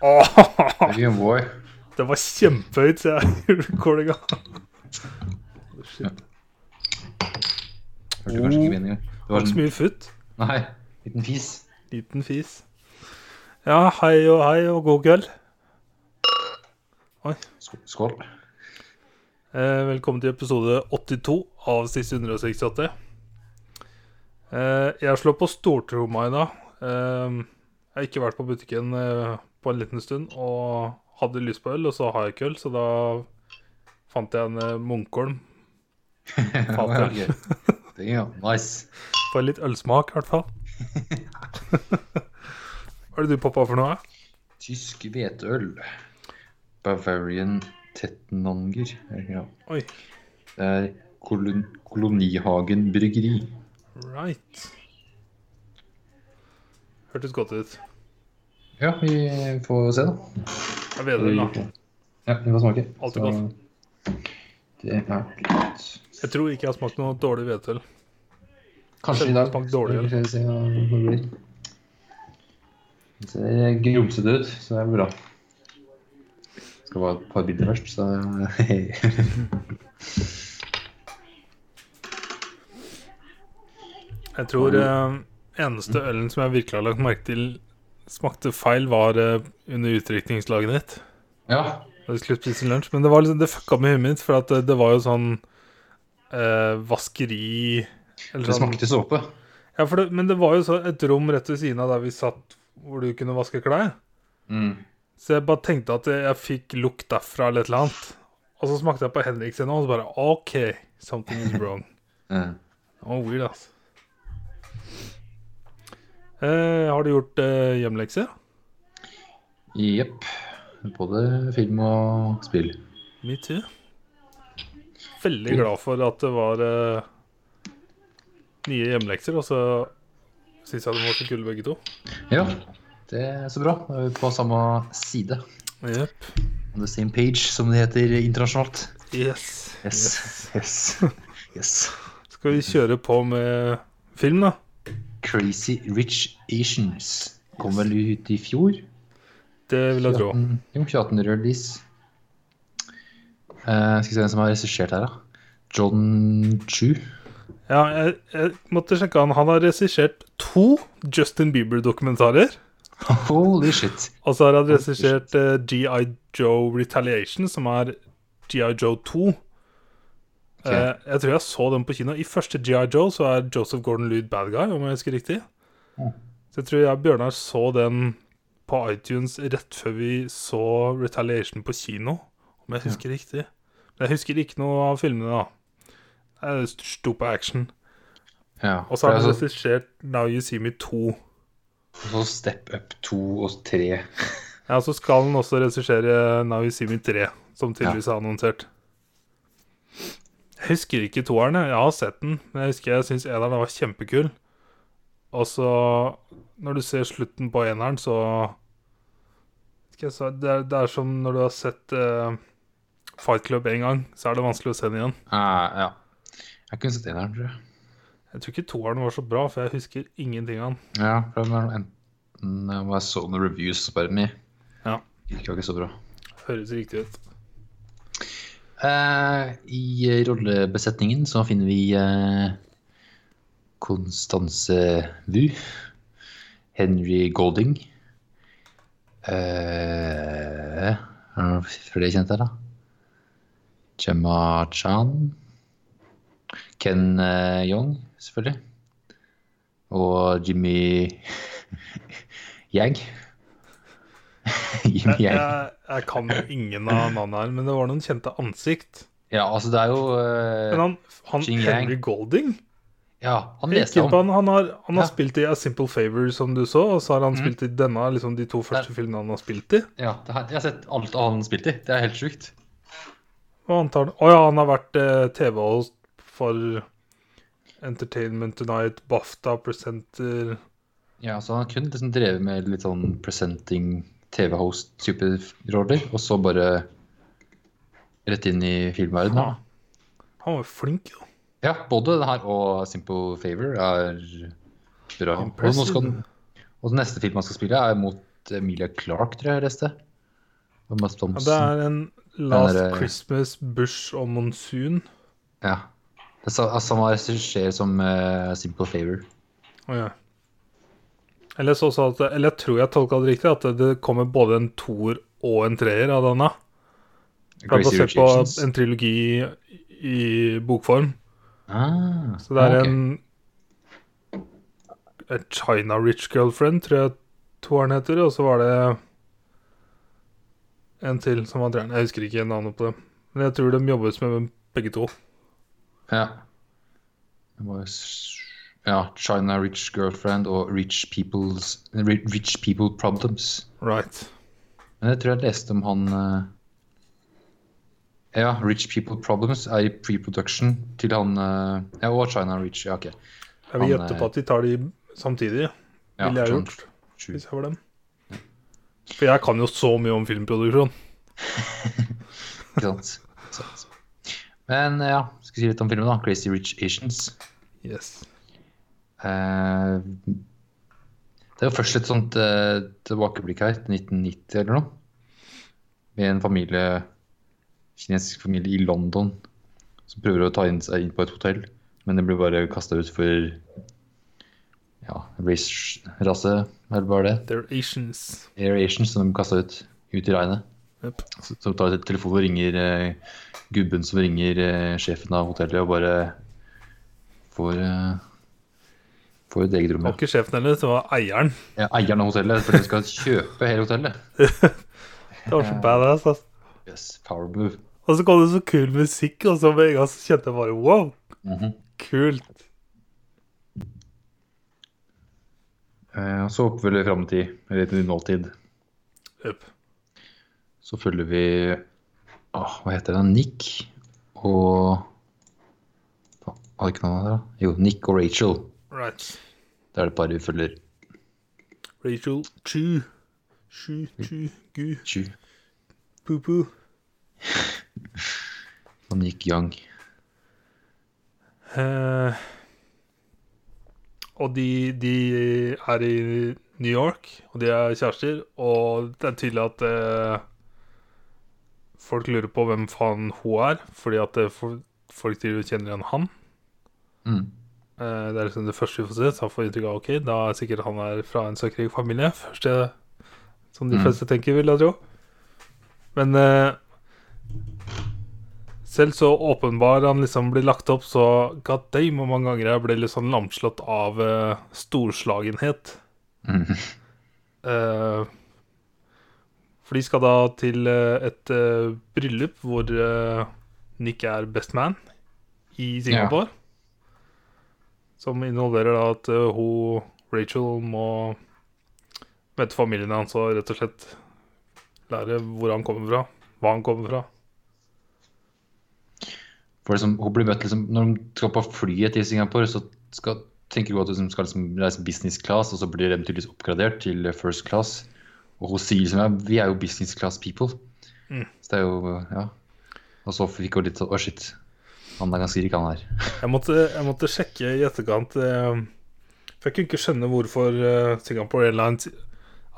Åh, Gameboy. det var kjempehøyt, sier jeg. Recordinga. Shit. Hørte kanskje ikke meningen. Det Det var var ikke så en mye futt. Nei, liten fis. Liten fis. Ja, hei og hei og god kveld. Sk- Skål. Eh, velkommen til episode 82 av Siste 168. Eh, jeg slår på stortromma i dag. Eh, jeg har ikke vært på butikken eh, på en liten stund og hadde lyst på øl, og så har jeg ikke øl, så da fant jeg en eh, Munkholm Fatter. Ja, ok. Det er jo nice. For litt ølsmak, i hvert fall. Hva er det du poppa for noe? Tysk hveteøl. Bavarian Tettenanger. Ja. Oi, Det er kolon Kolonihagen bryggeri. right. Hørtes godt ut. Ja, vi får se, da. Jeg vet det, da. Ja, vi får smake. Alltid Så godt. Det er godt. Jeg tror ikke jeg har smakt noe dårlig hvetøl. Kanskje i dag. Smakte dårlig, eller? Skal vi se hva det blir. Det ser grumsete ut, så det er bra. Skal bare ha et par bilder først, så Jeg tror eh, eneste ølen som jeg virkelig har lagt merke til smakte feil, var eh, under utdrikningslaget ditt. Ja. Da vi skulle spise lunsj. Men det, var liksom, det fucka med huet mitt, for at det, det var jo sånn eh, vaskeri eller Det sånn smakte såpe. Ja, for det, men det var jo så et rom rett ved siden av der vi satt, hvor du kunne vaske klær. Mm. Så jeg bare tenkte at jeg fikk lukt derfra eller et eller annet. Og så smakte jeg på Henrik sin, og så bare OK, something is wrong. Ja. Oh, weird, ass. Eh, har du gjort eh, hjemlekser? Jepp. Både film og spill. Me too. Veldig glad for at det var eh, nye hjemlekser, og så syns jeg de var så kule begge to. Ja, det er så bra. Da er vi på samme side. Yep. On the same page, som det heter internasjonalt. Yes. Yes. Yes. yes. Skal vi kjøre på med film, da? Crazy Rich Asians kom vel ut i fjor? Det vil jeg tro. 18 Jo, 2018 release. Eh, skal vi se hvem som har regissert her, da. John Chu. Ja, jeg, jeg måtte sjekke han. Han har regissert to Justin Bieber-dokumentarer. Holy shit. Og så har han regissert eh, GI Joe Retaliation, som er GI Joe 2. Eh, jeg tror jeg så den på kino. I første GI Joe så er Joseph Gordon-Lewitt bad guy, om jeg husker riktig. Mm. Så jeg tror jeg og Bjørnar så den på iTunes rett før vi så Retaliation på kino, om jeg husker riktig. Men jeg husker ikke noe av filmene, da. Det er sto på action. Ja. Og så har det han er så, regissert Now You See Me 2. så Step Up 2 og 3. Ja, så skal han også regissere Now You See Me 3, som tydeligvis er annonsert. Jeg husker ikke toeren. jeg. Jeg har sett den, men jeg husker jeg syns eneren var kjempekul. Og så, når du ser slutten på eneren, så Skal jeg si- det, er, det er som når du har sett eh, Fight Club én gang, så er det vanskelig å se den igjen. Eh, ja. Jeg kunne sett eneren, tror jeg. Jeg tror ikke toeren var så bra, for jeg husker ingenting av den. Ja, for det var enten eh, jeg bare så noen reviews og bare med. Ja. Det var ikke så bra. Høres riktig ut. Eh, I eh, rollebesetningen så finner vi eh, Constance Wu, Henry Golding eh, Er det noen flere kjente her, da? Gemma Chan. Ken eh, Young, selvfølgelig. Og Jimmy Yang. Jimmy Yang. Jeg, jeg, jeg kan jo ingen av navnene her, men det var noen kjente ansikt. Ja, altså, det er jo eh, Men han, han Jing Yang. Henry Golding? Ja, han Jeg leste gikk inn om. på Han, han har, han har Ja. Mm. spilt i A Simple Favor, som du så, og så har han spilt i denne, liksom de to første filmene han har spilt i. Ja, det her, jeg har sett alt han spilte i. Det er helt sjukt. Og han tar, å ja, han har vært eh, TV-host for Entertainment Tonight, BAFTA, Presenter Ja, så han kunne liksom drevet med litt sånn presenting, TV-host-type roller, og så bare rett inn i filmverdenen. da. Han var jo flink, jo. Ja, både det her og Simple Favor er bra. Og, nå skal, Impressive. den- og den neste film han skal spille, er mot Emilia Clark, tror jeg jeg leste. Og Mads Ja, Thomsen. det er en Last Den er, eh, Christmas, Bush og Monsoon. Ja. Det er sa- altså, samme regissør som eh, Simple Favor. Å, ja. Eller, så sa at, eller jeg tror jeg tolka det riktig, at det kommer både en toer og en treer av denne. Det er Crazy basert Rich på Asians. en trilogi i, i bokform. Ah, Så det er ok. en A China Rich Girlfriend, tror jeg toeren heter. Og så var det en til som var treeren. Jeg husker ikke navnet på dem. Men jeg tror de jobbes med begge to. Ja. Det var s- ja. China Rich Girlfriend og Rich People's Ri- Rich People Problems. Right. Men jeg tror jeg leste om han eh, Ja, Rich People Problems er i pre-production til han eh, Ja, og China Rich. Ja, ok. Jeg vil Han, gjette på at de tar de samtidig. Ja, ville jeg sånn. gjort, Sju. hvis jeg var dem. For jeg kan jo så mye om filmproduksjon. Ikke sant. Sant. Men eh, ja, skal si litt om filmen, da. Crazy Rich Asians. Yes. Eh, Det er jo først litt sånt eh, tilbakeblikk her, til 1990 eller noe. Med en familie, kinesisk familie i London som prøver å ta inn seg inn på et hotell, men det blir bare kasta ut for ja, race, rase, eller bare det. They're Asians. Air Asians som de kasta ut ut i regnet. Yep. Så- Som tar et telefon og ringer eh, gubben som ringer eh, sjefen av hotellet og bare får, eh, får et eget Det rom. ja. var ikke sjefen heller, det var eieren. Ja, eieren av hotellet, for de skal kjøpe hele hotellet. Det var så badass. ass. Yes, power move. Og så kom det så kul musikk, og så med en gang så kjente jeg bare wow, Mhm. kult. Eh, og så hopper vi fram til, eller til nåtid. Yep. Så følger vi åh, Hva heter den? Nick og Faen, Var det ikke noe der, da? Jo, Nick og Rachel. Right. Det er det paret vi følger. Rachel Chu. Chu, chu, gu, Sju. pu-pu. Og Nick Young. Eh, og de, de er i New York, og de er kjærester, og det er tydelig at eh, folk lurer på hvem faen hun er, fordi at det, for- folk driver og kjenner igjen han. Mm. Eh, det er liksom det første vi får se, så han får inntrykk av ok, da er sikkert han er fra en så krig familie. Første, som de Mm. fleste tenker, vil jeg tro. Men eh, selv så åpenbar han liksom blir lagt opp, så god damn hvor mange ganger jeg ble litt sånn lamslått av eh, storslagenhet. Mm. Eh, for de skal da til eh, et eh, bryllup hvor eh, Nick er best man i Singapore. Som involverer da at eh, hun, Rachel, må møte familien hans og rett og slett lære hvor han kommer fra, hva han kommer fra. For liksom, hun blir møtt liksom, Når de skal på flyet til Singapore, så skal, tenker hun at hun skal liksom, reise business class, og så blir de tydeligvis oppgradert til first class. Og hun sier liksom ja, vi er jo business class people. Mm. Så det er jo Ja. Og så fikk hun litt sånn Å, shit. Han er ganske rik, han her. Jeg måtte, jeg måtte sjekke i etterkant eh, For jeg kunne ikke skjønne hvorfor eh, Singapore Airlines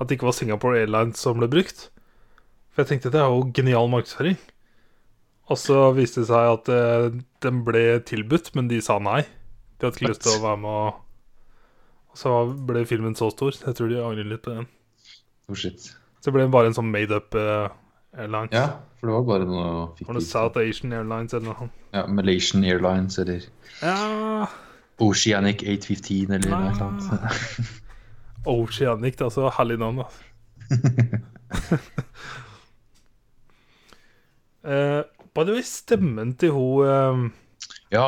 At det ikke var Singapore Airlines som ble brukt. For jeg tenkte det er jo genial markedsføring. Og så viste det seg at eh, den ble tilbudt, men de sa nei. De hadde ikke lyst til å være med og Og så ble filmen så stor. så Jeg tror de angrer litt på den. Oh, shit. Så ble det bare en sånn made up eh, airlines. Ja, for det var bare noe Var det fiktivt. South Asian Airlines eller noe sånt? Ja, Malaysian Airlines eller Ja. Oceanic 815 eller noe sånt. Oceanic, det er altså herlig navn, altså. Eh, by the way, stemmen til hun eh, Ja.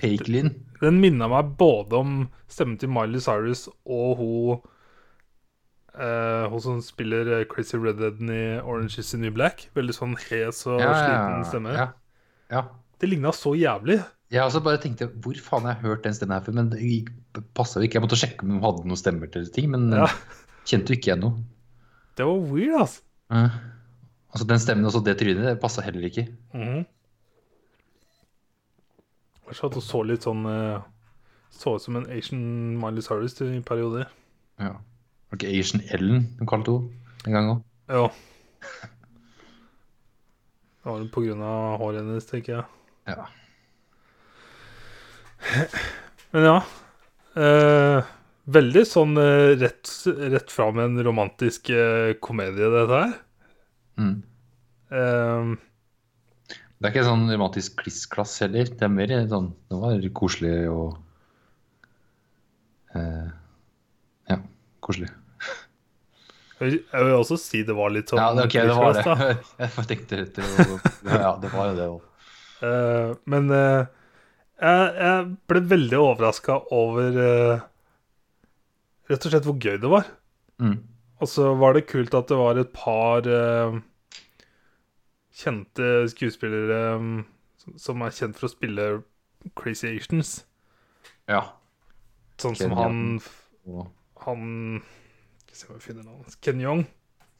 Pakelin. Den minna meg både om stemmen til Miley Cyrus og hun eh, Hun som spiller eh, Crazy Redheaden i Orange is the New Black. Veldig sånn hes og sliten stemme. Ja. ja. Det ligna så jævlig. Jeg også bare tenkte hvor faen har jeg hørt den stemmen her før? Men det passa jo ikke. Jeg måtte sjekke om hun hadde noen stemmer til ting, men Ja. kjente jo ikke igjen noe. Det var weird, altså. Eh, Altså Den stemmen og så det trynet, det passa heller ikke. Mhm. Kanskje at hun så litt sånn eh, Så ut som en Asian Miley Cyrus i perioder. Ja. Var det ikke Asian Ellen hun kalte henne en gang òg? Jo. Det var vel på grunn av håret hennes, tenker jeg. Ja. Men ja. Eh, veldig sånn eh, rett, rett fram en romantisk eh, komedie, dette her. Mm. Eh, Det er ikke sånn romantisk kliss-klass heller. Det er mer sånn Det var koselig og eh, Ja, koselig. jeg vil- jeg vil også si det var litt sånn Ja, det, ok, det var det. da. Jeg bare tenkte litt og- Ja, det var jo det òg. Eh, men eh, jeg, jeg ble veldig overraska over eh, rett og slett hvor gøy det var. Mm. Og så var det kult at det var et par eh, kjente skuespillere eh, som- som er kjent for å spille Crazy Asians. Ja. Sånn som Ken han Og Han Skal vi se om vi finner navnet hans. Ken Young.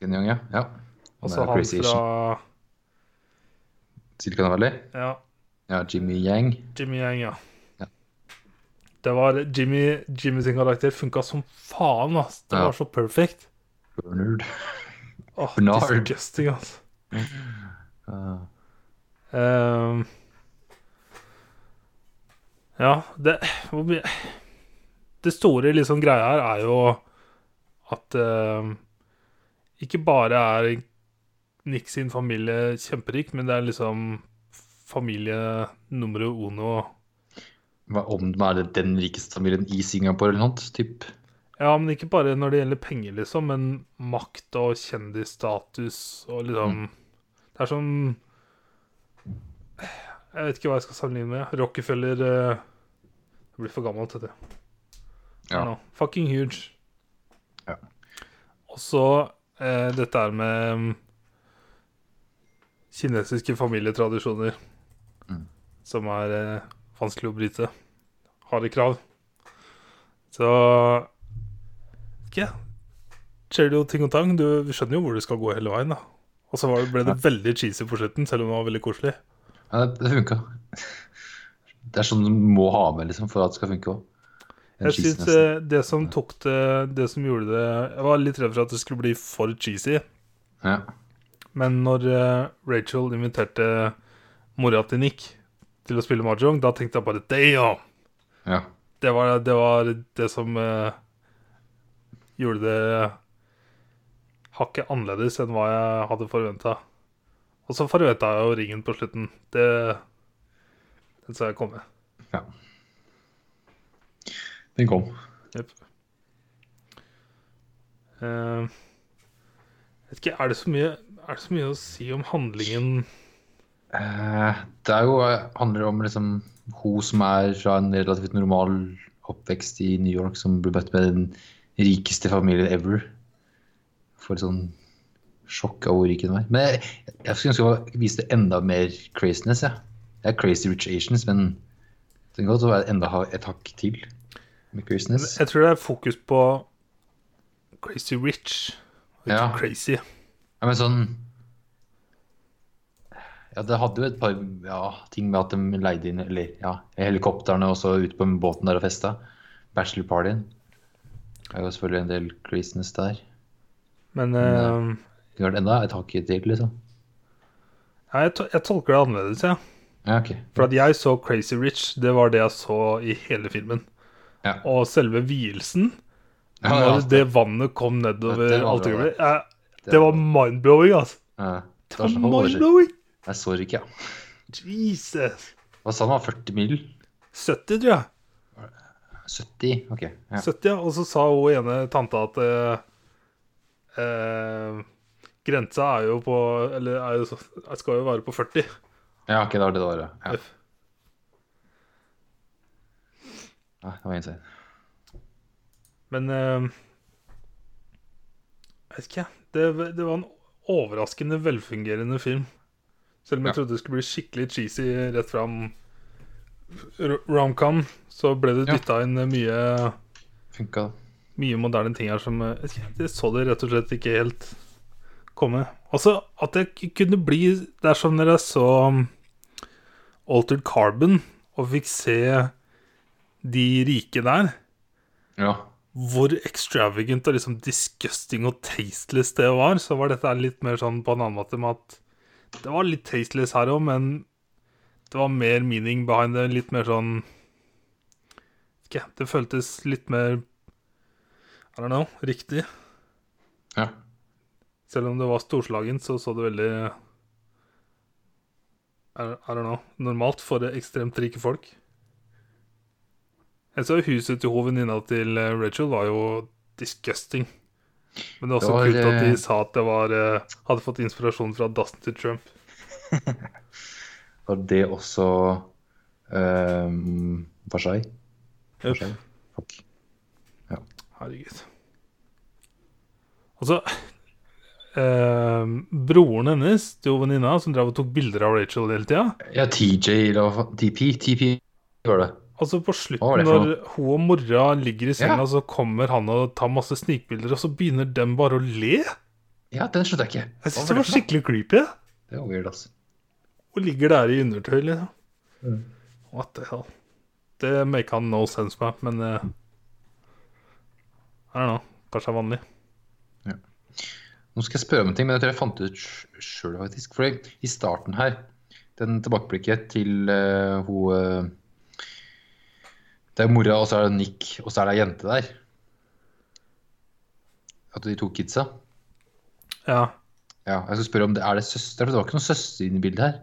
Ken Young, ja. ja. Og er så jo han Crazy Asian. fra Silicon Valley. Ja, Ja, Jimmy Yang. Jimmy Yang, ja. Ja. Det var Jimmy, Jimmy sin karakter funka som faen, ass. Det Ja. var så perfekt. Bernard. Åh, Bernard. Disgusting, ass. Eh, Ehm. ja, det hvor mye- Det store liksom greia her er jo at ehm, ikke bare er Nick sin familie kjemperik, men det er liksom familie numero uno. hva om de er den rikeste familien i Singapore eller noe sånt? Typ. Ja, men ikke bare når det gjelder penger, liksom, men makt og kjendisstatus og liksom Mm. Det er sånn Jeg vet ikke hva jeg skal sammenligne med. Rockefeller eh, Det blir for gammelt, vet du. Ja. Nå, Fucking huge. Ja. Og så eh, dette her med mm, kinesiske familietradisjoner Mm. som er eh, vanskelig å bryte. Harde krav. Så ikke Skjer det jo ting og tang. Du skjønner jo hvor du skal gå hele veien, da. Og så var det, ble det veldig cheesy på slutten, selv om det var veldig koselig. Ja, det, det funka. Det er sånn du må ha med liksom, for at det skal funke òg. Jeg synes eh, det som tok det Det som gjorde det Jeg var litt redd for at det skulle bli for cheesy, ja. men når eh, Rachel inviterte mora til Nick til å spille mahjong, da tenkte jeg bare damn! ja. Det var det, var det som eh, gjorde det hakket annerledes enn hva jeg hadde forventa. Og så forventa jeg jo ringen på slutten. Det Den så jeg komme. Den kom. Jepp. Eh, vet ikke, er det, så mye, er det så mye å si om handlingen Eh, det er jo, eh, handler om liksom, hun som er fra en relativt normal oppvekst i New York, som blir møtt med den rikeste familien ever. Får et sånn sjokk av hvor rik hun er. Men jeg, jeg skulle ønske hun viste enda mer craziness. Ja. Jeg er crazy rich Asians, men det kan godt være enda ha- et hakk til med craziness. Jeg tror det er fokus på Crazy Rich, og ikke Ja. Crazy. Ja, men sånn Ja, det hadde jo et par ja, ting med at de leide inn eller, ja, helikoptrene og så ut på båten der og festa. Bachelor-partyen. Det er jo selvfølgelig en del craziness der. Men eh, Det kunne vært enda et hakk til, liksom. ja, jeg, to jeg tolker det annerledes, jeg. Ja. Ja, ok. For at jeg så Crazy Rich, det var det jeg så i hele filmen. Ja. Og selve vielsen, Ja, ja, når det vannet kom Ja, nedover det var alt det bra, gjorde, jeg- det var mind-blowing, altså. ja, det Det var var sånn, holy shit. mind-blowing! Jeg så ikke, ja. Jesus! Hva sa han, var 40 mil? 70, tror jeg. 70? Ok. Ja. 70, ja. Og så sa hun ene tanta at eh, eh, grensa er jo på Eller er jo, så- skal jo være på 40. ja, ok, det var det det var, ja. ja. ja det var insane. Men eh, Jeg vet ikke, jeg. Det, det var en overraskende velfungerende film. Selv om jeg Ja. trodde det skulle bli skikkelig cheesy rett fram r- romcom, så ble det Ja. dytta inn mye, Funka. mye moderne ting her som eh, jeg vet ikke, Det så det rett og slett ikke helt komme. Altså at det k- kunne bli Det er som når jeg så um, Altered Carbon og fikk se de rike der. Ja. hvor extravagant og liksom disgusting og tasteless det var, så var dette litt mer sånn på en annen måte med at det var litt tasteless her òg, men det var mer meaning behind det. Litt mer sånn Ikke, det føltes litt mer I don't know, riktig. Ja. Selv om det var storslagent, så så det veldig I I don't know. Normalt for ekstremt rike folk. Jeg så huset til hun venninna til eh, Rachel var jo disgusting. Men det er også Det var, kult at de eh, sa at det var eh, Hadde fått inspirasjon fra dassen til Trump. Var det også um, Versailles? Versailles? Fuck. Herregud. Altså eh, Broren hennes til hun venninna som drev og tok bilder av Rachel hele tida Ja, TJ eller hva faen? TP? TP var det. Altså På Hva var slutten, det for når hun og mora ligger i senga, Ja. så kommer han og tar masse snikbilder, og så begynner dem bare å le. Ja, den skjønte jeg ikke. Hva Jeg syns det for var skikkelig creepy. noe? Det var weird, ass. Hun ligger der i undertøy, liksom. Mm. What the hell. Det make han no sense med, men eh, I don't know. Kanskje det er vanlig. Nå skal jeg spørre om en ting, men jeg tror jeg fant det ut sj- sjøl, faktisk. For i starten her, den tilbakeblikket til eh, hun eh, Det er mora, og så er det Nick, og så er det ei jente der. At de to kidsa. Ja. Ja, jeg skal spørre om det er det søster, for det var ikke noen søster inne i bildet her.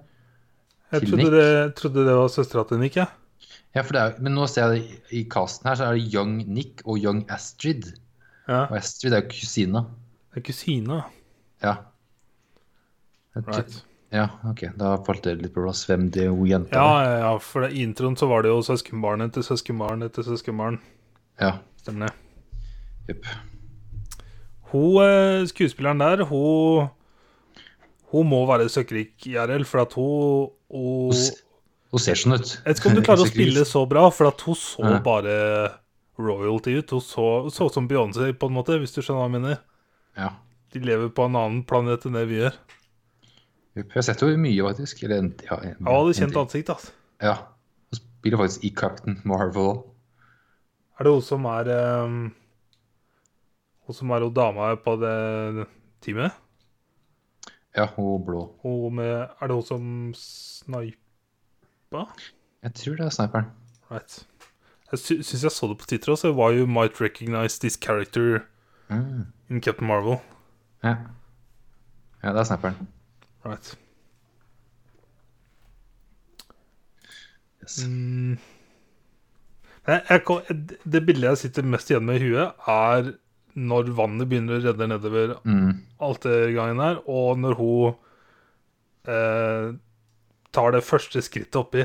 Jeg Til trodde Nick? det, trodde det var søstera til Nick, jeg. Ja, for det er, men nå ser jeg det i- i casten her, så er det Young Nick og Young Astrid. Ja. Og Astrid er jo kusina. Det er kusina. Ja. Jeg tror- Right. Ja, OK. Da falt det litt på plass hvem det hun jenta Ja, var. ja, ja, for det, i introen så var det jo søskenbarn etter søskenbarn etter søskenbarn. Ja. Stemmer det. Jepp. Hun, eh, skuespilleren der, hun Hun må være søkkrik IRL, for at hun, hun Hun s- hun ser sånn ut. Jeg vet ikke om du klarer å Helt sikkert. spille så bra, for at hun så Ja. bare royalty ut. Hun så, hun så ut som Beyoncé, på en måte, hvis du skjønner hva jeg mener. Ja. De lever på en annen planet enn det vi gjør. Jepp. Jeg har sett henne mye, faktisk. Eller en, ja, en, Jeg hadde kjent en- ansikt, altså. Ja. Hun spiller faktisk i Captain Marvel. Er det hun som er ehm, Hun som er hun dama på det teamet? Ja, hun blå. Hun med, er det hun som snipa? Jeg tror det er sniperen. Right. Jeg sy syns jeg så det på titter også. Why you might recognize this character Mm. in Captain Marvel. Ja. ja, det er sniperen. Right. Yes. Mm. Nei, jeg, kom- det bildet jeg sitter mest igjen med i huet, er når vannet begynner å redde nedover Mm. altergangen her, og når hun eh, tar det første skrittet oppi.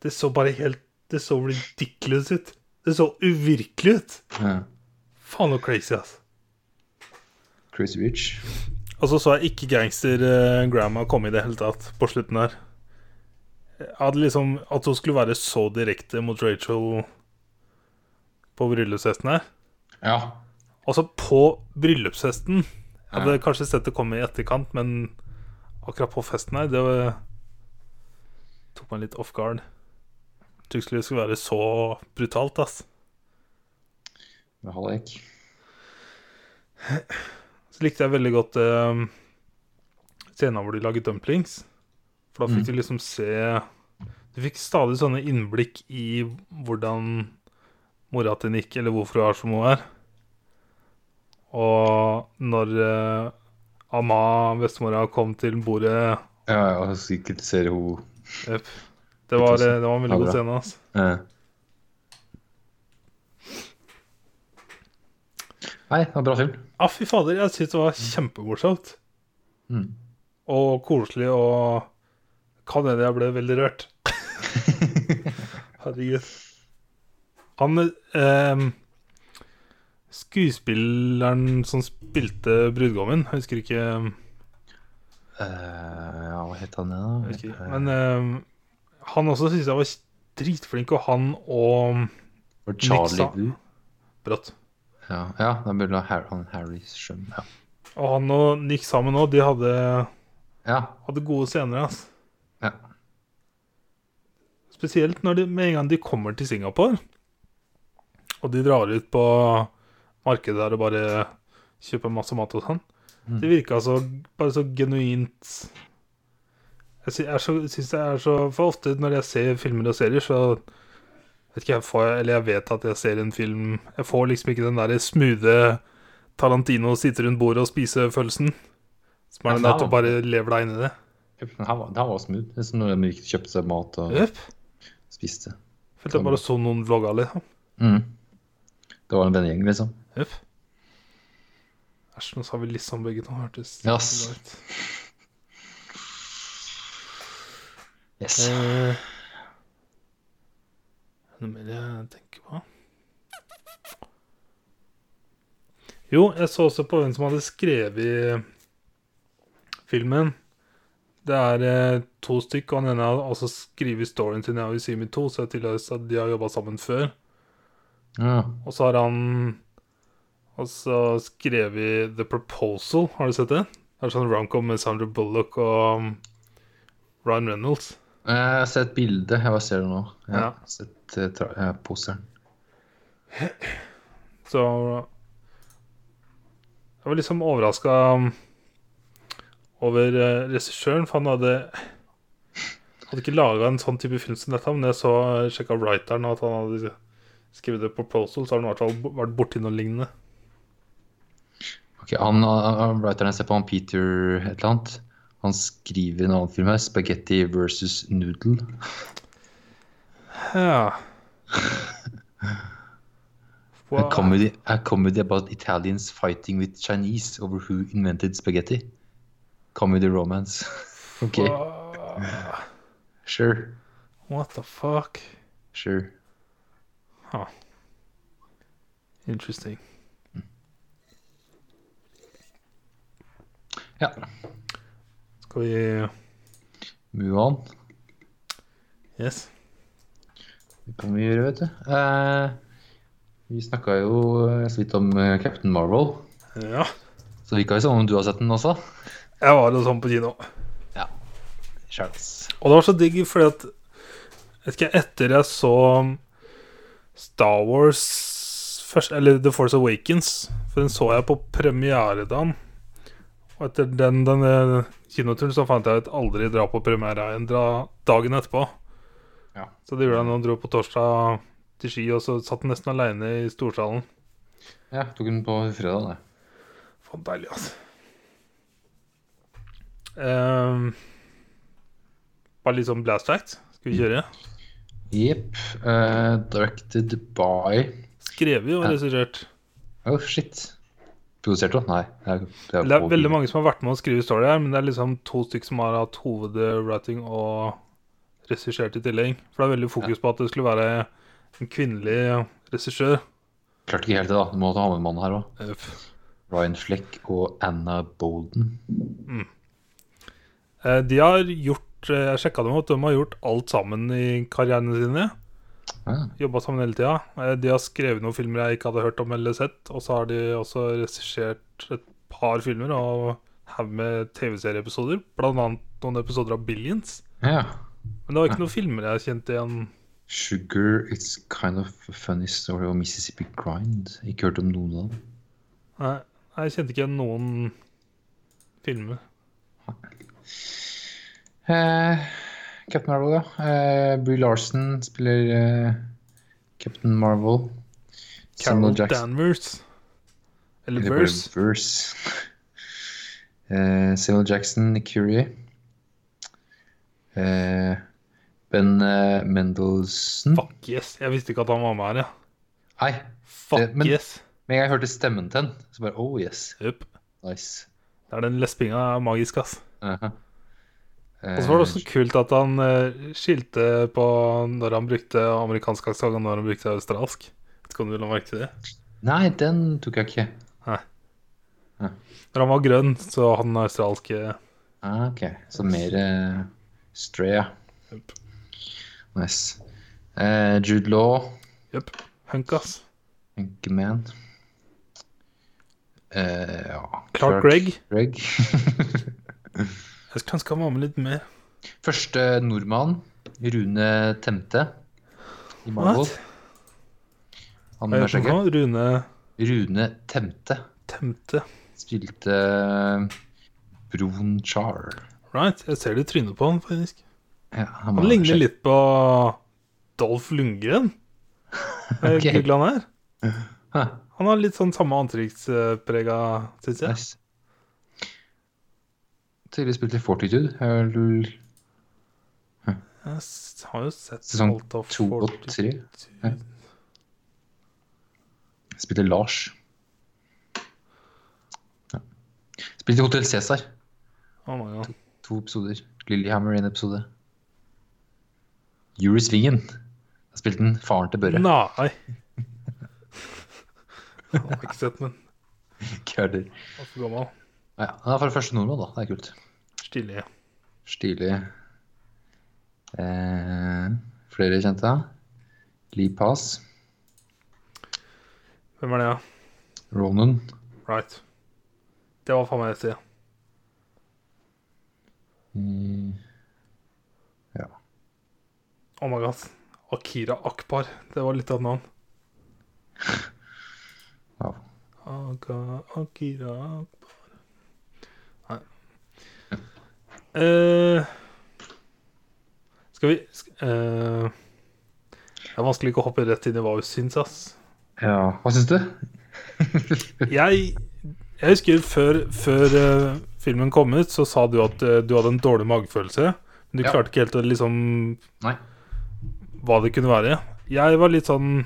Det så bare helt Det så ridiculous ut. Det så uvirkelig ut. Ja. Faen så crazy, ass. Crazy Rich. Og så så jeg ikke gangster-grandma komme i det hele tatt på slutten her. Jeg hadde liksom At hun skulle være så direkte mot Rachel på bryllupsfesten her. Ja. Altså, på bryllupsfesten Jeg hadde kanskje sett det komme i etterkant, men akkurat på festen her, det var, tok meg litt off guard. Jeg tror ikke det skulle være så brutalt, ass. Med hallik. Så likte jeg veldig godt eh, scenen hvor de lager dumplings. For da Mm. fikk du liksom se Du fikk stadig sånne innblikk i hvordan mora til Nick, eller hvorfor hun er som hun er. Og når eh, Ama, bestemora, kom til bordet Ja, ja, og så kritiserer hun Jep. det, var, eh, det var en veldig Ja, god bra. scene. ass. Eh. Nei, det var bra film. Ja, Ah, fy fader, jeg syns det var kjempemorsomt. Mm. og koselig og Kan hende jeg ble veldig rørt. Herregud. Han eh, Skuespilleren som spilte brudgommen, jeg husker ikke, jeg Eh, ja, hva het han igjen, da? husker ikke. Eh, Men eh, han også syntes jeg var dritflink, og han og var det Charlie Nick sa- Wu? Brått. Ja, ja, det er mulig Harry, han Harry Strøm. Ja. Og han og Nick sammen òg, de hadde, ja. hadde gode scener. ass. Ja. Spesielt når de, med en gang de kommer til Singapore. Og de drar ut på markedet der og bare kjøper masse mat og sånn. Mm. Det virka så, bare så genuint Jeg, sy jeg så- syns det er så For ofte når jeg ser filmer og serier, så vet ikke jeg, får jeg Eller jeg vet at jeg ser en film Jeg får liksom ikke den der smoothe Tarantino sitter rundt bordet og spiser følelsen. Som er Ja, men den der da- at du bare lever deg inn i det. Den her var, den her var smooth. Det er som når de gikk og kjøpte seg mat og Jøp. spiste. Følte jeg bare så noen vlogga, liksom. Mm. Det var en vennegjeng, liksom. Jøp. Æsj, nå sa vi liksom begge to. Hørtes Jass. ut. Yes. Eh, Noe mer jeg tenker på Jo, jeg så også på hvem som hadde skrevet filmen. Det er eh, to stykk, og han ene har også skrevet storyen til Now You See Me 2, så jeg tilhører at de har jobba sammen før. Ja. Eh, Og så har han også skrevet The Proposal, har du sett det? Det er sånn romcom med Sandra Bullock og um, Ryan Reynolds. Jeg har sett bildet. Jeg bare ser det nå. Jeg har Ja. sett eh, tra- eh, posteren. Så Jeg var liksom overraska over eh, regissøren, for han hadde Hadde ikke laga en sånn type film som dette, men jeg så sjekka writeren, og at han hadde skrevet det proposal, så har han i hvert fall b- vært borti noe lignende. Ok, han, han, han writeren jeg ser på, han Peter et eller annet, han skriver en annen film her, 'Spaghetti versus Noodle'. Ja. A comedy, a comedy about Italians fighting with Chinese over who invented spaghetti. Comedy romance. ok, Hva- sure. What the fuck? Sure. Interesting. Ja, Skal vi move on. Yes. Det kan vi gjøre, vet du. Eh, vi snakka jo eh, så vidt om eh, Captain Marvel, Ja. så det virka jo som om du har sett den også. Jeg var jo sånn på kino. Charles. Og det var så digg fordi at Vet ikke, etter jeg så Star Wars først, Eller The Force Awakens, for den så jeg på premieredagen. Og etter den, denne kinoturen så fant jeg ut aldri dra på premiere igjen dra dagen etterpå. Ja. Så det gjorde jeg når jeg dro på torsdag til Ski, og så satt jeg nesten aleine i storsalen. Ja, tok den på fredag, det. Faen deilig, altså. Ehm, bare litt sånn blast fact. Skal vi kjøre? Jepp. Eh, directed by Skrevet og regissert. Oh, shit. Produsert, da? Nei. Det er, det Det er veldig mange som har vært med å skrive story her, men det er liksom to stykker som har hatt hovedwriting og regissert i tillegg. For det er veldig fokus på at det skulle være en kvinnelig regissør. Klarte ikke helt det, da. Du må ta med mannen her òg. Eh, Ryan Fleck og Anna Bolden. Eh, De har gjort eh, Jeg sjekka dem opp. De har gjort alt sammen i karrierene sine. Ja, Jobba sammen hele tida. Eh, De har skrevet noen filmer jeg ikke hadde hørt om eller sett. Og så har de også regissert et par filmer og haug med TV-serieepisoder. Blant annet noen episoder av Billions. ja. Men det var ikke noen filmer jeg kjente igjen. Sugar It's Kind of a Funny Story og Mississippi Grind. Ikke hørt om noen av dem. Nei, jeg kjente ikke igjen noen filmer. Eh, Captain Marvel, ja. Eh, Brie Larson spiller eh, Captain Marvel. Carol Samuel Jackson Danvers. Eller eller bare Verse. Verse. Eh, Samuel Jackson, Curie. Eh, ben eh, Mendelsohn. Fuck yes. Jeg visste ikke at han var med her, ja. Nei, Fuck Det- men- yes. men jeg hørte stemmen til han, så bare oh yes, Jupp. nice. Det er den lespinga er magisk, ass. Aha. Og så var det også kult at han eh, skilte på når han brukte amerikansk aksent, og når han brukte australsk. Vet ikke om du la merke til det? Eh, Nei, den tok jeg ikke. Når han var grønn, så hadde han eh, australske Ah, ok, så mer uh, stray, ja. Jupp. Nice. Eh, Jude Law, Jupp. Hunk, ass. Anchorman. Eh, ja. Clark Gregg. Gregg. Jeg skulle ønske han var med litt mer. Første nordmann, Rune Temte i Marvel. What? Han Hva med heter han skjegget. for noe? Rune Rune Temte Temte. spilte Bron Char. Right. Jeg ser det i trynet på han, faktisk. Ja, Han var ligner sjef. litt på Dolf Lundgren. Jeg Ok. googlet han her. Hæ, Han har litt sånn samme antrekksprega, syns jeg. nice. Tidligere spilte Fortitude. Er vel Jeg s- har jo sett Sesong alt av to og Fortitude. tre. Ja. Spilte Lars. Ja. Spilte Hotell Cæsar. Oh my god. To episoder. Lillehammer en episode. Yuri Svingen. Da spilte han faren til Børre. Nei. Jeg har ikke sett, men Kødder. han er for gammel. Ja, han er fra første nordmann, da. Det er kult. Stilig. Stilig. Eh, flere kjente. Lee Pass. Hvem er det, ja? Ronan. Right. Det var faen meg et sted. Mm, Oh my god. Akira Akbar. Det var litt av et navn. wow. Aga, Akira Akbar Nei. Eh, skal vi sk eh, Det er vanskelig ikke å hoppe rett inn i hva vi syns, ass. Ja, hva syns du? Jeg, jeg husker før, før eh, filmen kom ut, så sa du at eh, du hadde en dårlig magefølelse. Men du Ja. klarte ikke helt å liksom Nei. Hva det kunne være. Jeg var litt sånn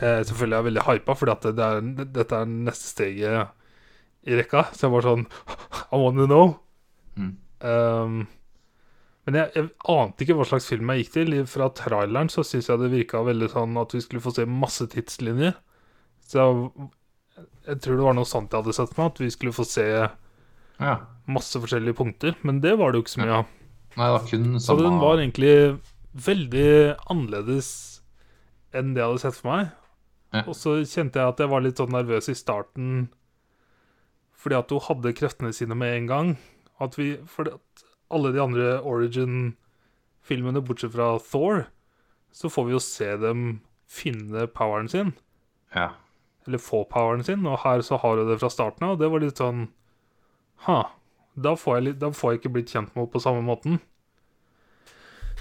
eh, Selvfølgelig er jeg veldig hypa, fordi at det er, dette er neste steget i rekka. Så jeg var sånn I want to know. Mm. Um, men jeg, jeg ante ikke hva slags film jeg gikk til. Fra traileren så syns jeg det virka veldig sånn at vi skulle få se masse tidslinjer. Så jeg, jeg tror det var noe sånt jeg hadde sett for meg, at vi skulle få se Ja. masse forskjellige punkter. Men det var det jo ikke så mye av. Nei, det var kun Så samme den var egentlig veldig annerledes enn det jeg hadde sett for meg. Ja. Og så kjente jeg at jeg var litt sånn nervøs i starten fordi at hun hadde kreftene sine med en gang. At vi, fordi at alle de andre Origin-filmene, bortsett fra Thor, så får vi jo se dem finne poweren sin. Ja. Eller få poweren sin, og her så har hun det fra starten av. Og det var litt sånn Ha. Da får jeg, litt, da får jeg ikke blitt kjent med henne på samme måten.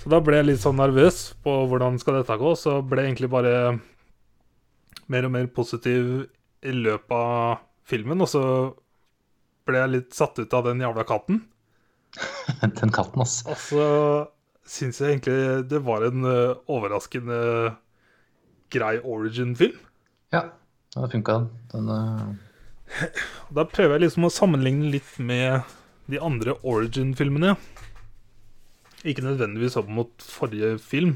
Så da ble jeg litt sånn nervøs på hvordan skal dette gå, så ble jeg egentlig bare mer og mer positiv i løpet av filmen, og så ble jeg litt satt ut av den jævla katten. Den katten, ass. Og så syns jeg egentlig det var en ø, overraskende grei origin-film. Ja, den funka, den. den eh, Og Da prøver jeg liksom å sammenligne litt med de andre Origin-filmene. Ikke nødvendigvis opp mot forrige film.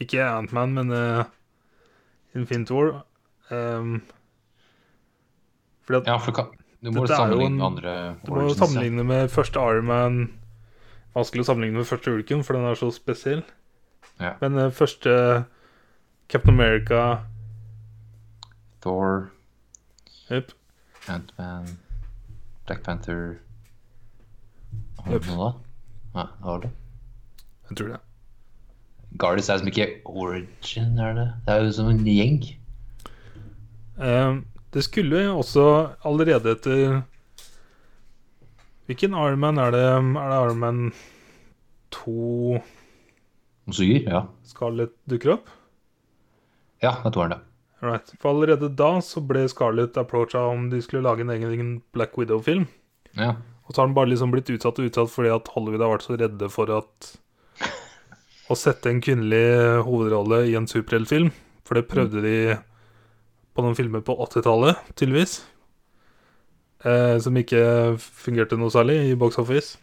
Ikke Ant-Man, men eh, Infinity War. Um, fordi at Ja, for ka- du må Dette er jo sammenligne en- med andre du må jo origins, ja. sammenligne med første Iron Man. Vanskelig å sammenligne med første Ulken, for den er så spesiell. Ja. Men eh, første Captain America Thor, Jep. Ant-Man, Black Panther Har Jøp. du noe da? Nei, det var det. Jeg tror det. Guardians er liksom ikke origin, er det? Det er jo som en gjeng. Eh, Det skulle også allerede etter Hvilken Iron Man er det? Er det Iron Man 2 Noen suger, ja. Scarlett dukker opp? Ja, det er toeren, det. Right. For allerede da så ble Scarlett approacha om de skulle lage en egen Black Widow-film. Ja. Og så har den bare liksom blitt utsatt og utsatt fordi at Hollywood har vært så redde for at å sette en kvinnelig hovedrolle i en superheltfilm. For det prøvde de på noen filmer på 80-tallet, tydeligvis. Eh, som ikke fungerte noe særlig i box office.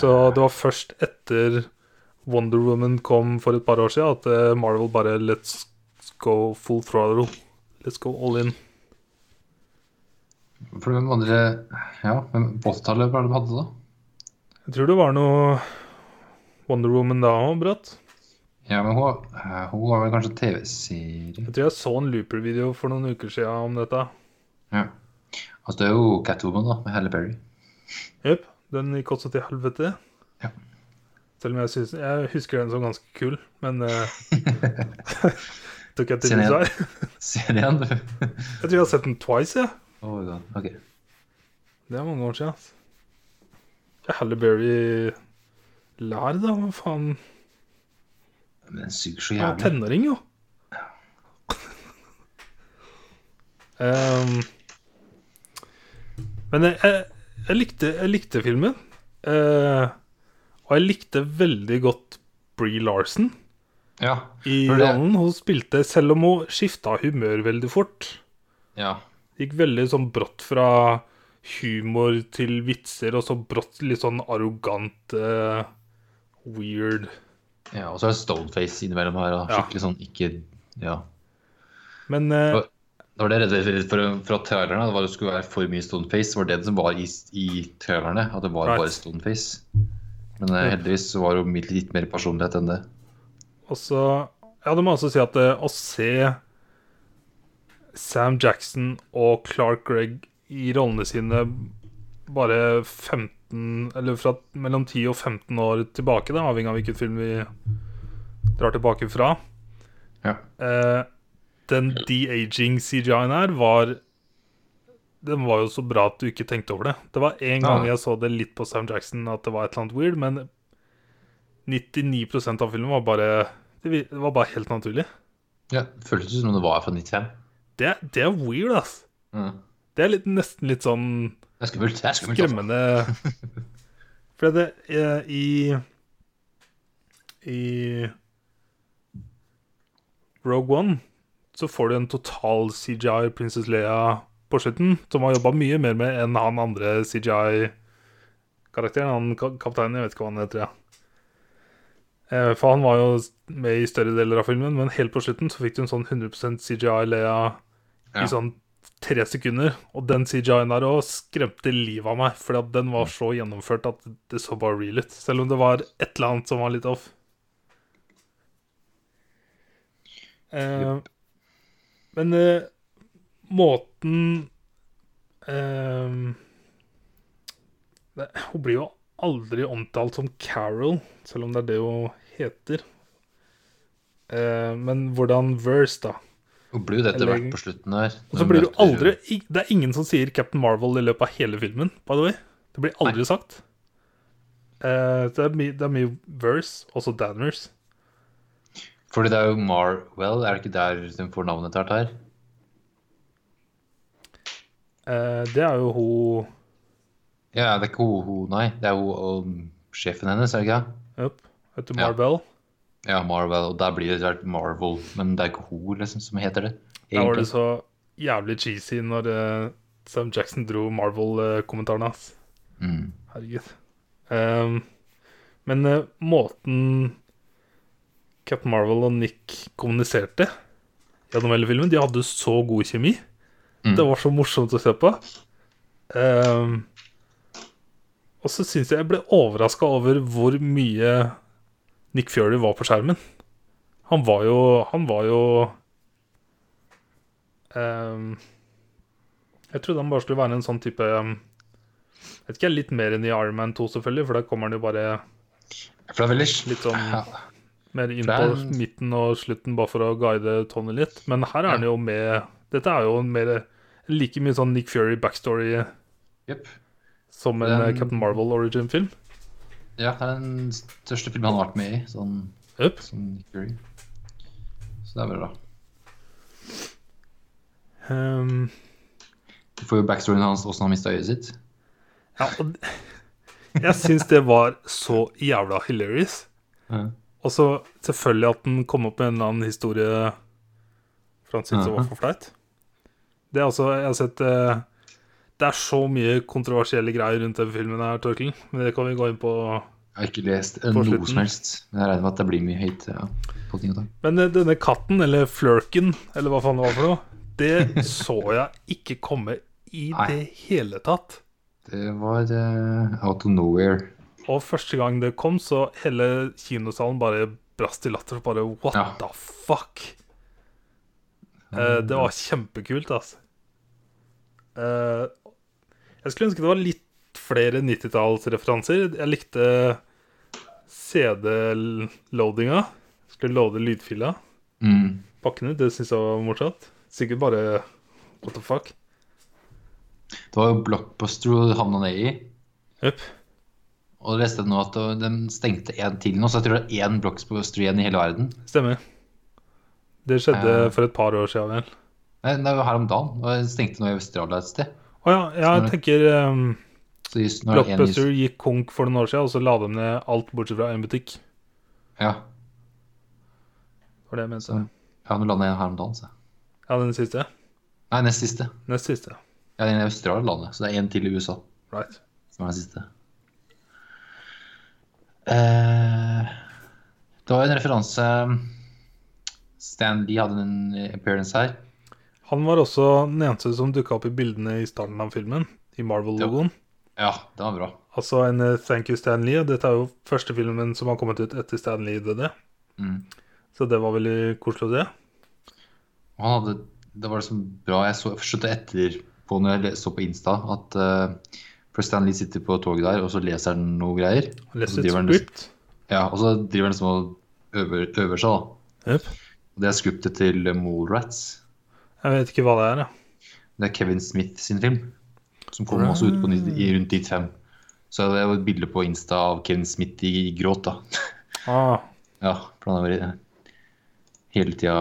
Så det var først etter Wonder Woman kom for et par år siden, at eh, Marvel bare Let's go full throttle. Let's go all in. For hvem andre Ja, hvem på 80-tallet var det de hadde, da? Jeg tror det var noe Wonder Woman da òg, Bratt. Ja, men hun, eh, hun var vel kanskje TV-serie Jeg tror jeg så en Looper-video for noen uker siden om dette. Ja. Altså, det er jo Catwoman, da, med Halle Berry. Jepp. Den gikk også til helvete. Ja. Selv om jeg, synes, jeg husker den som ganske kul, men eh, Tok jeg til Kjenner USA? jeg- Ser den igjen, du? Jeg tror jeg har sett den twice, jeg. Oh, God. ok. Det er mange år siden. ass. Ja, Halle Berry lær, da. Hva faen? Men den suger så Han var jævlig. tenåring, jo. Um, Ehm, men jeg, jeg, jeg, likte, jeg likte filmen. Eh, og jeg likte veldig godt Bree Larson Ja. i For det- rollen. Hun spilte, selv om hun skifta humør veldig fort. ja. Gikk veldig sånn brått fra humor til vitser, og så brått litt sånn arrogant eh, weird. ja. Og så er det Stoneface innimellom her. Da. Ja. Skikkelig sånn ikke Ja. Men eh, Hva- Det var det jeg redde litt for fra trailerne. Det var det skulle være for mye Stoneface. Det var det som var i, i trailerne, at det var Right. bare Stoneface. Men eh, Ja. heldigvis så var det jo litt mer personlighet enn det. Og så Ja, det må jeg også si at eh, å se Sam Jackson og Clark Gregg i rollene sine bare 15 Eller fra mellom 10 og 15 år tilbake, da, avhengig av hvilken film vi drar tilbake fra Ja. eh, Den de-aging CGI-en her var Den var jo så bra at du ikke tenkte over det. Det var én gang Nei. jeg så det litt på Sam Jackson at det var et eller annet weird, men 99 av filmen var bare det vi- det var bare helt naturlig. ja det føltes ut som om det var fra 95. Det, det er weird, ass. Mm. Det er litt, nesten litt sånn Det er skummelt. Det er skummelt. altså. skremmende For det eh, i I Rogue One så får du en total CGI Princess Leia på slutten, som har jobba mye mer med enn han andre CGI-karakteren. Han ka- kapteinen, jeg vet ikke hva han heter. Ja. Eh, For han var jo med i større deler av filmen, men helt på slutten så fikk du en sånn 100 CGI Leia Ja. i sånn tre sekunder. Og den CGI-en der òg skremte livet av meg, fordi at den var så gjennomført at det så bare real ut. Selv om det var et eller annet som var litt off. Eh, men eh, måten eh, det, Hun blir jo aldri omtalt som Carol, selv om det er det hun heter. Eh, men hvordan Verse, da? Hun blir jo det etter Eller- hvert på slutten her. Og så blir du aldri i- Det er ingen som sier Captain Marvel i løpet av hele filmen, by the way. Det blir aldri sagt. Eh, det, er mye, det er mye verse, også Danvers. Fordi det er jo Marwell, er det ikke der hun får navnet etter hvert her? Eh, det er jo hun Ja, det er ikke hun, hun nei. Det er hun um, sjefen hennes, er det ikke? det? Jøp, heter Ja. Marvel. Ja, Marwell. Og der blir det etter hvert Marvel. Men det er ikke hun liksom, som heter det. Da var det Egentlig. så jævlig cheesy når eh, Sam Jackson dro eh, Marvel-kommentaren hans. Mm. Herregud. Ehm, men eh, måten Captain Marvel og Nick kommuniserte gjennom hele filmen De hadde så god kjemi. Mm. Det var så morsomt å se på. Ehm, og så syns jeg jeg ble overraska over hvor mye Nick Fury var på skjermen. Han var jo Han var jo ehm, Jeg trodde han bare skulle være en sånn type ehm, jeg vet ikke, litt mer enn i Iron Man 2 selvfølgelig, for da kommer han jo bare For det er veldig Litt sånn- Ja. mer inn Det på er en- midten og slutten bare for å guide Tony litt. Men her er han jo med Dette er jo en mer like mye sånn Nick Fury backstory Jep. som en Den- eh, Captain Marvel origin-film. Ja, det er den største filmen han har vært med i, sånn Jøp. som Nick Fury. Så det er veldig bra. Ehm, Du får jo backstoryen hans, åssen han mista øyet sitt. ja, og d- jeg syns det var så jævla hilarious. Ja. Og så selvfølgelig at den kom opp med en eller annen historie for han syntes det Mhm. var for flaut. Det er også Jeg har sett eh, Det er så mye kontroversielle greier rundt den filmen her, Torkel. Men det kan vi gå inn på. Jeg har ikke lest eh, På noe slutten. som helst, men jeg regner med at det blir mye hate ja, på ting og tang. Men eh, denne katten, eller flørken, eller hva faen det var for noe, det så jeg ikke komme i Nei. det hele tatt. Det var eh, out of nowhere. Og første gang det kom, så hele kinosalen bare brast i latter. Bare what Ja. the fuck? Eh, det var kjempekult, altså. Eh, jeg skulle ønske det var litt flere 90-tallsreferanser. Jeg likte CD-loadinga. Skulle loade lydfila. Mm. bakkene. Det syns jeg var morsomt. Sikkert bare What the fuck? Det var jo Blockbuster du havna ned i. Jøp. Og jeg leste nå at de stengte én til nå, så jeg tror det er én Blockbuster igjen i hele verden. Stemmer. Det skjedde Eh. for et par år siden, vel. Nei, det var her om dagen. Og det stengte nå i Australia et sted. Å ja, jeg Stemmer. tenker um, Så just, nå er det en i- Blockbuster gikk konk for noen år siden, og så la de ned alt bortsett fra en butikk. Ja, Det var det jeg mente. Så- ja nå landet jeg her om dagen, så. Ja, den siste. Nei, nest siste. Nest siste. Ja, den i Australia landet, så det er en til i USA Right. som er den siste. Eh, det var jo en referanse Stan Lee hadde en appearance her. Han var også den eneste som dukka opp i bildene i starten av filmen, i Marvel-logoen. Ja, det var bra. Altså en eh, Thank You Stan Lee. og Dette er jo første filmen som har kommet ut etter Stan Lee døde. Mm. Så det var veldig koselig, det. Og han hadde, det var liksom bra Jeg så skjønte etterpå når jeg le- så på Insta at eh, for Stan Lee sitter på toget der, og så leser han noe greier. Han Og så leste et driver han- script. Ja, og så driver han liksom og øver, øver seg, da. Jep. Og det er scriptet til Mallrats. Jeg vet ikke hva det er, jeg. Det er Kevin Smith sin film, som kom også ut på ni, i rundt 95. Så det er jo et bilde på Insta av Kevin Smith i, i gråt, da. Ah, Ja, for han har vært- eh, hele tida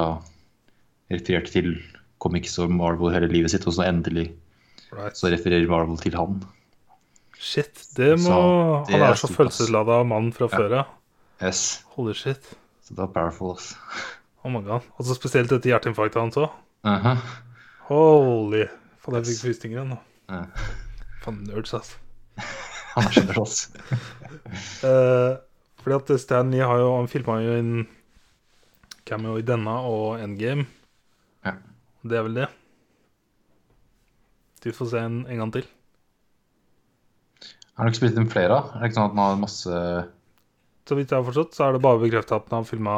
referert til comics og Marvel hele livet sitt, og så endelig right. så refererer Marvel til han. Shit, det må Så det Han er er så stort, ass. følelsesladet mann fra før av. Yes, Holy shit. så det er powerful, ass. Oh my god. Altså spesielt etter hjerteinfarktet hans òg. Aha. Holy. Faen, jeg fikk frysninger igjen nå. Ja. Faen, nerds, ass. Han er generøs. Eh, fordi at Stan Lee har jo Han filma jo en cameo i denne og Endgame. Ja. Det er vel det. Du får se en, en gang til. Har du ikke spilt inn flere? da? Er det ikke sånn at man har masse Så vidt jeg har forstått, så er det bare bekrefta at han har filma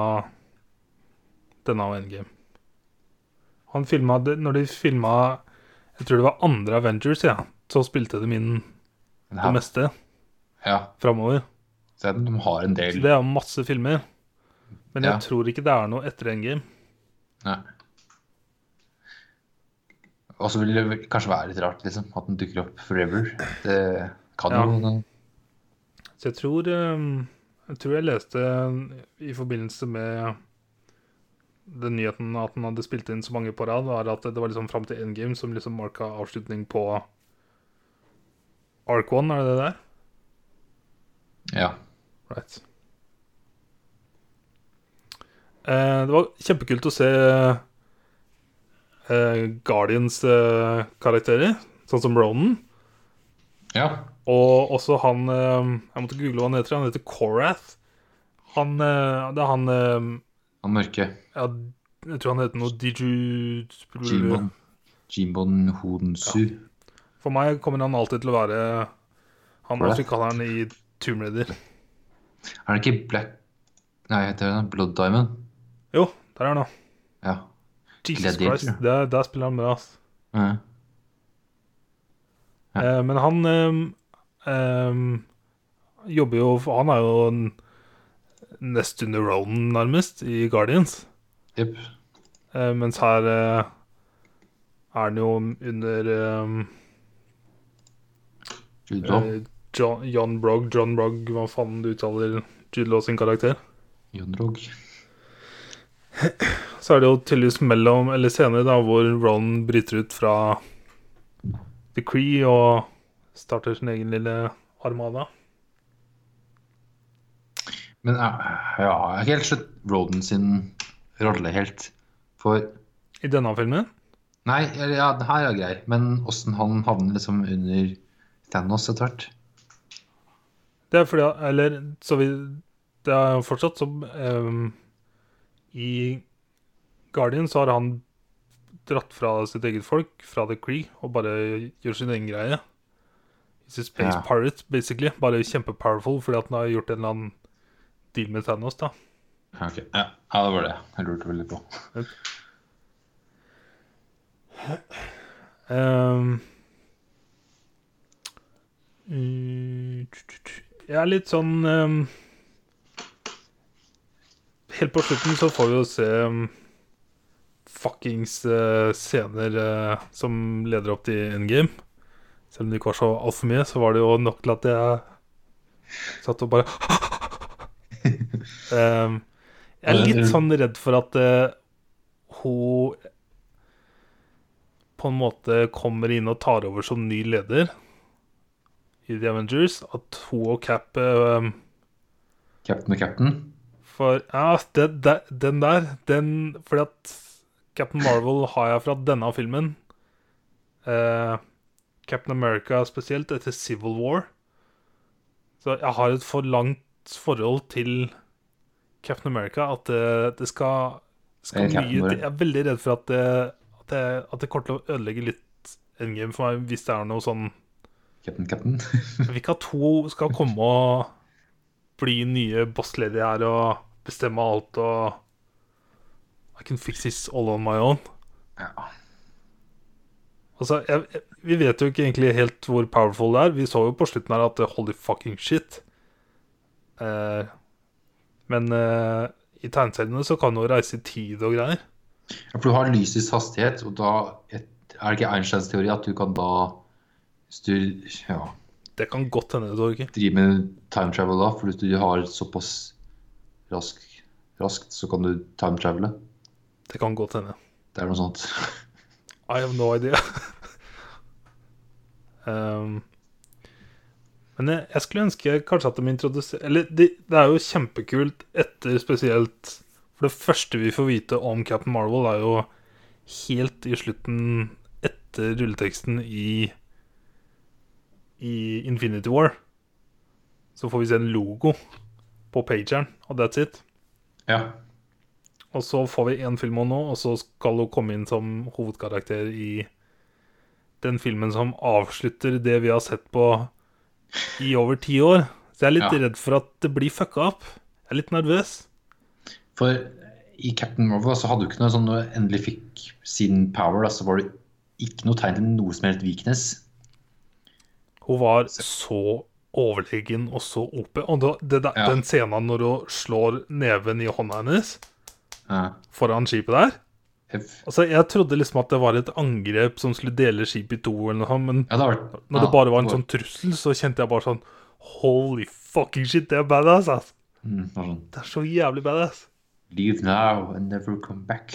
denne og Endgame. Han filma det Når de filma Jeg tror det var andre Avengers, ja. Så spilte de inn det meste Ja, framover. så jeg- de har en Så del. det er jo masse filmer. Men jeg Ja. tror ikke det er noe etter Endgame. Nei. Og så vil det vel kanskje være litt rart liksom, at den dukker opp forever. Det kan Ja. jo Så jeg tror ehm, Jeg tror jeg leste i forbindelse med den nyheten at han hadde spilt inn så mange på rad, var at det var liksom fram til endgame som liksom marka avslutning på Ark 1, er det det der? Ja. Right. Eh, det var kjempekult å se eh, Guardians-karakterer, sånn som Ronan. ja. Og også han eh, Jeg måtte google hva han heter. Han heter Korath. Han eh, Det er han eh, Han mørke. ja, Jeg tror han heter noe Diju Jimbon. Jimbon Honsu. For meg kommer han alltid til å være han Korath? afrikaneren i Tomb Raider. Er det ikke Black Nei, heter det Blood Diamond? Jo, der er han, da. Ja. Jesus Gladiator. Christ. Der, der spiller han bra. ass. ja. Ja. Eh, men han ehm, ehm, jobber jo for Han er jo en- nest under Ronan, nærmest, i Guardians. Jepp. Eh, mens her eh, er den jo under eh, Jude Law. eh, John, John Brog, John Brog, hva faen du uttaler Jude Law sin karakter. Jon Rog. Så er det jo tydeligvis mellom, eller senere, da, hvor Ron bryter ut fra The Cree og starter sin egen lille armada. Men eh, ja, jeg har ikke helt skjønt Roden sin rolle helt. For I denne filmen Nei, eller ja, det her er grei, men åssen han havner liksom under Thanos etter hvert. Det er fordi Eller så vi Det er fortsatt som ehm, I Guardian så har han dratt fra sitt eget folk, fra The Cree, og bare gjør sin egen greie. He's a space Ja. pirate, basically. Bare kjempepowerful fordi at han har gjort en eller annen deal med Thanos, da. Ja, ok. ja, ja, det var det jeg lurte veldig på. Ehm. Mm, tju, tju, tju. Jeg er litt sånn ehm, Helt på slutten så får vi jo se ehm, um, fuckings eh, scener eh, som leder opp til endgame. Selv om det ikke var så altfor mye, så var det jo nok til at jeg satt og bare Em, Jeg er litt sånn redd for at eh, hun på en måte kommer inn og tar over som ny leder i The Avengers. At hun og Cap eh, Captain og Captain. for ja, det, det, den der den, Fordi at Captain Marvel har jeg fra denne filmen. Eh, Captain America spesielt, etter Civil War. Så jeg har et for langt forhold til Captain America at det, det skal, skal Det er Captain mye til. Marvel. Jeg er veldig redd for at det, at det, at det kommer til å ødelegge litt endgame for meg, hvis det er noe sånn Captain Captain. jeg vil ikke at hun skal komme og bli nye bosslady her og bestemme alt og I can fix this all on my own. ja. Altså, jeg, jeg, Vi vet jo ikke egentlig helt hvor powerful det er. Vi så jo på slutten her at eh, holy fucking shit. Eh, men eh, i tegneseriene så kan hun reise i tid og greier. Ja, For du har lysets hastighet, og da et, er det ikke Einsteins teori at du kan da Hvis du ja, Det kan godt hende, Torgeir. driver med time travel da, for hvis du har såpass rask, raskt, så kan du time travele. Det kan godt hende. Det er noe sånt. I have no idea. um, men jeg, jeg skulle ønske kanskje at de introduserer Eller de, det er jo kjempekult etter spesielt For det første vi får vite om Captain Marvel, er jo helt i slutten etter rulleteksten i I Infinity War. Så får vi se en logo på pageren, og that's it. Ja. Og så får vi én film om nå, og så skal hun komme inn som hovedkarakter i den filmen som avslutter det vi har sett på i over ti år. Så jeg er litt Ja. redd for at det blir fucka opp. Jeg er litt nervøs. For i Captain Marvel så hadde du ikke noe sånn når du endelig fikk sin power, da, så var det ikke noe tegn til noe som helst weakness. Hun var så overlegen og så OP. Og da, det der, Ja. den scenen når hun slår neven i hånda hennes Ja. foran skipet der F. Altså, Jeg trodde liksom at det var et angrep som skulle dele skipet i to, eller noe sånt, men Ja, det har vært, Når ja, det bare var en det sånn trussel, så kjente jeg bare sånn Holy fucking shit, det er badass, ass! Mm, det var sånn, Det er så jævlig badass. Leave now and never come back.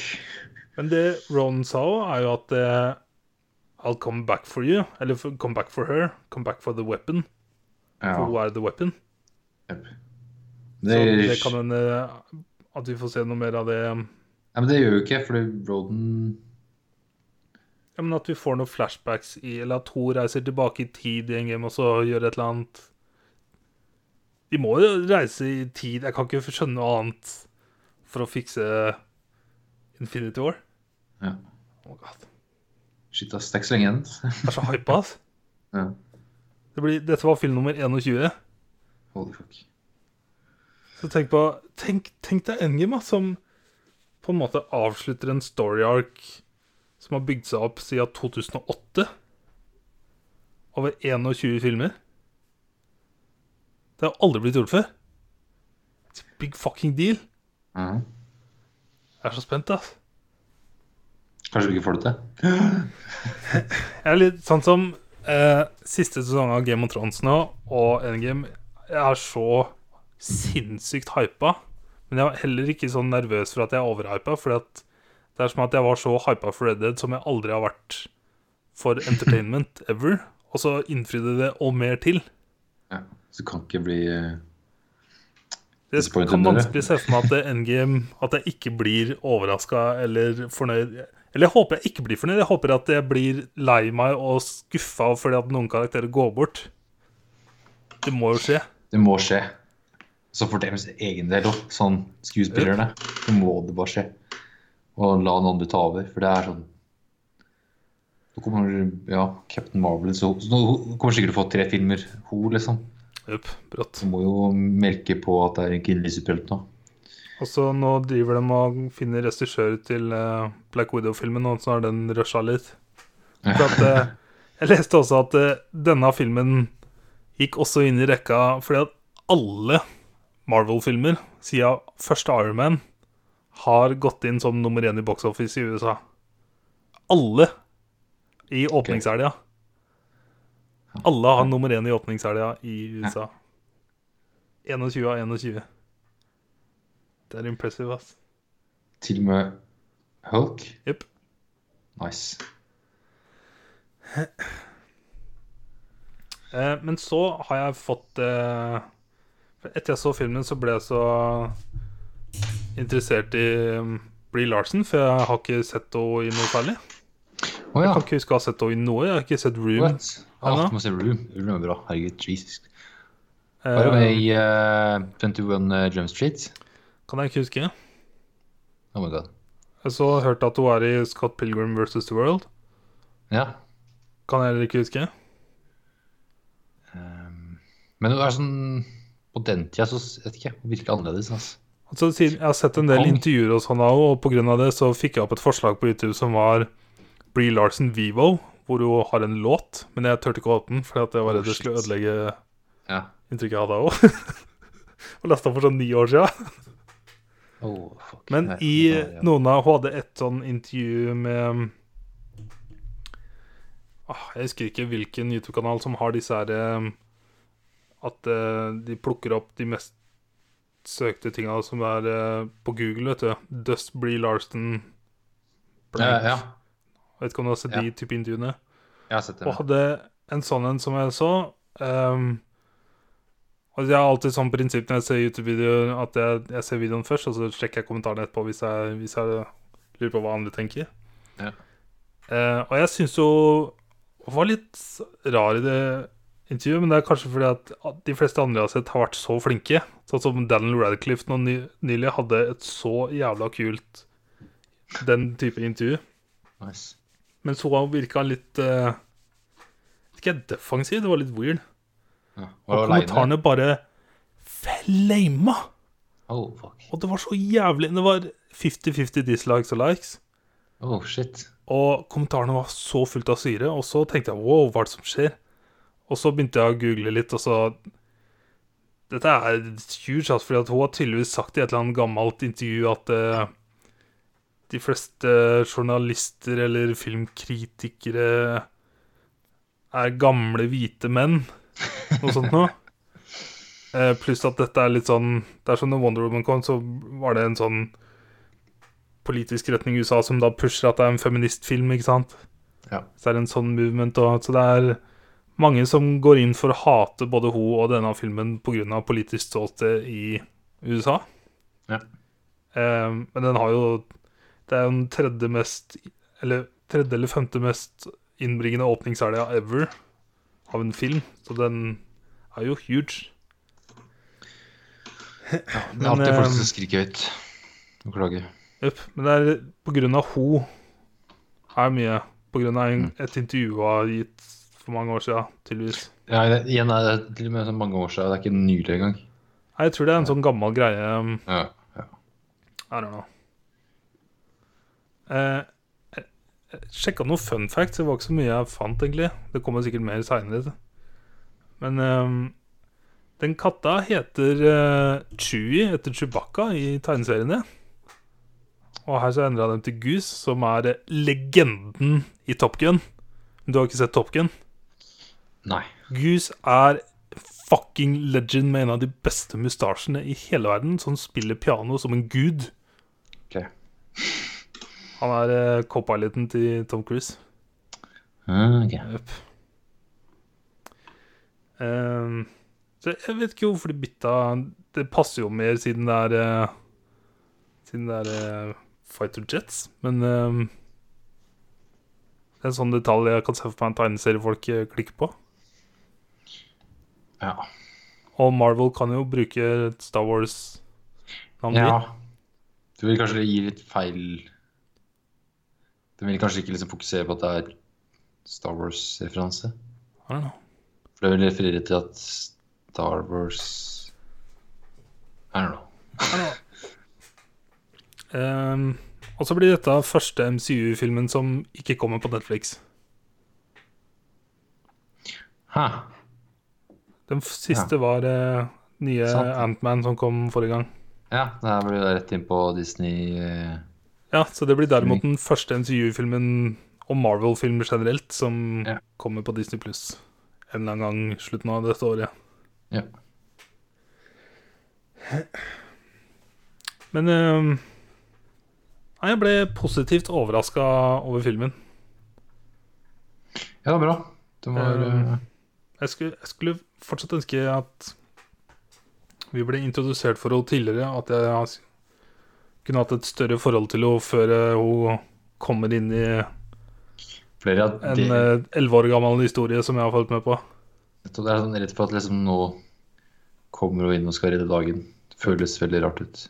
Men det Ron sa òg, er jo at eh, I'll come back for you. Eller for- come back for her. Come back for the weapon. Ja. For who are the weapon? Jep. Så Det, det kan hende at vi får se noe mer av det. um, Ja, Nei, men det gjør jo ikke, fordi Broden men At vi får noen flashbacks i Eller at hun reiser tilbake i tid i en game og så gjør et eller annet. De må jo reise i tid. Jeg kan ikke skjønne noe annet for å fikse Infinity War. ja. Oh my God. Shit, ass. Det er ikke så lenge igjen. Jeg er så hypa, ass. Ja. Det blir, dette var film nummer 21. Holy fuck. Så tenk på Tenk, tenk deg Endgame, da, som på en måte avslutter en story arc som har bygd seg opp siden 2008. Over 21 filmer. Det har aldri blitt gjort før. It's a big fucking deal. Ja. Jeg er så spent, ass. Kanskje vi ikke får det til? Jeg er litt sånn som eh, siste sesong av Game of Thrones nå, og Endgame. Jeg er så sinnssykt hypa. Men jeg var heller ikke sånn nervøs for at jeg er overhypa, for det er som at jeg var så hypa for Red Dead som jeg aldri har vært for entertainment ever. Og så innfridde det og mer til. Ja. Så det kan ikke bli eh, Det Disappointed, kan dere. vanskelig se for meg at det Endgame At jeg ikke blir overraska eller fornøyd. Eller jeg håper jeg ikke blir fornøyd. Jeg håper at jeg blir lei meg og skuffa fordi at noen karakterer går bort. Det må jo skje. Det må skje. Så for deres egen del òg, sånn skuespillerne, så må det bare skje. Og la noen andre ta over, for det er sånn Nå kommer ja, Captain Marvel så, så Nå kommer sikkert til å få tre filmer, hun, liksom. Jupp, brått. Så må jo melke på at det er en kvinnelig superhelt nå. Og så nå driver de og finner regissør til eh, Black Widow-filmen, og så har den rusha litt. For at, eh, jeg leste også at eh, denne filmen gikk også inn i rekka fordi at alle Marvel-filmer siden første Iron Man har gått inn som nummer én i box office i USA. Alle i åpningshelga. Alle har nummer én i åpningshelga i USA. 21 av 21. Det er impressive, ass. Til og med Hulk. Jepp. Nice. Eh, men så har jeg fått eh, for Etter jeg så filmen, så ble jeg så interessert i um, Bree Larsen, for jeg har ikke sett henne i noe særlig. Å ja. Jeg kan ikke huske å ha sett henne i noe. Jeg har ikke sett Room. What? Å, Ennå? du må se Room. Room er bra. Herregud, Jesus. Var hun Eh, med i eh, 21 Jump Street? kan jeg ikke huske. Oh my god. Jeg så hørte at hun er i Scott Pilgrim versus The World. Ja. Kan jeg heller ikke huske. ehm, men hun er sånn På den tida så s- vet ikke, hun virker annerledes. Altså. Altså, siden jeg har sett en del Kong. intervjuer og sånn av henne, og pga. det så fikk jeg opp et forslag på YouTube som var Bree Larsen Vivo, hvor hun har en låt, men jeg turte ikke å åpne den fordi at jeg var redd det skulle Oh, shit. ødelegge Ja. inntrykket jeg hadde av henne. Og lasta for sånn ni år siden. Oh, fuck. Men Nei, i eh, ja, ja. noen av Hun hadde et sånn intervju med um, ah, Jeg husker ikke hvilken YouTube-kanal som har disse her eh, At eh, de plukker opp de mest søkte tinga som er eh, på Google, vet du. Dust Bree Larsen ja, blank. ja. Vet ikke om du har sett de type intervjuene. Jeg har sett det. Og hadde en sånn en som jeg så ehm, altså Jeg har alltid sånn prinsipp når jeg ser YouTube-videoer, at jeg, jeg ser videoen først, og så sjekker jeg kommentarene etterpå hvis jeg, hvis jeg lurer på hva andre tenker. Ja. Eh, og jeg syns jo Hun var litt rar i det intervjuet, men det er kanskje fordi at de fleste andre jeg har sett, har vært så flinke. Sånn som Daniel Radcliffe nå ny, nylig hadde et så jævla kult den type intervju. Nice. Men så virka han litt eh, Vet ikke, jeg, defensiv. Det var litt weird. Ja. Og Var du aleine? kommentarene bare flama! Oh, fuck. Og det var så jævlig Det var 50-50 dislikes og likes. Oh, shit. Og kommentarene var så fullt av syre. Og så tenkte jeg wow, hva er det som skjer? Og så begynte jeg å google litt, og så Dette er huge, altså, fordi at hun har tydeligvis sagt i et eller annet gammelt intervju at eh, de fleste journalister eller filmkritikere er gamle, hvite menn. Noe sånt noe. Eh, Pluss at dette er litt sånn Det er som når Wonder Woman kom, så var det en sånn politisk retning i USA som da pusher at det er en feministfilm, ikke sant? Ja. Så det er en sånn movement og Så det er mange som går inn for å hate både hun og denne filmen pga. politisk ståsted i USA. Ja. Eh, men den har jo Det er jo den tredje mest Eller tredje eller femte mest innbringende åpningshelga ever av en film. Så den er jo huge. Det er alltid Men, folk ehm, som skriker høyt. Beklager. Jepp. Men det er på grunn av ho er mye. På grunn av en, et intervju hun har gitt for mange år siden, tydeligvis. Ja, det, igjen, det er til og med så mange år siden. Det er ikke nylig engang. Nei, Jeg tror det er en sånn gammel greie. um, Ja. Ja. I don't know. Eh, jeg- jeg sjekka noen fun facts. Det var ikke så mye jeg fant, egentlig. Det kommer sikkert mer seinere. Men um, den katta heter eh, Chewie etter Chewbacca i tegneseriene. Og her så endra jeg dem til Goose, som er eh, legenden i Top Gun. Men du har ikke sett Top Gun? Nei. Goose er fucking legend med en av de beste mustasjene i hele verden, som spiller piano som en gud. Ok. Han er eh, co-piloten til Tom Cruise. Ah, ok. Jep. Ehm, så jeg vet ikke hvorfor de bytta Det passer jo mer siden det er eh, Siden det er eh, Fighter Jets, men ehm, Det er en sånn detalj jeg kan se for meg en tegneserie folk eh, klikker på. Ja. Og Marvel kan jo bruke Star Wars-navnet ja. Du vil kanskje gi litt feil Du vil kanskje ikke liksom fokusere på at det er Star Wars-referanse? For det vil referere til at Star Wars I don't know. Ehm, og så blir dette første MCU-filmen som ikke kommer på Netflix. Hæ? Den f- siste var eh, nye Sant. Ant-Man som kom forrige gang. Ja, det her blir det rett inn på Disney. eh, Ja, så det blir derimot den første MCU-filmen og Marvel-filmer generelt som Ja. kommer på Disney Pluss en eller annen gang i slutten av dette året. Ja. Men eh, Nei, jeg ble positivt overraska over filmen. Ja, bra. Det var Eh, eh, Jeg skulle, jeg skulle fortsatt ønske at vi ble introdusert for henne tidligere. At jeg har s- kunne hatt et større forhold til henne før eh, hun kommer inn i flere av de en elleve år gammel historie som jeg har fulgt med på. Så Det er sånn rett for at liksom nå kommer hun inn og skal redde dagen. Det føles veldig rart ut.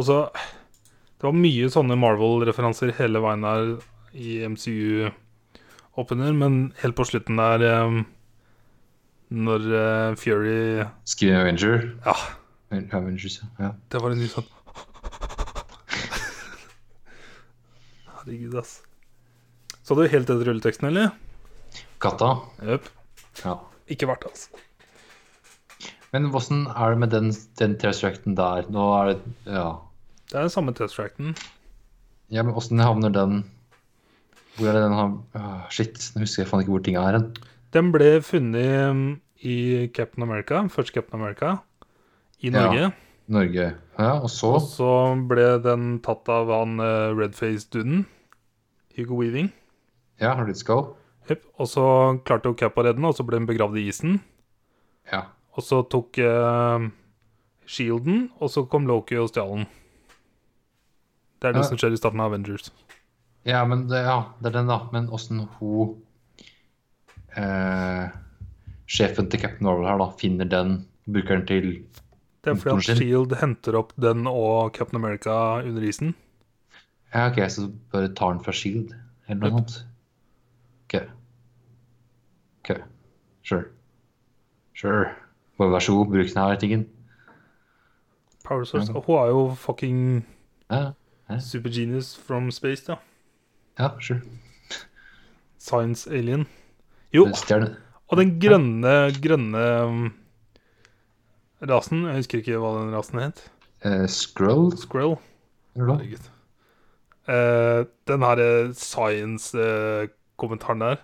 Og så Det var mye sånne Marvel-referanser hele veien her i MCU-opener, men helt på slutten der eh, Når eh, Fury Skriv Avenger. Ja, Avengers, ja. ja. det var en ny sånn Herregud, ass. Så du helt etter rulleteksten, eller? Katta. Jepp. Ja. Ikke verdt det, altså. Men hvordan er det med den, den tracen der? Nå er det Ja. Det er den samme test-tracten. ja men hvordan havner den Hvor er det den har ah, Shit, nå husker jeg faen ikke hvor ting er hen. Den ble funnet mm, i Captain America, første Captain America, i Ja. Norge. Norge. Ja, og så Og så ble den tatt av han eh, redface-duden, Hugo Weaving. Ja, har du et skall? Jep. Og så klarte jo Cap å redde den, og så ble den begravd i isen. Ja. Og så tok eh, Shielden, og så kom Loki og stjal den. Det er det Ja. som skjer i starten av Avengers. Ja, men det, ja, det er den, da. Men åssen hun eh, Sjefen til Captain Marvel her, da, finner den, bruker den til Det er fordi Motormaskin. at Shield henter opp den og Captain America under isen. Ja, OK, så bare tar den fra Shield, E eller noe Yep. sånt. OK. OK. Sure. Sure. Bare vær så god, bruk den her, tingen. Power Source. Og hun er jo fucking Ja, super genius from space, da. ja sure. Science alien. Jo, Stjern. Og den grønne, grønne um, rasen Jeg husker ikke hva den rasen het. Eh, scroll, Squirrel. eller noe? Herregud. Eh, den her eh, science-kommentaren der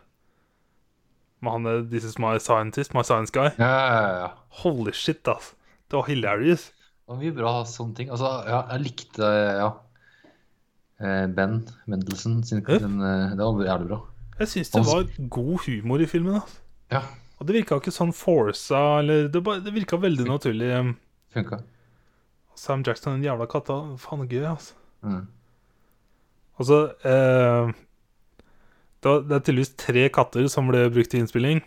med han eh, 'This is my scientist, my science guy'. Ja, ja, ja, ja. Holy shit, ass. Det var hilarious. Det var mye bra sånne ting. Altså, ja, jeg likte ja. Eh, Ben Mendelsen sin Ja. den, eh, Det var jævlig bra. Jeg syns det var god humor i filmen. ass. Ja, Og det virka ikke sånn forsa, eller Det, bare- det virka veldig naturlig. Um, funka. Sam Jackson, den jævla katta. Faen, det er gøy, ass. Mm. Altså eh, det, var, det er tydeligvis tre katter som ble brukt i innspilling.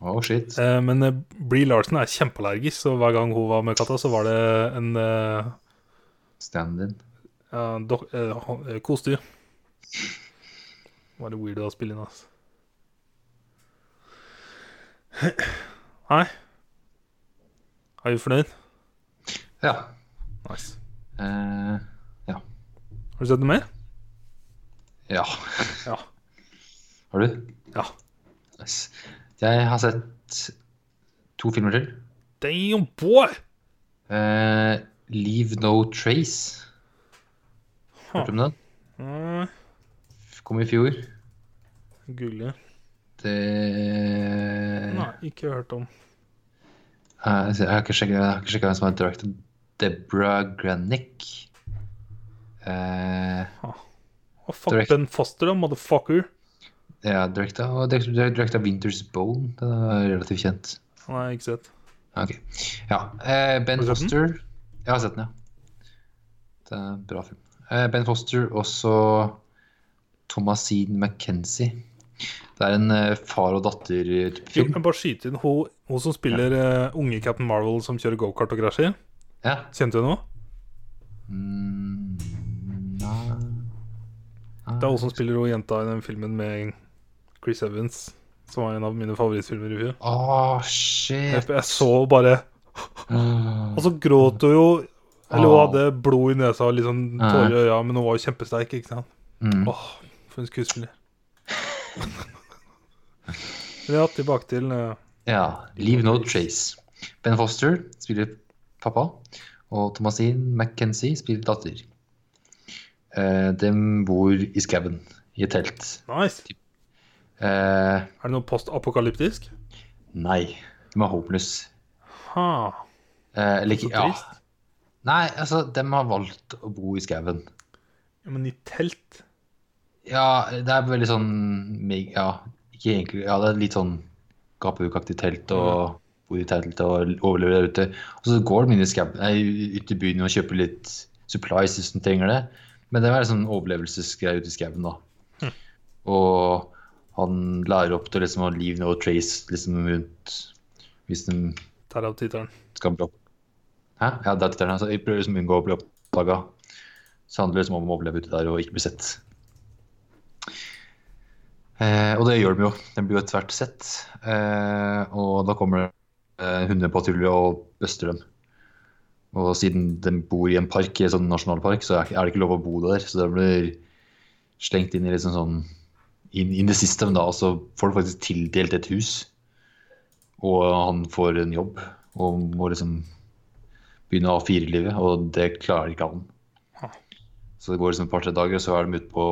Oh, shit. Eh, men eh, Bree Larsen er kjempeallergisk, så hver gang hun var med katta, så var det en eh, Stand-in. ja, dok eh, ho- eh, kosedyr. Var det weird å spille inn, altså. Nei. Er vi fornøyd? Ja. Nice. Eh, Har du sett noe mer? ja. Ja. Har du? Ja. Nice. Jeg har sett to filmer til. Damn, boy! Eh, Leave No Trace. Hørte du om den? Nei, Kom i fjor. Googler. Det Nei, ikke hørt om. Eh, Jeg har ikke sjekket- jeg har ikke sjekket hvem som har directed Deborah Granick. Eh, Å, fuck Direkt- Ben Foster, da, motherfucker. ja, directa, og direkt- direkt- directa Winter's Bone. Den er relativt kjent. Han har jeg ikke sett. Ok. Ja. eh, ben Har du sett den? Foster. Jeg har sett den, ja. Det er en bra film. Eh, ben Foster og så Thomasine McKenzie. Det er en eh, far og Jo, datter-film. men bare skyte inn hun, hun som spiller eh, unge Captain Marvel som kjører gokart og krasjer. Ja. Kjente du henne? Mm, nei. Det er hun som spiller hun jenta i den filmen med Chris Evans, som var en av mine favorittfilmer i fjor. Åh, Jeg, Ah, shit. jeg så bare Ah. Og så gråt hun jo. Eller hun Ah. hadde blod i nesa og litt sånn Ah. tårer i øya, men hun var jo kjempesterk, ikke sant? Mm. Åh, for en skuespiller. Men ja, tilbake til eh, Ja. Leave no trace. Ben Foster spiller pappa, og Thomasine McKenzie spiller datter. Eh, dem bor i skauen, i et telt. Nice. Eh, Er det noe postapokalyptisk? nei, de er homeless. Ha. Eh, eller Så ikke Ja. trist. Nei, altså, dem har valgt å bo i skauen. Ja, men i telt? Ja, det er veldig sånn meg- Ja, ikke egentlig Ja, det er litt sånn gapehukaktig telt og bor i telt og overlever der ute. Og så går de inn i skab- nei, ut i byen og kjøper litt supplies hvis de trenger det. Men det er sånn overlevelsesgreie ute i skauen, da. Og han lærer opp til liksom å leave no trace liksom rundt hvis de Derav tittelen. skal bli opp... Hæ? Ja, det er tittelen. Altså, jeg prøver liksom å unngå å bli oppdaga. Så handler det liksom om å overleve ute der og ikke bli sett. Eh, og det gjør de jo. Den blir jo etter hvert sett. Eh, og da kommer det eh, hundepatrulje og buster dem. Og siden den bor i en park, i en sånn nasjonalpark, så er ikke- er det ikke lov å bo der. Så det blir slengt inn i liksom sånn in, in the system, da. Og så får du faktisk tildelt et hus. Og han får en jobb og må liksom begynne A4-livet, og det klarer ikke han. Ja. Så det går liksom et par-tre dager, og så er de ute på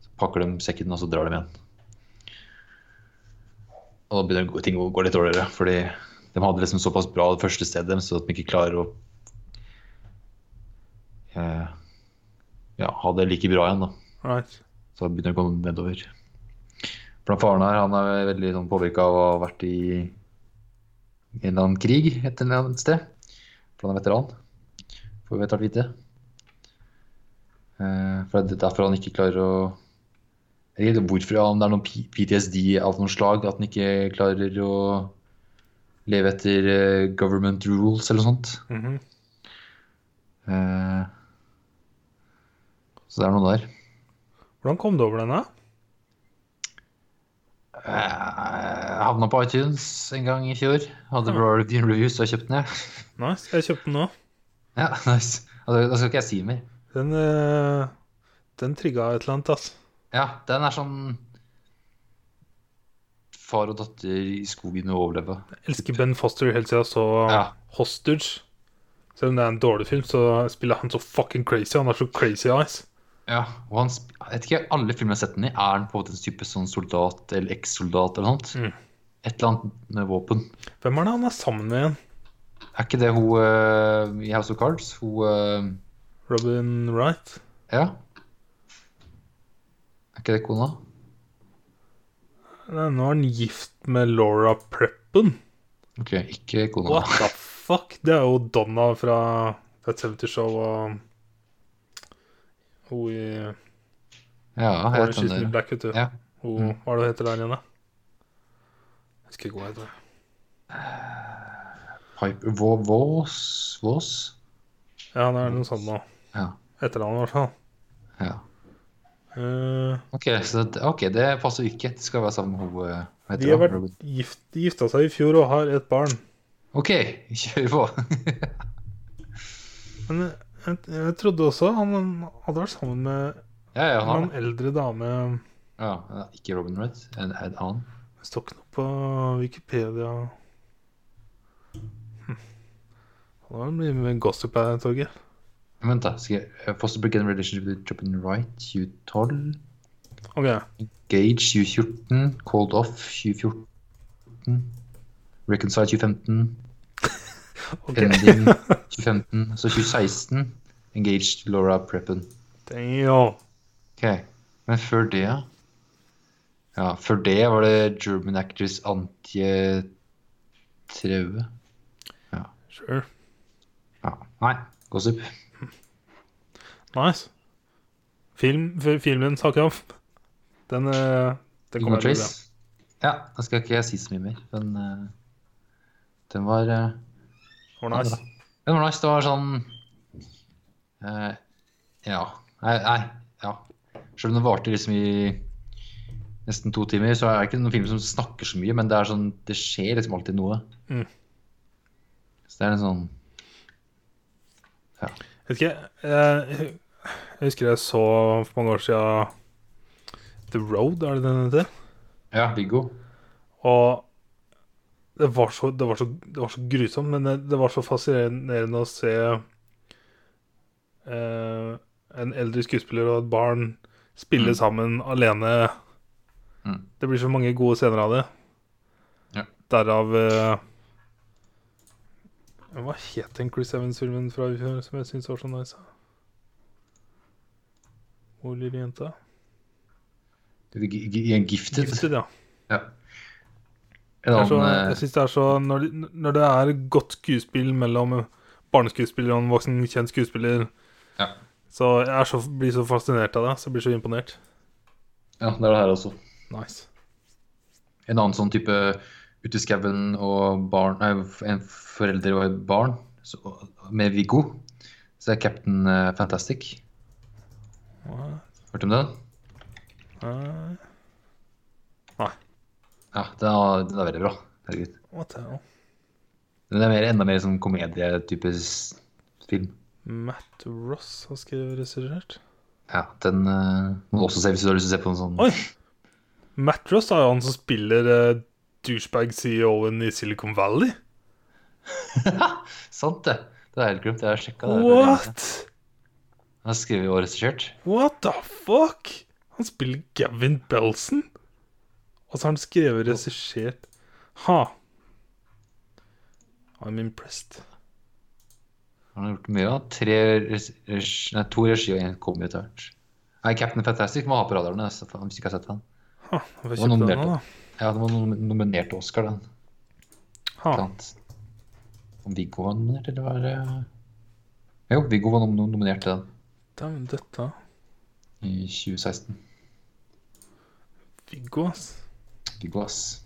så pakker de sekken, og så drar de igjen. Og da begynner det- ting å gå litt dårligere, fordi de hadde liksom såpass bra det første stedet deres, så at de ikke klarer å eh, ja, ha det like bra igjen, da. Right. Så begynner det å gå nedover. Blant faren her, han er veldig sånn, påvirka av å ha vært i en eller annen krig et eller annet sted. For han er veteran, får vi etter hvert vite. Eh, For det er derfor han ikke klarer å Jeg vet ikke hvorfor, om det er noen P- PTSD av noe slag, at han ikke klarer å leve etter eh, government rules eller noe sånt. Mhm. Eh, Så det er noe der. Hvordan kom du over den, da? Eh, Jeg havna på iTunes en gang i fjor. Hadde bra reviews, så jeg kjøpte den, jeg. Nice. Jeg kjøpte den nå. Ja, nice. Altså, da skal ikke jeg si mer. Den, eh, den trigga et eller annet, ass. Ja, den er sånn Far og datter i skogen og overleve. Jeg elsker Ben Foster helt siden jeg så Ja. Hostage. Selv om det er en dårlig film, så spiller han så fucking crazy. Han har så crazy eyes. Ja, og han sp- Jeg vet ikke, alle filmer jeg har sett den i, er han på en måte en type sånn soldat eller ekssoldat eller noe sånt? Mm. Et eller annet med våpen. Hvem er det han er sammen med igjen? Er ikke det hun eh, i House of Cards? Hun eh, Robin Wright? Ja. Er ikke det kona? Nei, nå er han gift med Laura Preppen. OK, ikke kona. What the fuck? Det er jo Donna fra That 70 Show og hun i Ja, jeg vet Orange hvem is det the er. New Black, vet du. Ja. Hun, hva er det hun heter der igjen, da? Jeg husker ikke hva hun heter. Piper Vå- Vås? Vås? Ja, det er noe sånt nå. Ja. Etternavnet, i hvert fall. ja. Eh, Ok, så det, ok, det passer jo ikke. Det skal være sammen med hun eh, hva de har heter hun? vært gift, de gifta seg i fjor og har et barn. Ok, kjør på. Men jeg, jeg, jeg trodde også han hadde vært sammen med ja, ja, en han. annen eldre dame Ja, ja, ikke Robin Wright. En, en annen. Det står ikke noe på Wikipedia. Hm. Da blir det mye gossip her, Torgeir. Men Vent, da. Skal jeg eh, Foster begin relationship with Robin Wright 2012. OK. Gage 2014. Cold Off 2014. Reconcile 2015. ok. Pending 2015. Så 2016. Engaged Laura Preppen. Damn. Ok, men før det ja. Ja, før det var det German actress Antje Traue. Sure. Ja. Nei, gossip. Nice. Film, f- filmen sa Kraff. Den, eh, den Ingmar kommer til å bli bra. Trace. Ja, da skal ikke jeg si så mye mer, men eh, den var eh, Det var nice. Den var nice. Det var sånn eh, Ja. Nei, nei, ja. Selv om det varte liksom i nesten to timer, så er det ikke noen film som snakker så mye, men det er sånn, det skjer liksom alltid noe. Mm. Så det er en sånn Jeg vet ikke jeg, jeg husker jeg så for mange år siden The Road, er det den heter? Ja, Viggo. Og det var så, det var så, det var så grusomt, men det, det var så fascinerende å se eh, en eldre skuespiller og et barn spille Mm. sammen alene. Mm. Det blir så mange gode scener av det. Ja. Derav eh, Hva het den Chris Evans-filmen fra i fjor som jeg syns var så nice? Hvor lille jenta? Det er gi- gi- Gifted. Gifted, ja. Ja. En Det er så, annen jeg eh, synes det er så når, det- når det er godt skuespill mellom barneskuespiller og en voksen, kjent skuespiller Ja. Så jeg er så, blir så fascinert av det. Så jeg blir så imponert. Ja, det er det her også. Nice. En annen sånn type ute i skauen og barn Nei, en forelder og et barn så, med Viggo. Så er Captain eh, Fantastic. Hørt om den? What Ja, den er, den er veldig bra. Herregud. the hell? Den er mer, enda mer sånn komedietype s- film. Matt Ross har skrevet og regissert. Ja, den eh, må du også se hvis du har lyst til å se på en sånn. Oi! Matt Ross er jo han som spiller eh, douchebag-CEO-en i Silicon Valley. Sant det! Det er helt glemt. Jeg har sjekka det. What? Han har skrevet og regissert. What the fuck? Han spiller Gavin Belson. Og så har han skrevet og regissert Ha. I'm impressed. Han har gjort mye. da. Tre, res- res- nei, to regi og én kombi etter hvert. Nei, Captain Fantastic må ha på radaren. Altså, faen, hvis du ikke har sett den. Ha, får jeg Og kjøpt nominert den nå, da. Ja, den var nom- nominert til Oscar, den. Ha. Blant annet. Om Viggo var nominert, eller var det Jo, Viggo var nom nominert til den Dæven døtta. i 2016. Viggo, ass. Viggo, ass.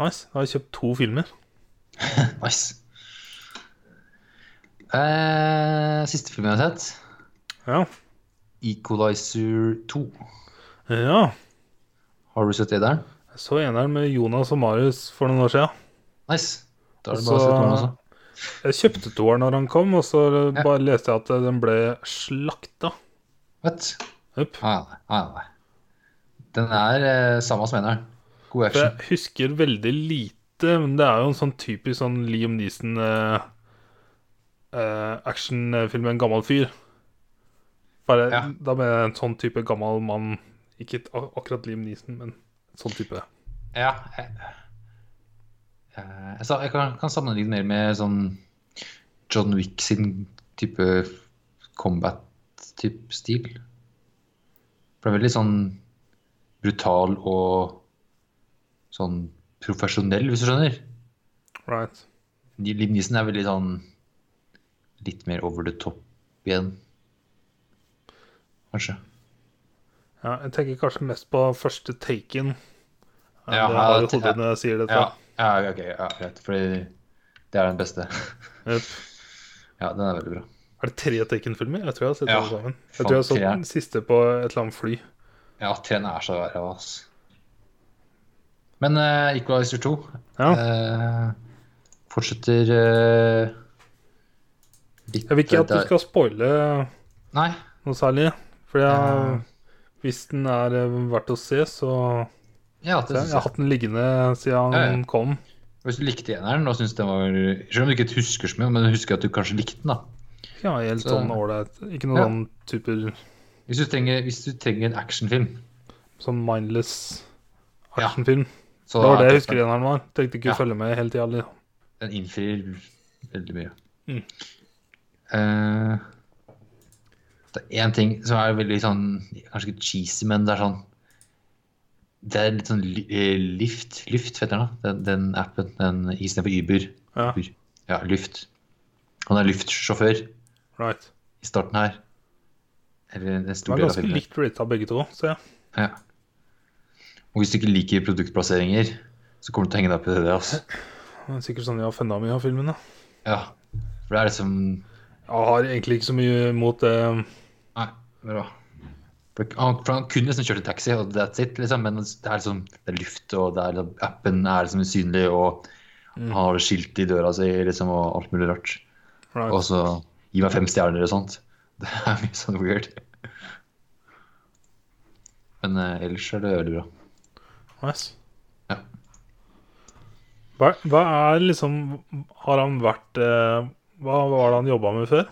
Nice. Da har jeg kjøpt to filmer. Nice. Eh, siste film jeg har sett, Ja. Equalizer 2. ja. Har du sett det der? Jeg så eneren med Jonas og Marius for noen år siden. Nice. Da er det Og bare å altså. så- sette den også. Jeg kjøpte toeren når han kom, og så eh, Ja. bare leste jeg at eh, den ble slakta. Vet. Upp. Nei, nei, nei, nei. Den er eh, samme som eneren. God For action. jeg husker veldig lite, men det er jo en sånn typisk sånn Liam Neeson eh, eh, actionfilm med en gammel fyr. Bare, Ja. Da mener jeg en sånn type gammel mann. Ikke et- ak- akkurat Liam Neeson, men en sånn type. Ja. Jeg, eh, jeg, sa- jeg kan, kan sammenligne mer med sånn John Wick sin type combat-type stil. For det er veldig sånn brutal og sånn profesjonell, hvis du skjønner. Right. Liv Nissen er veldig sånn litt mer over the top igjen. Kanskje. Ja, jeg tenker kanskje mest på første taken. Eh, Ja, det har jeg i det- hodet når jeg sier dette. Ja, ja ok, ja, greit. Fordi det er den beste. Jep. Ja, den er veldig bra. Er det tre Taken-filmer? Jeg tror jeg har sett Ja. alle sammen. Jeg Faen, tror jeg så tre. den siste på et eller annet fly. Ja, treen er så ræva, ass. Men eh, Equalizer 2 Ja. eh, fortsetter eh, litt Jeg vil ikke at du der. skal spoile Nei. noe særlig. For jeg, Ja. hvis den er eh, verdt å se, så Ja, så det Jeg synes jeg jeg. har hatt den liggende Ja, siden ja. den kom. Hvis du likte eneren og syntes den var Selv om du ikke husker så mye, men du husker at du kanskje likte den, da. Ja, helt Så- sånn ålreit. Ikke noen Ja. sånn typer Hvis du trenger, hvis du trenger en actionfilm sånn mindless Ja. actionfilm. så Det var er det jeg husker igjen han var. Tenkte ikke Ja. å følge med hele tida. Liksom. Den innfrir veldig mye. Mm. Eh, det er én ting som er veldig sånn Kanskje ikke cheesy, men det er sånn Det er litt sånn li- eh, Lyft, Lyft heter den, da. den, den appen. Den istedenfor Uber. Ja, Uber. Ja, Lyft. Han er Lyft-sjåfør i right. starten her. Eller en Det stor var del av ganske filmen. likt rata begge to, ser jeg. Ja. Og hvis du ikke liker produktplasseringer, så kommer du til å henge deg opp i det. Altså. Det er Sikkert sånn jeg har funnet mye av filmen. da. Ja. For det er liksom Jeg har egentlig ikke så mye imot det. eh, Nei, bra. For han, for han kunne liksom kjørt i taxi, og that's it, liksom. men det er liksom det er luft, og det er, liksom- appen er liksom usynlig, og Mm. han har skilt i døra si liksom, og alt mulig rart. Right. Og så gi meg fem stjerner og sånt. Det er mye sånn weird. Men eh, ellers er det veldig bra. Nice. Ja. Hva, hva er liksom Har han vært eh, Hva var det han jobba med før?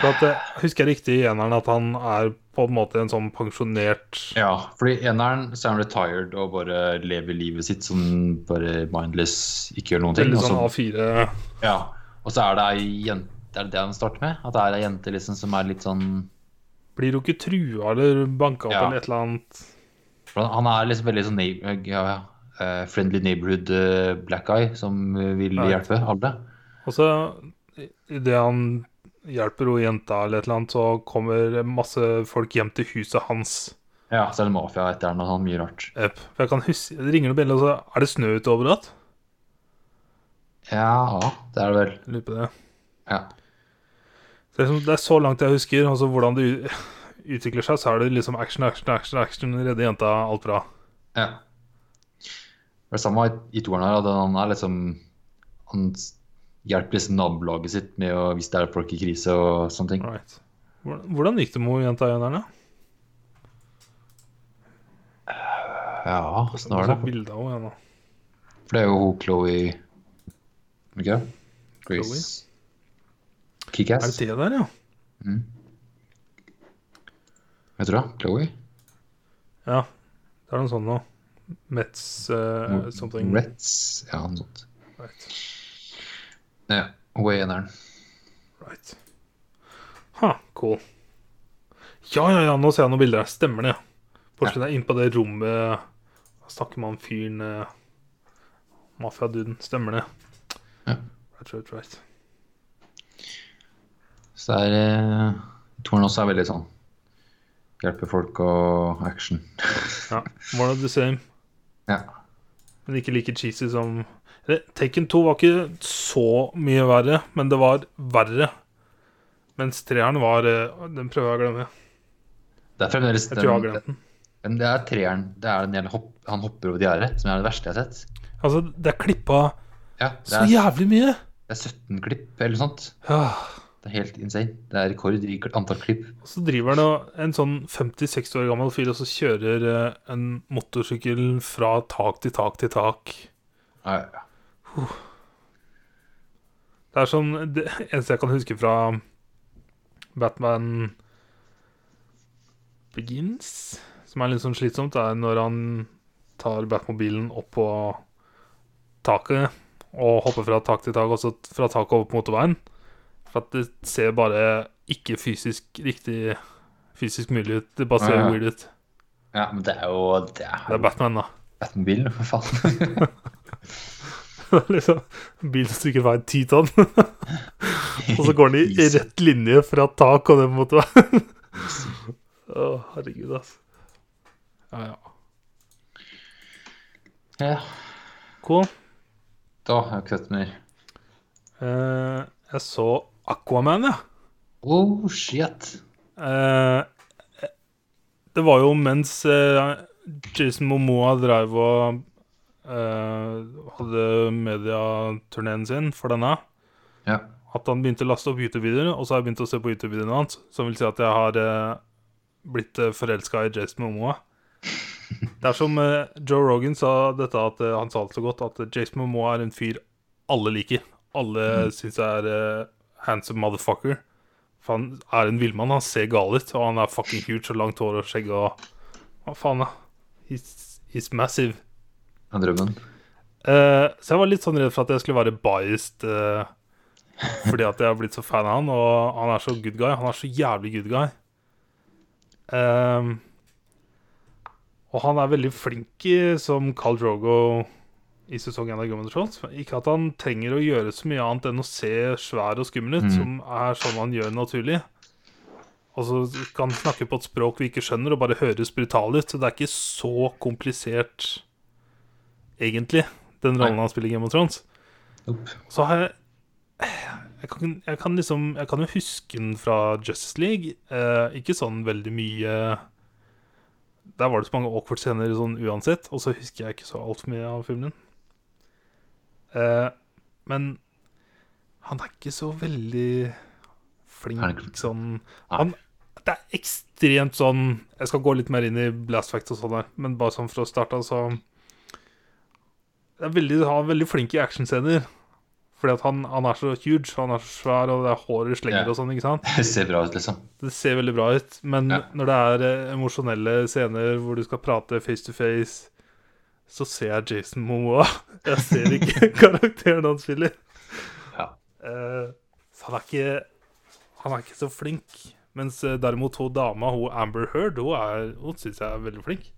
For at, eh, husker jeg riktig i eneren at han er på en måte en sånn pensjonert Ja, fordi eneren så er han retired og bare lever livet sitt sånn bare mindless, ikke gjør noen ting. Veldig Og så, sånn A4 ja. og så er det ei jente Er det det han starter med? At det er ei jente liksom som er litt sånn Blir jo ikke trua eller banka opp Ja. eller et eller annet. For Han han er liksom veldig sånn neigh- ja, ja, eh, friendly neighborhood eh, black guy som eh, vil Ja, hjelpe alle. Og så idet han hjelper hun jenta eller et eller annet, så kommer masse folk hjem til huset hans. Ja, så er det mafia etter han og sånn, mye rart. Epp. For jeg kan huske, Det ringer noen bjeller, og så er det snø ute overalt. Ja, det er det vel. Jeg Lurer på det. Ja. Så Det er, liksom, det er så langt jeg husker. Altså Hvordan det u- utvikler seg, så er det liksom action, action, action, action, redde jenta, alt bra. Ja. Det er samme i toeren her, at han er liksom Han s- hjelper liksom nabolaget sitt med å, hvis det er folk i krise og sånne ting. Right. Hvordan, hvordan gikk det med hun jenta igjen her, da? Ja, åssen var det? Så Altså, bildet av henne igjen, da. For det er jo hun Chloé Ikke det? Grace Er Kickass, det det der, ja? heter hun? Chloé? Ja. Det er noe sånt noe. Metz Mm. eh, something. Retz? Ja, noe sånt. Right. Ja, hun er eneren. Right. Ha, cool. Ja, ja, ja, nå ser jeg noen bilder. her. Stemmer det. Porsgrunn er inne på det rommet. Da snakker man fyren eh, Mafiaduden. Stemmer det. Ja. Right, right, right. Så det er eh, Toeren også er veldig sånn Hjelper folk og action. Ja, More of the same. Ja. Men ikke like cheesy som Eller, Taken 2 var ikke så mye verre, men det var verre. Mens treeren var eh, Den prøver jeg å glemme. Det er fremdeles Jeg tror jeg har glemt den. Men det er treeren. Det er den gjelder hopp, han hopper over gjerdet, som er det verste jeg har sett. Altså, det er klippa Ja, det så er, jævlig mye! det er 17 klipp eller noe sånt. Ja. Det er helt insane. Det er rekord i kl- antall klipp. Og så driver han og- en sånn 50-60 år gammel fyr og så kjører eh, en motorsykkel fra tak til tak til tak. Ja, ja, ja. Det er sånn Det eneste jeg kan huske fra Batman Begins, som er litt sånn slitsomt, er når han tar Batmobilen opp på taket og hopper fra tak til tak, og så fra taket over på motorveien. For at det ser bare ikke fysisk riktig fysisk mulig ut. Det bare ser Ja, ja. weird ut. ja men det er jo Det er Det er jo Batman, da. Batmobilen, for faen. Det er liksom en bil som stikker veien ti tonn, og så går den i rett linje fra tak og den motorveien. Å, herregud, altså. Ja, ja. Ja, Cool. da har jeg ikke sett mer. Eh, jeg så Aquaman, ja. Oh, shit. Eh, det var jo mens eh, Jason Momoa drev og eh, hadde mediaturneen sin for denne. Ja. at han begynte å laste opp YouTube-videoer, og så har jeg begynt å se på YouTube-videoene hans, som vil si at jeg har eh, blitt eh, forelska i Jason Momoa. Det er som eh, Joe Rogan sa dette, at eh, han sa det så godt, at eh, Jason Momoa er en fyr alle liker. Alle syns jeg er eh, handsome motherfucker. For han er en villmann, han ser gal ut, og han er fucking huge og langt hår og skjegg og Hva faen, da? He's, he's massive. Det er drømmen. Eh, så jeg var litt sånn redd for at jeg skulle være biased eh, fordi at jeg har blitt så fan av han, og han er så good guy. Han er så jævlig good guy. Ehm, og han er veldig flink i, som Carl Drogo i sesong 1 av Game of Thrones. Ikke at han trenger å gjøre så mye annet enn å se svær og skummel ut, Mm. som er sånn han gjør naturlig. Og så kan han snakke på et språk vi ikke skjønner, og bare høres brutal ut. Så det er ikke så komplisert, egentlig, den rollen Nei. han spiller i Game of Thrones. Opp. Så har jeg jeg kan, jeg kan liksom Jeg kan jo huske den fra Justice League. Eh, ikke sånn veldig mye Der var det så mange awkward scener sånn uansett, og så husker jeg ikke så altfor mye av filmen. Eh, men han er ikke så veldig Er han ikke- flink sånn Nei. han, Det er ekstremt sånn Jeg skal gå litt mer inn i Blast Fact og sånn her, men bare sånn for å starte, så det er veldig, Han er veldig flink i actionscener. Fordi at han, han er så huge, han er så svær, og det er håret slenger Ja. og sånn. ikke sant? Det ser bra ut, liksom. Det ser veldig bra ut, men Ja. når det er eh, emosjonelle scener hvor du skal prate face to face, så ser jeg Jason Momoa. Jeg ser ikke karakteren han spiller. Ja. Eh, så han er ikke Han er ikke så flink. Mens eh, derimot hun dama, hun Amber Heard, hun, er- hun syns jeg er veldig flink.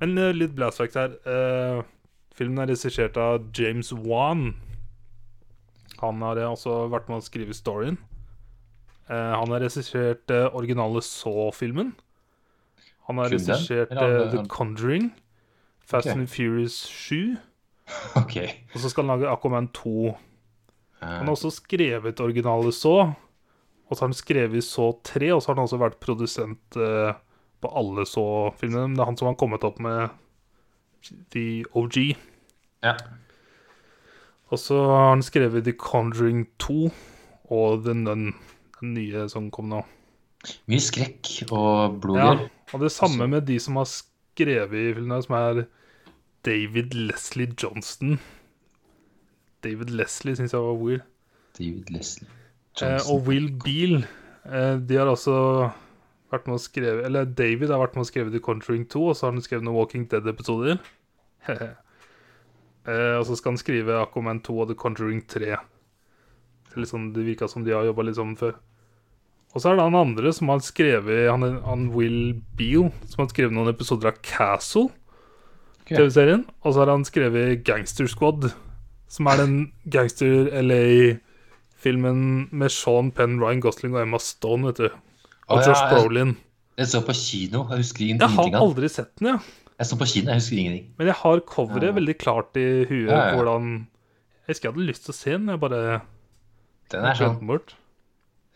Men eh, litt blast fact her. Eh, filmen er regissert av James Wan. Han har eh, også vært med å skrive storyen. Eh, han har regissert eh, originale Saw-filmen. Han har Kun den? regissert Eller han- eh, The han- Conjuring, Fast Ok. and Furious 7, OK. og så skal han lage Aquaman 2. Han Eh, har også skrevet originale så, og så har han skrevet så 3, og så har han også vært produsent eh, på alle så-filmene. Men det er han som har kommet opp med The OG. ja. Og så har han skrevet The Conjuring 2 og The Nun, den nye som kom nå. Mye skrekk og blod Ja, der. og det samme med de som har skrevet i filmene, som er David Leslie Johnston. David Leslie syns jeg var weird. David Leslie Eh, Johnson. og Will Beal eh, De har også vært med å skrive Eller David har vært med å skrive The Conjuring 2, og så har han skrevet noen Walking Dead-episoder. eh, og så skal han skrive Aquaman 2 og The Conjuring 3. Det er litt sånn, det virka som de har jobba litt sammen før. Og så er det han andre som har skrevet Han, han Will Beal, som har skrevet noen episoder av Castle. Ok. TV-serien. Og så har han skrevet Gangster Squad, som er den gangster LA-filmen med Sean Penn, Ryan Gosling og Emma Stone, vet du. Og Å, ja, Josh jeg- Brolin. Jeg så på kino, jeg husker Jeg ingenting. har av den. aldri sett den, ja. Jeg så på kino, jeg husker ingenting. Men jeg har coveret Ja. veldig klart i huet. Ja, ja. Hvordan Jeg husker jeg hadde lyst til å se den, jeg bare Den er glemte sånn den bort.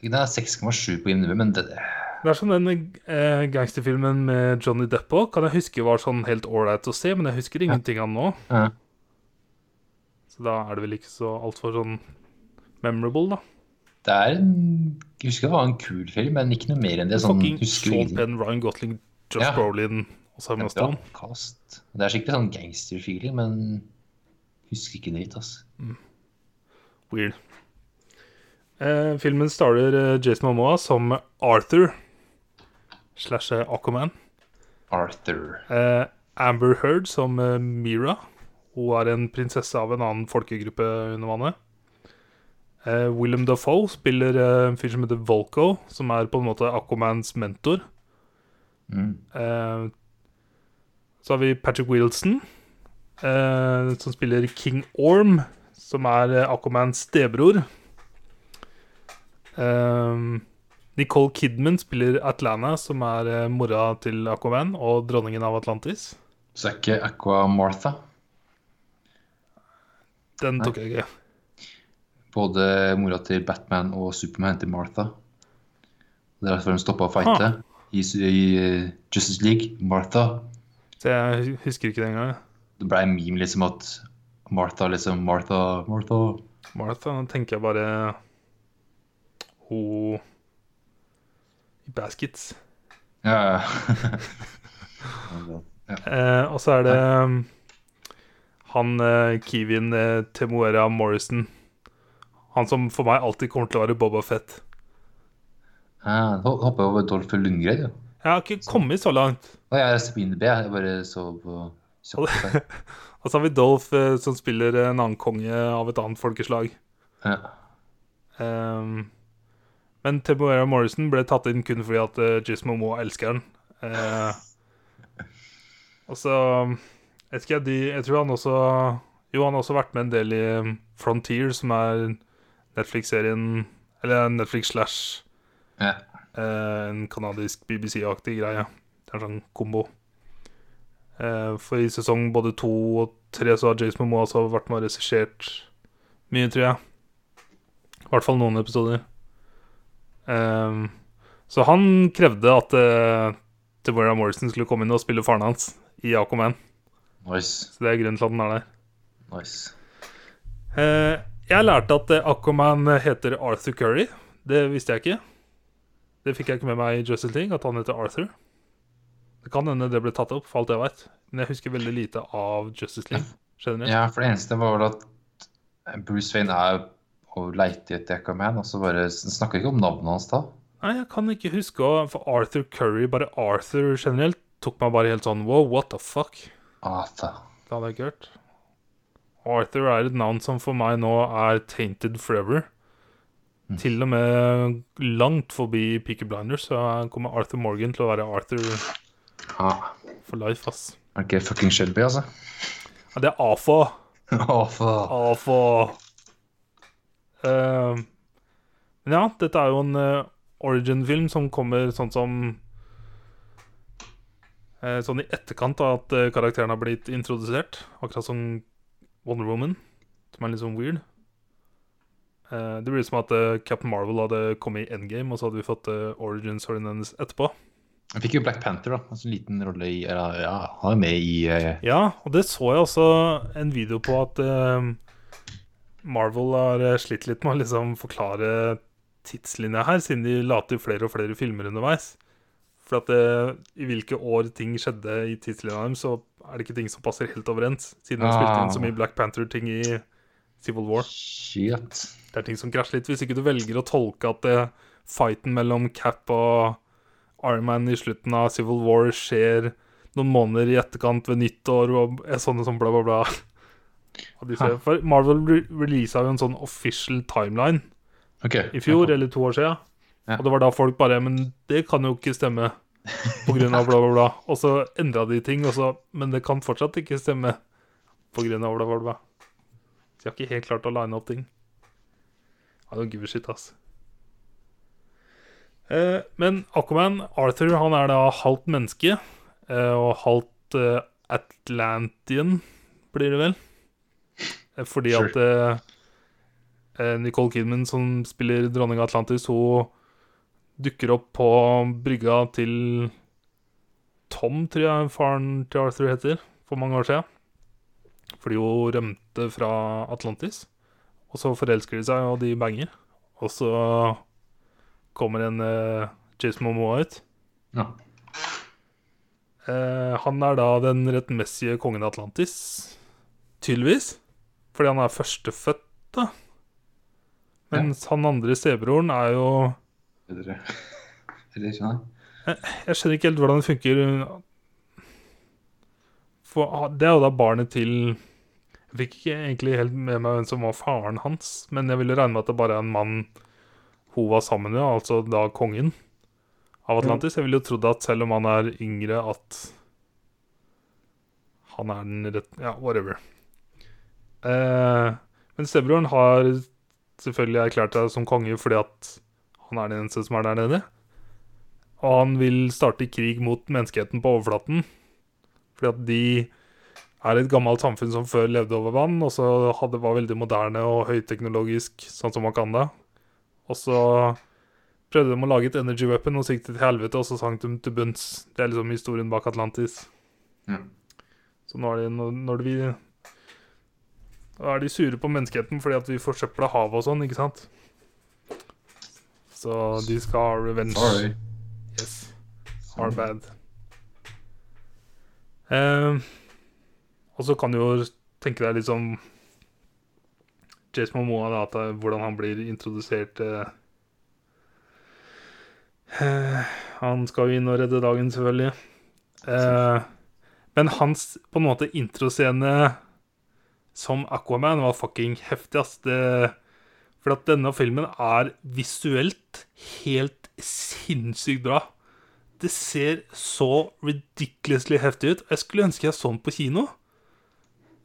Den er 6,7 på IMDb, men det, Det er som den eh, gangsterfilmen med Johnny Depp òg. Kan jeg huske var sånn helt ålreit å se, men jeg husker ingenting av den nå. ja. Så da er det vel ikke så altfor sånn memorable, da. det er en Jeg husker det var en kul film, men ikke noe mer enn det. Sånn, Fucking husker Sean ingenting. Penn, Ryan Gosling, Josh Ja. Brolin og Simon Det er bra Stone. cast. Det er skikkelig sånn gangsterfeeling, men husker ikke dritt, altså. Weird. Eh, filmen starter eh, Jason Momoa som Arthur slash eh, Aquaman. Arthur. Eh, Amber Heard som eh, Mira. Hun er en prinsesse av en annen folkegruppe under vannet. Eh, Willem Dafoe spiller eh, en fyr som heter Volko, som er på en måte Aquamans mentor. Mm. Eh, så har vi Patrick Wilson, eh, som spiller King Orm, som er eh, Aquamans stebror. Eh, Nicole Kidman spiller Atlanta, som er eh, mora til Aquaman og dronningen av Atlantis. Så er ikke Aqua Martha. Den tok jeg ikke. Både mora til Batman og Superman heter Martha. Det er derfor de stoppa å fighte i, su- i eh, Justice League. Martha. Så jeg husker ikke det engang. Det ble en meme liksom at Martha liksom Martha, Martha Martha, nå tenker jeg bare Hun i Baskets. Ja, ja. Eh, og så er det um, han eh, Kevin eh, Temuera Morrison. Han som for meg alltid kommer til å være Boba Fett. Ah, nå hopper jeg over Dolph Lundgren, jo. Jeg har ikke kommet så langt. Og jeg er på IMDb, jeg bare så på Shopify. Og så har vi Dolph, eh, som spiller en annen konge av et annet folkeslag. Ja. Ehm, men Temuera Morrison ble tatt inn kun fordi at uh, Jason Momoa elsker han. Eh, og så ehm, jeg, vet ikke, de, jeg tror han også Jo, han har også vært med en del i um, Frontier, som er Netflix-serien Eller Netflix slash Ja. eh, en kanadisk BBC-aktig greie. Det er en sånn kombo. Eh, for i sesong både to og tre så har Jason Momoa også vært med og regissert mye, tror jeg. I hvert fall noen episoder. Eh, så han krevde at uh, Deborah Morrison skulle komme inn og spille faren hans i Aquaman. Nice. Så det er grunnen til at den er der. Nice. Eh, jeg lærte at eh, Aquaman heter Arthur Curry. Det visste jeg ikke. Det fikk jeg ikke med meg i Justice League, at han heter Arthur. Det kan hende det ble tatt opp, for alt jeg veit. Men jeg husker veldig lite av Justice League. Generelt. Ja, for det eneste var vel at Bruce Wayne er og leiter etter Aquaman, og så bare han snakker ikke om navnet hans da. Nei, jeg kan ikke huske å For Arthur Curry, bare Arthur generelt, tok meg bare helt sånn Wow, what the fuck? Arthur. Det hadde jeg ikke hørt. Arthur er et navn som for meg nå er tainted forever. Mm. Til og med langt forbi Peaky Blinders så kommer Arthur Morgan til å være Arthur Ja. for life, ass. Er det ikke fucking Shelby, altså? Ja, det er AFA. Arthur. AFA. Eh, Men ja, dette er jo en eh, origin-film som kommer sånn som eh, Sånn i etterkant av at eh, karakteren har blitt introdusert. Akkurat som Wonder Woman, som er litt sånn weird. Eh, det blir som at eh, Captain Marvel hadde kommet i endgame, og så hadde vi fått eh, origin-storyen hennes etterpå. Han fikk jo Black Panther, da. Altså, en liten rolle i eller, Ja, han er med i eh, Ja, og det så jeg også en video på at eh, Marvel har eh, slitt litt med å liksom forklare tidslinja her, siden de la til flere og flere filmer underveis. For at eh, i hvilke år ting skjedde i tidslinja dem, så er det ikke ting som passer helt overens. Siden de spilte inn så mye Black Panther-ting i Civil War. Shit. Det er ting som krasjer litt. Hvis ikke du velger å tolke at eh, fighten mellom Cap og Iron Man i slutten av Civil War skjer noen måneder i etterkant ved nyttår og er sånne som bla, bla, bla. Og de ser- For Marvel re- releasa jo en sånn official timeline OK. i fjor, eller to år siden. Ja. Og det var da folk bare Men det kan jo ikke stemme. På grunn av bla, bla, bla. Og så endra de ting, og så Men det kan fortsatt ikke stemme. På grunn av bla, bla, bla. Så jeg har ikke helt klart å line opp ting. I don't give a shit, ass. Eh, men Aquaman, Arthur, han er da halvt menneske. Eh, og halvt eh, Atlantian, blir det vel. Eh, fordi Sure. at eh, eh, Nicole Kidman, som spiller dronning Atlantis, hun dukker opp på brygga til Tom, tror jeg faren til Arthur heter, for mange år siden. Fordi hun rømte fra Atlantis. Og så forelsker de seg, og de banger. Og så kommer en uh, Jason Momoa ut. Ja. Eh, han er da den rettmessige kongen av Atlantis. Tydeligvis. Fordi han er førstefødt, da. Mens han andre stebroren er jo Bedre. Eller ikke, nei. Jeg skjønner ikke helt hvordan det funker. For ah, det er jo da barnet til Jeg fikk ikke egentlig helt med meg hvem som var faren hans, men jeg ville regne med at det bare er en mann hun var sammen med, altså da kongen av Atlantis. Jeg ville jo trodd at selv om han er yngre, at han er den rette Ja, whatever. Eh, men stebroren har selvfølgelig erklært seg som konge fordi at han er den eneste som er der nede. Og han vil starte krig mot menneskeheten på overflaten. Fordi at de er et gammelt samfunn som før levde over vann, og så hadde, var veldig moderne og høyteknologisk, sånn som Wakanda. Og så prøvde de å lage et energy weapon og så gikk det til helvete, og så sank de til bunns. Det er liksom historien bak Atlantis. Ja. Så nå er de, når, når vi Da er de sure på menneskeheten fordi at vi forsøpla havet og sånn, ikke sant? Så de skal ha revenge. Sorry. Yes. Sånn. Are bad. Eh, og så kan du jo tenke deg litt sånn Jason Momoa, da, at det- hvordan han blir introdusert eh. Eh, Han skal jo inn og redde dagen, selvfølgelig. Eh, men hans på en måte introscene som Aquaman var fucking heftig, ass. Det, for at denne filmen er visuelt helt sinnssykt bra. Det ser så ridiculously heftig ut. Jeg skulle ønske jeg så den på kino.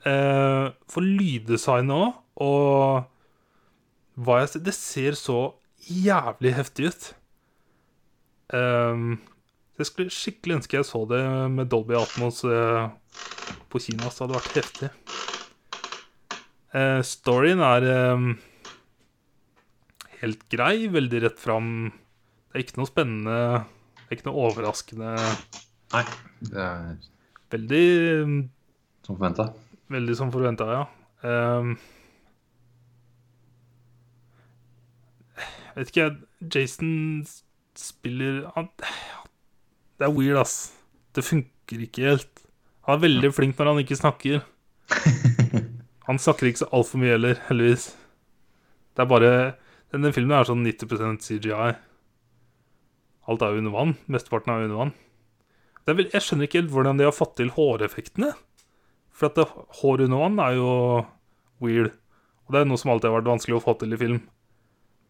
Eh, for lyddesignet òg, og hva jeg ser Det ser så jævlig heftig ut. Ehm, så jeg skulle skikkelig ønske jeg så det med Dolby Atmos eh, på kino. Så det hadde vært heftig. Eh, storyen er ehm, helt grei, veldig rett fram. Det er ikke noe spennende, det er ikke noe overraskende. Nei. Det er Veldig, som forventa. veldig som forventa, ja. Ehm. vet ikke, Jason spiller han, Det er weird, ass. Det funker ikke helt. Han er veldig flink når han ikke snakker. Han snakker ikke så altfor mye heller, heldigvis. Det er bare Denne filmen er sånn 90 CGI. Alt er jo under vann. Mesteparten er jo under vann. Det er vel, jeg skjønner ikke helt hvordan de har fått til håreffektene. For at det, hår under vann er jo weird. Og det er noe som alltid har vært vanskelig å få til i film.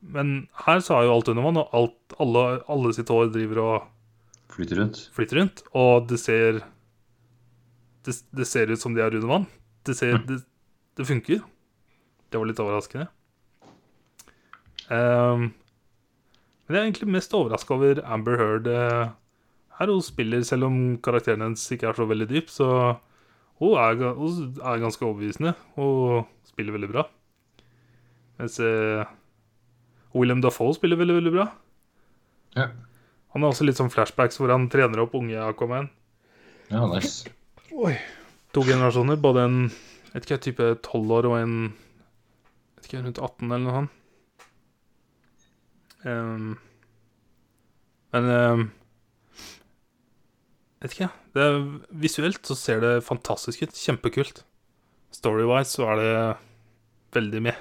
Men her så er jo alt under vann, og alt, alle, alle sitt hår driver og Flyter rundt. flyter rundt, og det ser Det, det ser ut som de er under vann. Det, ser, det, det funker. Det var litt overraskende. Ehm, men jeg er egentlig mest overraska over Amber Heard eh, her. Hun spiller, selv om karakteren hennes ikke er så veldig dyp, så hun er, ga- hun er ganske overbevisende. Hun spiller veldig bra. Mens eh, William Dafoe spiller veldig, veldig bra. Ja. Han har også litt sånn flashbacks hvor han trener opp unge Aquaman. ja, nice. Oi. To generasjoner, både en jeg vet ikke, type 12 år og en jeg vet ikke, rundt 18 eller noe sånt. Ehm, men ehm, jeg vet ikke. Det er, visuelt så ser det fantastisk ut. Kjempekult. Storywise så er det veldig med.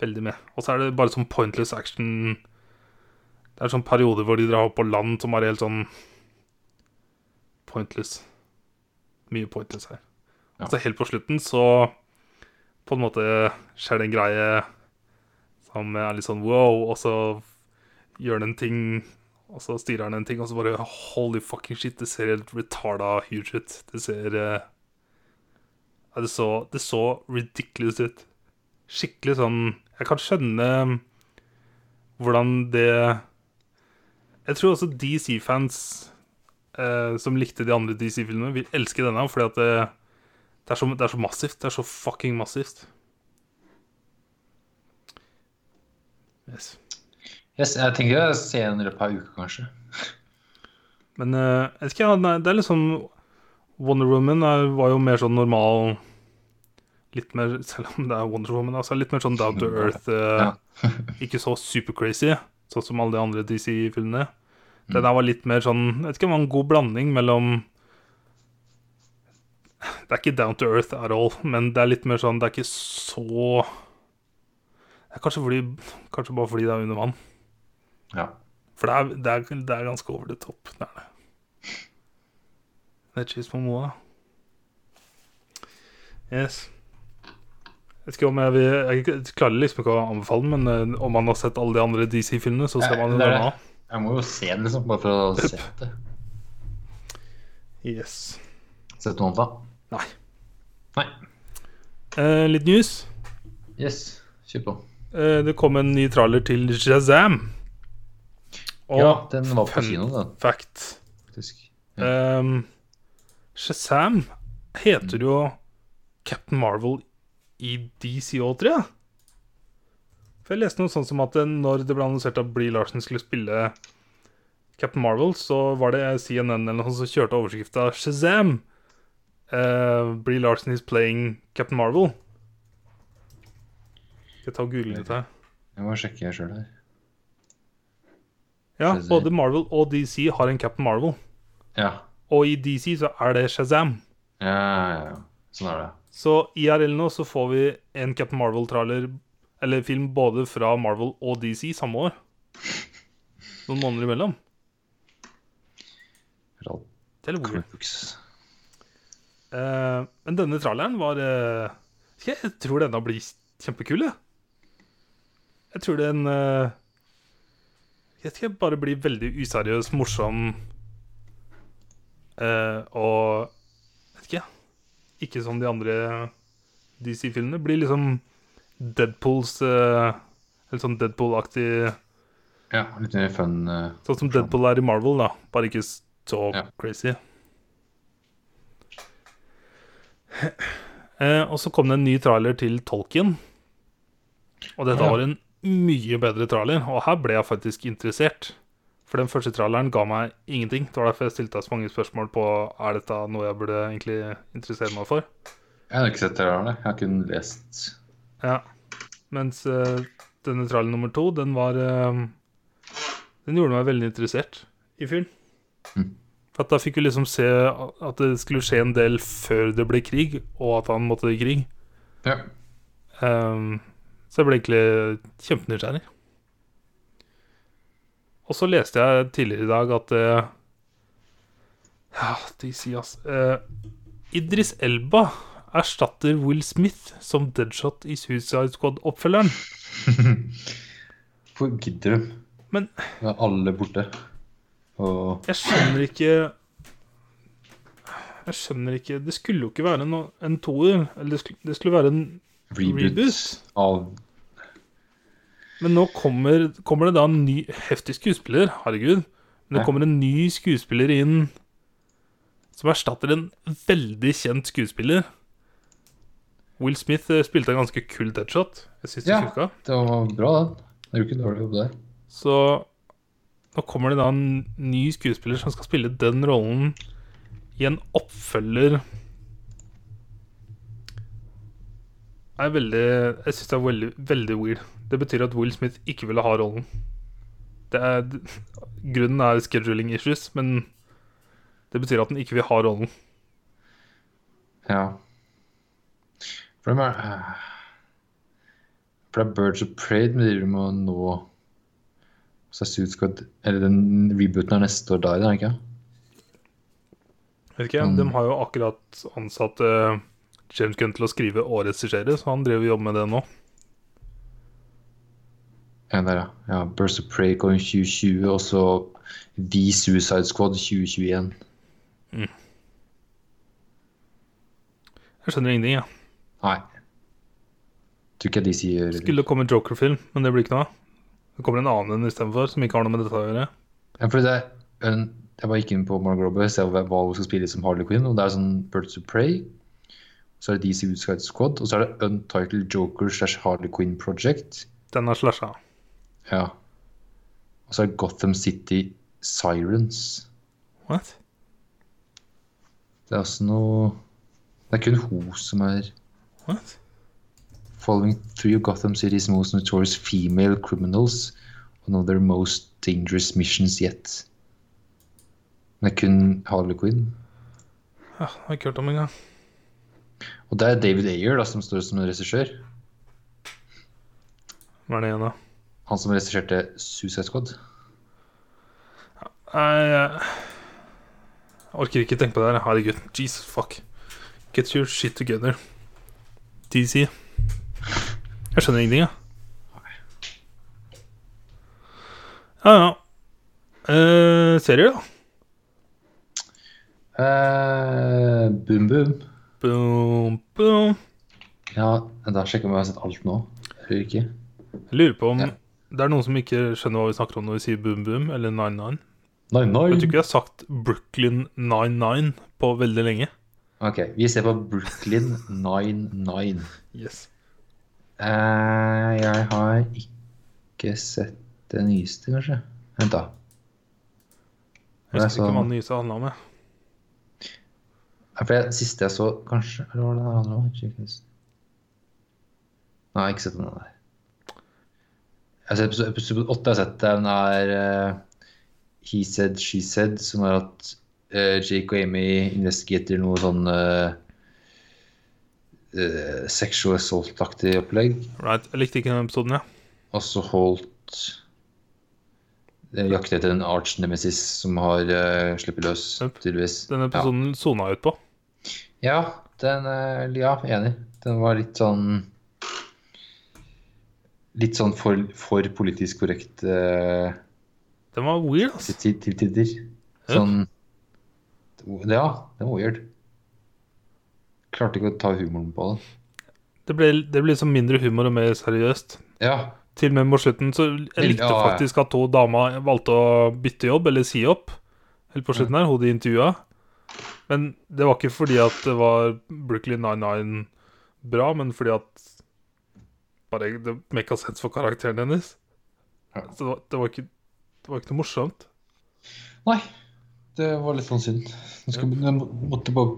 Veldig med. Og så er det bare sånn pointless action. Det er sånn perioder hvor de drar opp på land som er helt sånn pointless mye pointless her. Ja. Altså helt på slutten så på en måte skjer det en greie som er litt sånn wow, og så gjør den en ting, og så styrer den en ting, og så bare holy fucking shit, det ser helt retarda huge ut. Det ser eh, ja, det, så, det så ridiculous ut. Skikkelig sånn Jeg kan skjønne um, hvordan det Jeg tror også DC-fans eh, som likte de andre DC-filmene, vil elske denne fordi at det, det, er så, det er så massivt. Det er så fucking massivt. Yes. Yes, jeg tenker jeg ser den i løpet av ei uke, kanskje. Men eh, jeg vet ikke, ja, nei, det er liksom Wonder Woman er, var jo mer sånn normal Litt mer, selv om det er Wonder Woman, altså litt mer sånn down to earth. eh, ikke så supercrazy, sånn som alle de andre DC-filmene. Den her var litt mer sånn Jeg vet ikke, det var en god blanding mellom Det er ikke down to earth at all, men det er litt mer sånn Det er ikke så det er kanskje, fordi, kanskje bare fordi det er under vann. Ja. For det er, det er, det er ganske over the top. Det er det. Det er cheese på moa. Yes. Jeg vet ikke om jeg vil Jeg klarer liksom ikke å anbefale den, men eh, om man har sett alle de andre DC-filmene, så ser Nei, man jo det er denne. det. Jeg må jo se den, liksom, bare for å se det. Yes. Sett noe annet, da. Nei. Nei. Eh, litt news. Yes, kjør på. Eh, det kom en ny trailer til Shazam. Og ja, den var på fun- kino, den, fact faktisk. Ehm, Shazam heter jo Captain Marvel i DCO, tror jeg. For jeg leste noe sånt som at eh, når det ble annonsert at Bree Larsen skulle spille Captain Marvel, så var det CNN eller noe sånt som kjørte overskrifta Shazam. Uh, Bree Larsen is playing Captain Marvel. Skal jeg ta og google litt her. Jeg må sjekke sjøl her. Ja, Shazam. både Marvel og DC har en Captain Marvel. Ja. Og i DC så er det Shazam. Ja, ja, ja. Sånn er det. Så IRL nå så får vi en Captain Marvel-trailer Eller film både fra Marvel og DC samme år. Noen måneder imellom. For alt Det er litt weird. comic books. Eh, men denne traileren var eh, Jeg jeg tror denne blir kjempekul, jeg. Jeg tror den eh, Jeg skal bare bli veldig useriøs, morsom eh, og Jeg vet ikke. Ikke som de andre DC-filmene. Blir liksom Deadpools eh, Eller sånn Deadpool-aktig Ja, litt mer fun. eh, Sånn som Deadpool er i Marvel, da. Bare ikke så Ja. crazy. Eh, og så kom det en ny trailer til Tolkien. Og dette Ja. var en mye bedre trailer, og her ble jeg faktisk interessert. For den første traileren ga meg ingenting. Det var derfor jeg stilte deg så mange spørsmål på Er dette noe jeg burde egentlig interessere meg for. Jeg har ikke sett det der, nei. jeg har kun lest. Ja. Mens eh, denne trailer nummer to, den var eh, Den gjorde meg veldig interessert i fyren. Mm. For at da fikk vi liksom se at det skulle skje en del før det ble krig, og at han måtte i krig. Ja. Ehm, så jeg ble egentlig kjempenysgjerrig. Og så leste jeg tidligere i dag at eh, Ja, de sier ass eh, Idris Elba erstatter Will Smith som Deadshot i Suicide Squad-oppfølgeren. Hvor gidder du? Men- Da er alle borte. Og Jeg skjønner ikke Jeg skjønner ikke Det skulle jo ikke være en, en toer. Eller det skulle, det skulle være en reboot, Reboot? av Men nå kommer, kommer det da en ny heftig skuespiller, herregud. Men det Ja. kommer en ny skuespiller inn som erstatter en veldig kjent skuespiller. Will Smith eh, spilte en ganske kul deadshot. Jeg synes det Ja. funka. Det var bra, den. Det er jo ikke en dårlig jobb der. Så nå kommer det da en ny skuespiller som skal spille den rollen i en oppfølger Det er veldig Jeg syns det er veldig, veldig weird. Det betyr at Will Smith ikke ville ha rollen. Det er, grunnen er scheduling issues, men det betyr at han ikke vil ha rollen. Ja. For dem er eh, For det er Birds of Prey de driver med å nå Så er Suits Squad Eller den rebooten er neste år, da, er det ikke? Vet ikke, Mm. De har jo akkurat ansatt eh, James Gunn til å skrive og regissere, så han driver og jobber med det nå. Ja, der, ja. ja Birds of Prey kom i 2020, og så The Suicide Squad 2021. Jeg skjønner ingenting, jeg. Nei. Tror ikke de sier Skulle komme en Joker-film, men det blir ikke noe av. Det kommer en annen enn istedenfor, som ikke har noe med dette å gjøre. Ja, fordi det er en, Jeg bare gikk inn på Margot Robbie og så hva hva hun skal spille som Harley Quinn. og Det er sånn Birds of Prey, så er det DC Suicide Squad, og så er det Untitled Joker slash Harley Quinn Project. Den er slasha. Ja. Og så er det Gotham City Sirens. What? Det er også noe Det er kun hun som er What? Following three of Gotham City's most notorious female criminals on one of their most dangerous missions yet. Men det er kun Harley Quinn. Ja, det har jeg ikke hørt om engang. Og det er David Ayer da, som står som en regissør. Hva er det igjen, da? Han som regisserte Suicide Squad. Nei, jeg jeg orker ikke tenke på det her. Herregud. Jesus fuck. Get your shit together. DC. Jeg skjønner ingenting, jeg. Ja, ja. Eh, serier, da? Eh, boom, boom. Boom, boom. Ja, da sjekker jeg om jeg har sett alt nå. Eller ikke. Jeg lurer på om Ja. det er noen som ikke skjønner hva vi snakker om når vi sier boom, boom eller nine, nine. Nei, Jeg tror nei. ikke vi har sagt Brooklyn 99 på veldig lenge. Ok, vi ser på Brooklyn 99. Yes. Eh, jeg har ikke sett det nyeste, kanskje. Vent, da. Jeg husker Det er ikke hva sånn- den nyeste handla om. jeg. Ja, For det siste jeg så, kanskje Eller var det den andre? også? Ikke husk. Nei, jeg har ikke sett den der. Jeg har sett episode, episode 8 jeg har sett. Den er eh, He Said, She Said, som er at eh, Jake og Amy investigerer noe sånn eh, eh, sexual assault-aktig opplegg. Right. Jeg likte ikke den episoden, jeg. Og så holdt eh, Jakter etter en arch nemesis som har eh, sluppet løs, Yep. tydeligvis. Den Ja. episoden sona jeg ut på. Ja, den eh, Ja, enig. Den var litt sånn Litt sånn for, for politisk korrekt eh, Den var weird, ass. til, til, til tider. Sånn Ja, det var weird. Klarte ikke å ta humoren på det. Det ble, det ble liksom mindre humor og mer seriøst. Ja, Til og med mot slutten så Jeg likte Ja, ja. faktisk at to dama valgte å bytte jobb, eller si opp, helt på Mm. slutten her, hun de intervjua. Men det var ikke fordi at det var Brooklyn 99 bra, men fordi at bare det mekka sens for karakteren hennes. Ja. Så det var, det, var ikke, det var ikke noe morsomt. Nei, det var litt sånn synd. Jeg, skal, jeg må- måtte bare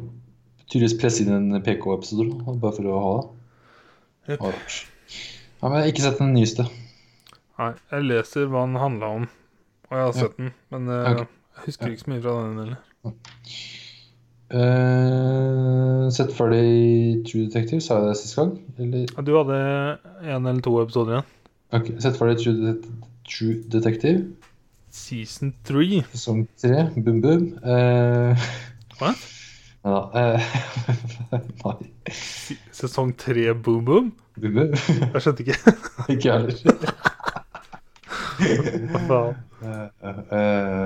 tydeligvis presse inn en PK-episode, da, bare for å ha det. Jep. Det var rart. Ja, men jeg har ikke sett den nyeste. Nei, jeg leser hva den handla om, og jeg har sett den, men eh, Ok. jeg husker ikke så mye fra den heller. Eh, sett ferdig True Detective, sa jeg det sist gang? Eller Du hadde én eller to episoder igjen. Ok, Sett ferdig True, Det- True Detective, Season three. sesong tre, boom, boom. Eh, Hva? Nei da. eh, nei, Se- Sesong tre, boom boom. boom, boom. Jeg skjønte ikke. Ikke jeg heller. Hva faen? Eh, eh,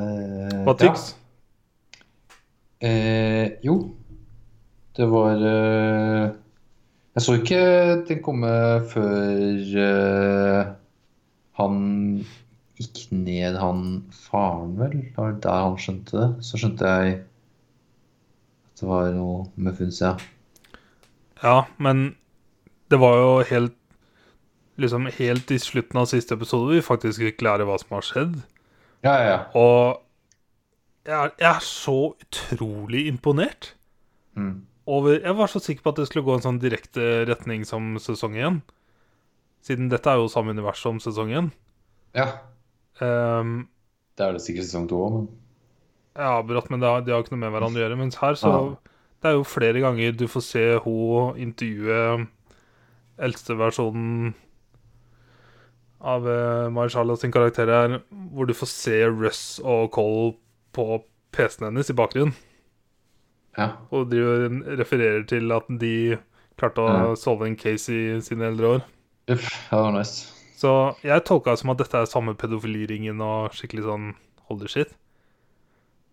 eh, Hva ja. tyks? Eh, jo, det var eh, Jeg så ikke den komme før eh, han gikk ned han faren, vel. Det var der han skjønte det. Så skjønte jeg at det var noe muffins, ja. Ja, men det var jo helt Liksom helt i slutten av siste episode vi faktisk ikke lærer hva som har skjedd. Ja, ja, ja. Og jeg er, jeg er så utrolig imponert. Mm. Over, jeg var så sikker på at det skulle gå en sånn direkte retning som sesong én. Siden dette er jo samme univers som sesong én. ja. Ehm, Det er det sikkert sesong to òg, men ja, akkurat, men det har, de har ikke noe med hverandre å gjøre. Mens her, så Ja. Det er jo flere ganger du får se hun intervjue eldste versjonen av eh, Marshala sin karakter her, hvor du får se Russ og Cole på PC-en hennes i bakgrunnen. ja. Og driver, refererer til at de klarte å solve en case i sine eldre år. Uff, det var nice. Så jeg tolka det som at dette er samme pedofiliringen og skikkelig sånn holy shit.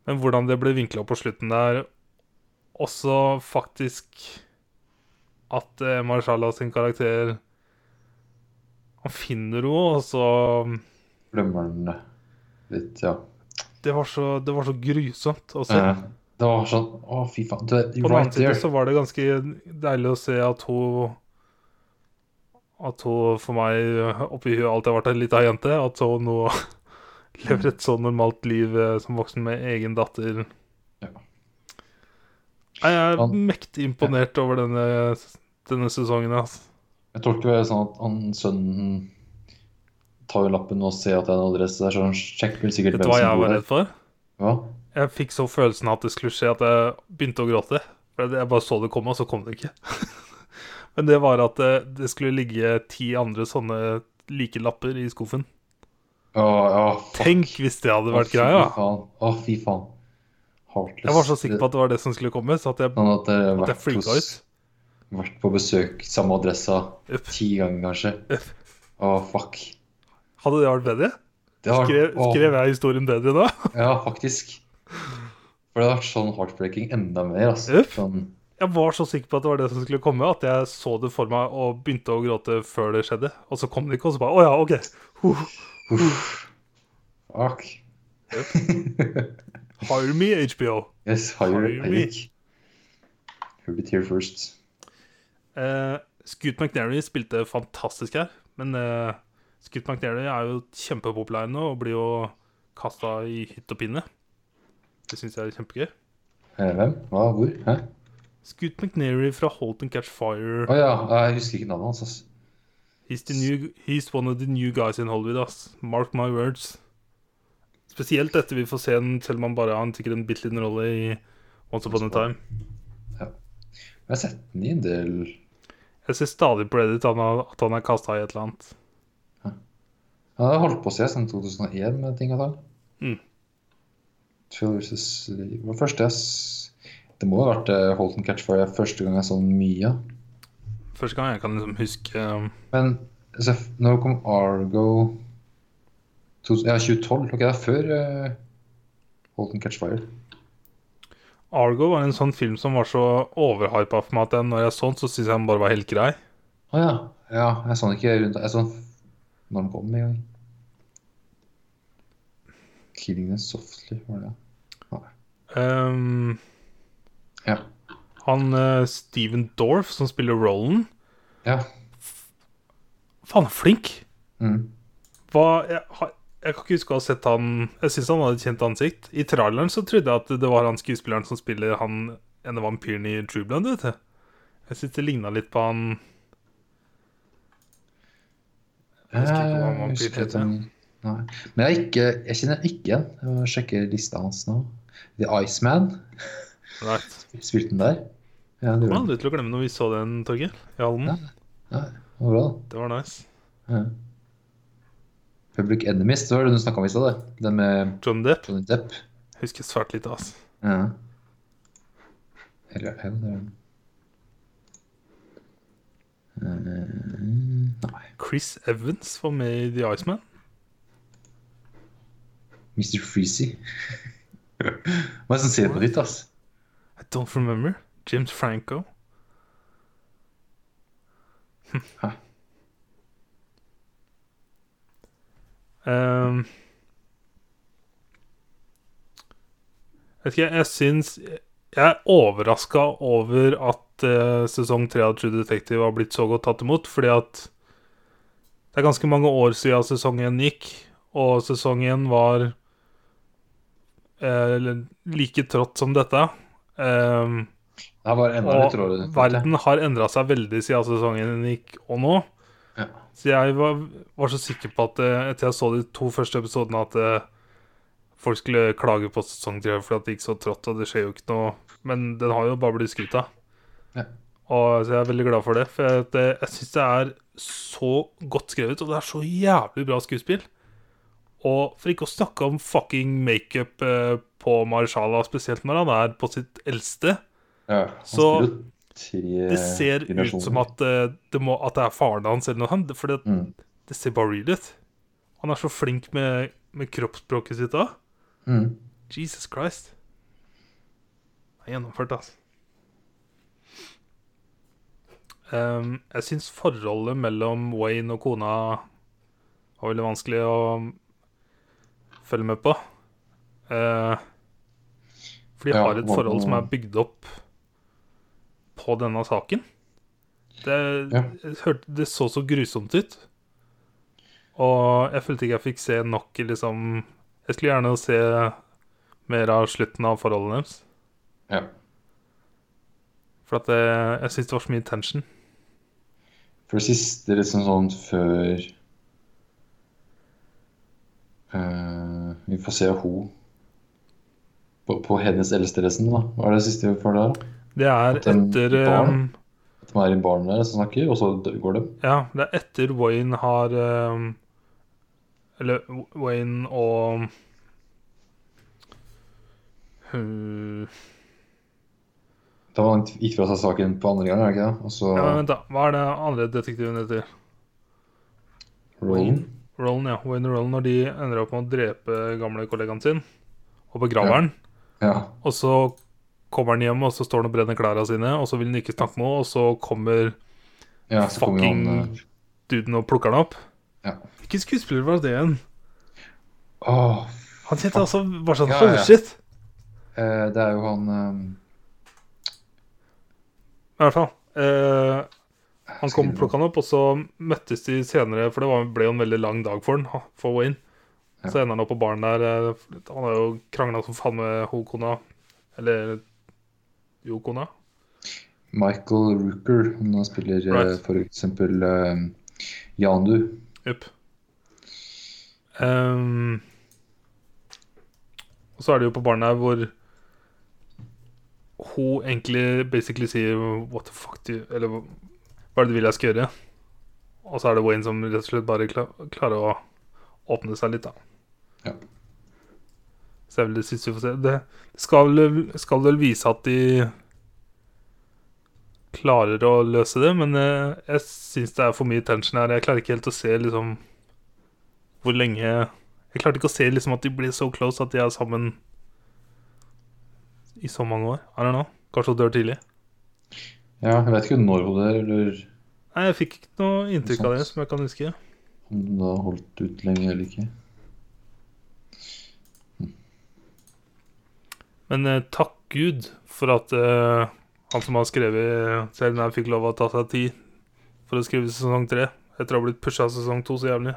Men hvordan det ble vinkla på slutten der, også faktisk at eh, Marshala sin karakter Han finner henne, og så Glemmer den det litt, ja. Det var så, det var så grusomt. Og så Eh, det var sånn Å, fy faen. Du er På den annen right side there. så var det ganske deilig å se at hun At hun for meg oppi huet alltid har vært en lita jente. At hun nå lever et så normalt liv eh, som voksen med egen datter. Ja. Jeg er Han- mektig imponert over denne, denne sesongen. Altså. Jeg tolker det sånn at han sønnen tar jo lappen og ser at det er en adresse der, så han sjekker vel sikkert Vet du hva jeg var redd for? Hva? Jeg fikk så følelsen av at det skulle skje, at jeg begynte å gråte. For Jeg bare så det komme, og så kom det ikke. Men det var at det, det skulle ligge ti andre sånne like lapper i skuffen. Å, ja, faen. Tenk hvis det hadde vært greia! Å, fy faen. Å, fy faen. Heartless. Jeg var så sikker på at det var det som skulle komme, så at jeg, Sånn at det har at jeg vært, freaka ut. hos- vært på besøk samme adressa Uff. ti ganger, kanskje. Å, fuck. Hadde det vært bedre? Det har- Skrev, å, skrev jeg historien bedre nå? Ja, faktisk. For det har vært sånn heartbreaking enda mer, altså. Uff. Sånn, Jeg var så sikker på at det var det som skulle komme, at jeg så det for meg og begynte å gråte før det skjedde. Og så kom det ikke, og så bare Å ja, OK. Huh. uff. Fuck. Hire me, HBO. Yes, Hire hire me. Eirik. Heard it here first. Eh, Scoot McNary spilte fantastisk her, men eh, Scoot McNary er jo kjempepopulær nå og blir jo kasta i hytt og pinne. Det syns jeg er kjempegøy. Eh, Hvem? Hva? Hvor? Hæ? Scoot McNary fra Holt and Catch Fire. Å ja, eh, jeg husker ikke navnet hans. ass. He's, the new, he's one of the new guys in Hollywood, ass. Mark my words. Spesielt etter vi får se en, selv om han bare har en, sikkert en bitte liten rolle i Once Upon a Time. Jeg har sett den i en del Jeg ser stadig på Reddit han har- at han er kasta i et eller annet. Han har holdt på å se siden 2001 med ting og tang. Mm. Phil versus Lee. Det var første jeg s... Det må ha vært eh, Holton Catch Fire første gang jeg så den mye. Første gang jeg kan liksom huske um, Men så, f- når kom Argo to, Ja, 2012. Ok, det er før eh, Holton Catch Fire. Argo var en sånn film som var så overhypa for meg at jeg, når jeg så den, så syntes jeg den bare var helt grei. Å ja. ja. Jeg så den ikke rundt Jeg så den f- når den kom en gang. 'Killing Them Softly', var det Ehm, ja. han eh, Steven Dorff som spiller rollen Ja. Faen, han er flink! Mm. Hva, jeg, har- jeg kan ikke huske å ha sett han Jeg syns han hadde et kjent ansikt. I traileren så trodde jeg at det var han skuespilleren som spiller han ene vampyren i True Blood, vet du. Jeg syns det ligna litt på han Jeg husker ikke hva han var Eh, husker prioritert at han Nei. Men jeg, er ikke, jeg kjenner ikke igjen. Jeg må sjekke lista hans nå. The Iceman. Nei. Spilte den der? Ja, det Kommer gjorde den. aldri til å glemme når vi så den, Torgeir. I Ja. hallen. Nei, det var bra, da. Det var nice. Ja. Public Enemies, det var det du snakka om i stad. det. Den med John Depp Johnny Depp. husker svært lite, ass. Ja. Eller hell, det er den. Eh, Nei. Chris Evans var med i The Iceman. Mr. Freezy. Hva er det som ser på ditt, ass? I don't remember. James Franco. Hm. Hæ? Ehm. vet ikke, jeg syns Jeg er overraska over at eh, sesong tre av True Detective har blitt så godt tatt imot, fordi at det er ganske mange år siden sesong én gikk, og sesong én var eh, like trått som dette. Ehm, Det her var enda litt råere. og verden har endra seg veldig siden sesongen gikk og nå. Ja. Så jeg var, var så sikker på at eh, etter jeg så de to første episodene, at eh, folk skulle klage på sesong tre fordi at det gikk så trått, og det skjer jo ikke noe. Men den har jo bare blitt skutt av. Ja. Og så jeg er veldig glad for det. For jeg, det, jeg syns det er så godt skrevet, og det er så jævlig bra skuespill. Og for ikke å snakke om fucking makeup eh, på Marshala, spesielt når han er på sitt eldste. Ja, han Så spiller jo eh, tre Det ser ut generasjoner. som at, eh, det, må, at det er faren hans eller noe sånt, for det, mm. det ser bare real ut. Han er så flink med, med kroppsspråket sitt òg. Mm. Jesus Christ. Det er gjennomført, altså. Ehm, jeg syns forholdet mellom Wayne og kona var veldig vanskelig å følge med på. Eh, for de Ja, har et hva- forhold som er bygd opp på denne saken. Det, Ja. jeg hørte, det så så grusomt ut. Og jeg følte ikke jeg fikk se nok i liksom Jeg skulle gjerne se mer av slutten av forholdet deres. ja. For at det, jeg syns det var så mye tension. For det siste, liksom sånn før eh, Vi får se ho på, på hennes eldste resten, da. Hva er det siste vi får der? da? Det er At den etter barn- eh, At man er i baren der som snakker, og så dø- går de? Ja, det er etter Wayne har ehm, Eller Wayne og Hmm, Da var han gikk fra seg saken på andre gang, er det ikke det? Og så Ja, men Vent, da. Hva er det andre detektiven heter? Roland. Roland, ja. Wayne og Roland, når de ender opp med å drepe gamle kollegaen sin og begrave han, Ja. og så kommer han hjem, og så står han og brenner klærne sine, og så vil han ikke snakke med henne, og så kommer ja, så kommer Fucking- han eh, duden og plukker han opp. Ja. Hvilken skuespiller var det igjen? Åh, Han het altså bare sånn Ja, ja, ja. Oh, shit! eh, det er jo han eh, I hvert fall. Eh, eh, Han kom og plukka han opp, og så møttes de senere, for det var, ble jo en veldig lang dag for han, ha- for Wayne. Ja. Så ender han opp på baren der. eh, for Han har jo krangla som faen med hokona. Eller jo, kona. Michael Rooker. Han spiller eh, Right. for eksempel eh, Jandu. Jupp. Ehm, og så er det jo på baren her hvor hun egentlig basically sier What the fuck do you Eller hva er det du vil jeg skal gjøre? Og så er det Wayne som rett og slett bare kla klarer å åpne seg litt, da. Ja. Så det er vel det siste vi får se. Det skal, vel- skal vel vise at de klarer å løse det, men eh, jeg syns det er for mye tension her. Jeg klarer ikke helt å se liksom hvor lenge Jeg klarte ikke å se liksom at de blir så close at de er sammen i så mange år. I don't know. Kanskje hun dør tidlig. Ja, jeg vet ikke når hun dør, eller Nei, jeg fikk ikke noe inntrykk av det som jeg kan huske. om hun har holdt ut lenge eller ikke. Men eh, takk Gud for at eh, han som har skrevet serien her, fikk lov å ta seg tid for å skrive sesong tre. Etter å ha blitt pusha sesong to så jævlig.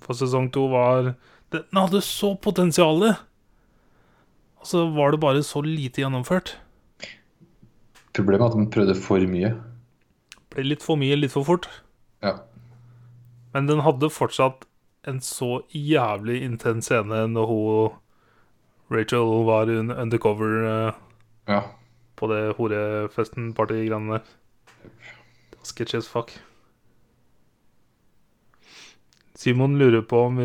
For sesong to var det- Den hadde så potensial! Og så var det bare så lite gjennomført. Problemet er at hun prøvde for mye. Ble litt for mye litt for fort. Ja. Men den hadde fortsatt en så jævlig intens scene når hun Rachel var un- undercover eh, Ja. på det horefesten, partygreiene der. Det var Sketchy as fuck. Simon lurer på om vi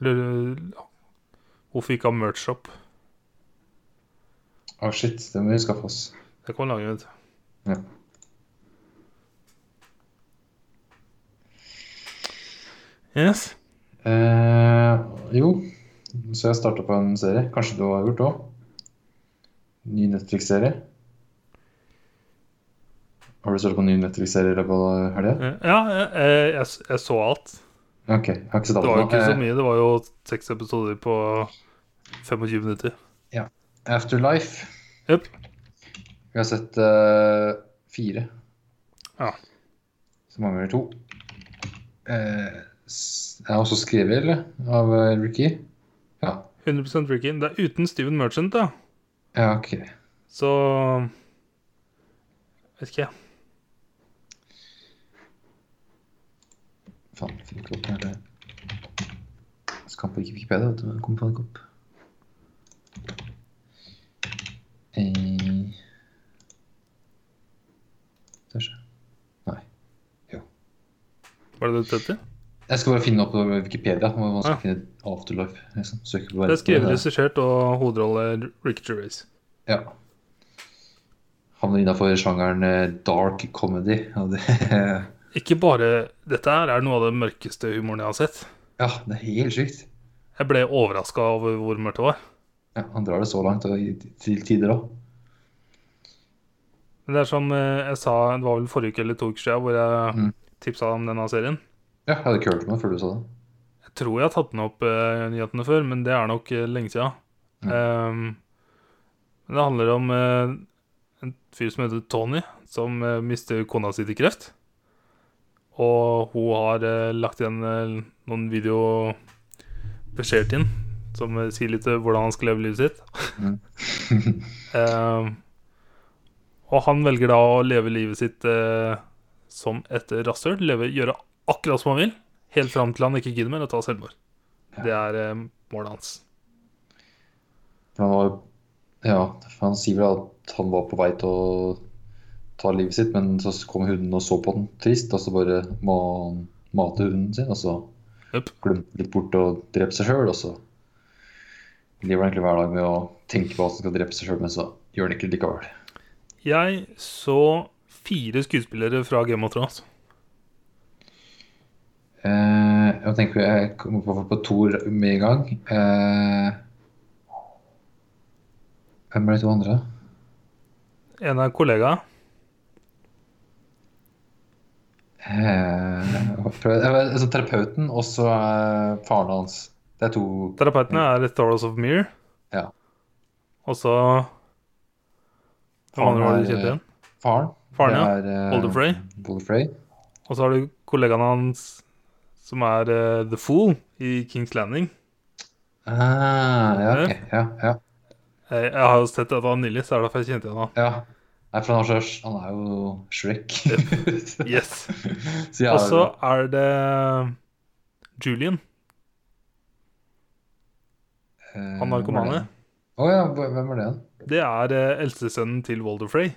Eller ja, hvorfor vi ikke har merch-shop. Å, Ah, shit. Det må vi skaffe oss. Det kan man lage, vet du. Ja. Yes. Eh, jo, så jeg starta på en serie. Kanskje du har gjort det òg? Ny Netflix-serie. Har du starta på en ny Netflix-serie i løpet av helga? Eh, Ja, jeg, jeg, jeg så alt. Ok, jeg har ikke sett Det var jo alt ikke så nå. mye. Det var jo seks episoder på 25 minutter. Eh, Afterlife. Jep. Vi har sett eh, fire. Ja. Så mangler det to. Eh, s- jeg har også skrevet, eller? Av eh, Ricky? Ja. 100 Ricky. Det er uten Steven Merchant, da. ja, ok. Så Vet ikke, jeg. Faen, fikk ikke opp her. det. Skal på Wikipedia, vet du. men Kom faen ikke opp. Eh, Tør ikke. Nei. Var det det du tenkte? Jeg skal bare finne opp på Wikipedia. Det var vanskelig Ja. å finne Afterlife. Liksom. Søke på Det er skrevet, verden. regissert og hovedrolle Ricky Gervais. Ja. Havner innafor sjangeren eh, dark comedy. Og det, ja, Ikke bare Dette her er noe av den mørkeste humoren jeg har sett. det er helt sykt. Jeg ble overraska over hvor mørkt det var. Ja, han drar det så langt og i- til tider òg. Men det er som eh, jeg sa, det var vel forrige uke eller to uker siden hvor jeg Mm. tipsa om denne serien. Ja, jeg hadde ikke hørt om det før du sa det. Jeg tror jeg har tatt den opp eh, i nyhetene før, men det er nok eh, lenge siden. Mm. Ehm, men det handler om eh, en fyr som heter Tony, som eh, mister kona si til kreft. Og hun har eh, lagt igjen eh, noen videobeskjeder til ham som eh, sier litt eh, hvordan han skal leve livet sitt. Mm. Ehm, og han velger da å leve livet sitt eh, som et rasshøl. leve- Gjøre akkurat som han vil, helt fram til han ikke gidder mer og tar selvmord. Det er eh, målet hans. For han var Ja, for han sier vel at han var på vei til å ta livet sitt, men så kom hunden og så på den trist, og så bare må han mate hunden sin, og så Jep. glemte han litt bort å drepe seg sjøl, og så lever han egentlig hver dag med å tenke på at han skal drepe seg sjøl, men så gjør han ikke det likevel. Jeg så fire skuespillere fra Game of Thrones. Eh, jeg tenker jeg kommer på, på Thor med en gang. Eh, hvem er de to andre? En er kollega. Eh, prøv- eh, altså, terapeuten og så eh, faren hans. Det er to Terapeutene er Thoros of Mere. Mm. Ja. Og så Hvem andre var Han er, det du eh, kjente igjen? Faren. Faren, ja. Det er, eh, Walder Frey. Walder Frey. Og så har du kollegaen hans som er eh, The Fool i Kings Landing. Ah, ja, Ja. ok. ja, ja, Eh, Jeg, jeg har jo sett dette nylig, så det er derfor jeg kjente igjen han. ja. Nei, for han er, så, han er jo Shrek. Yes. så ja, Og så er det eh, Julian, eh, han narkomane. Å ja, hva- hvem er det igjen? Det er eh, eldstesønnen til Walder Frey.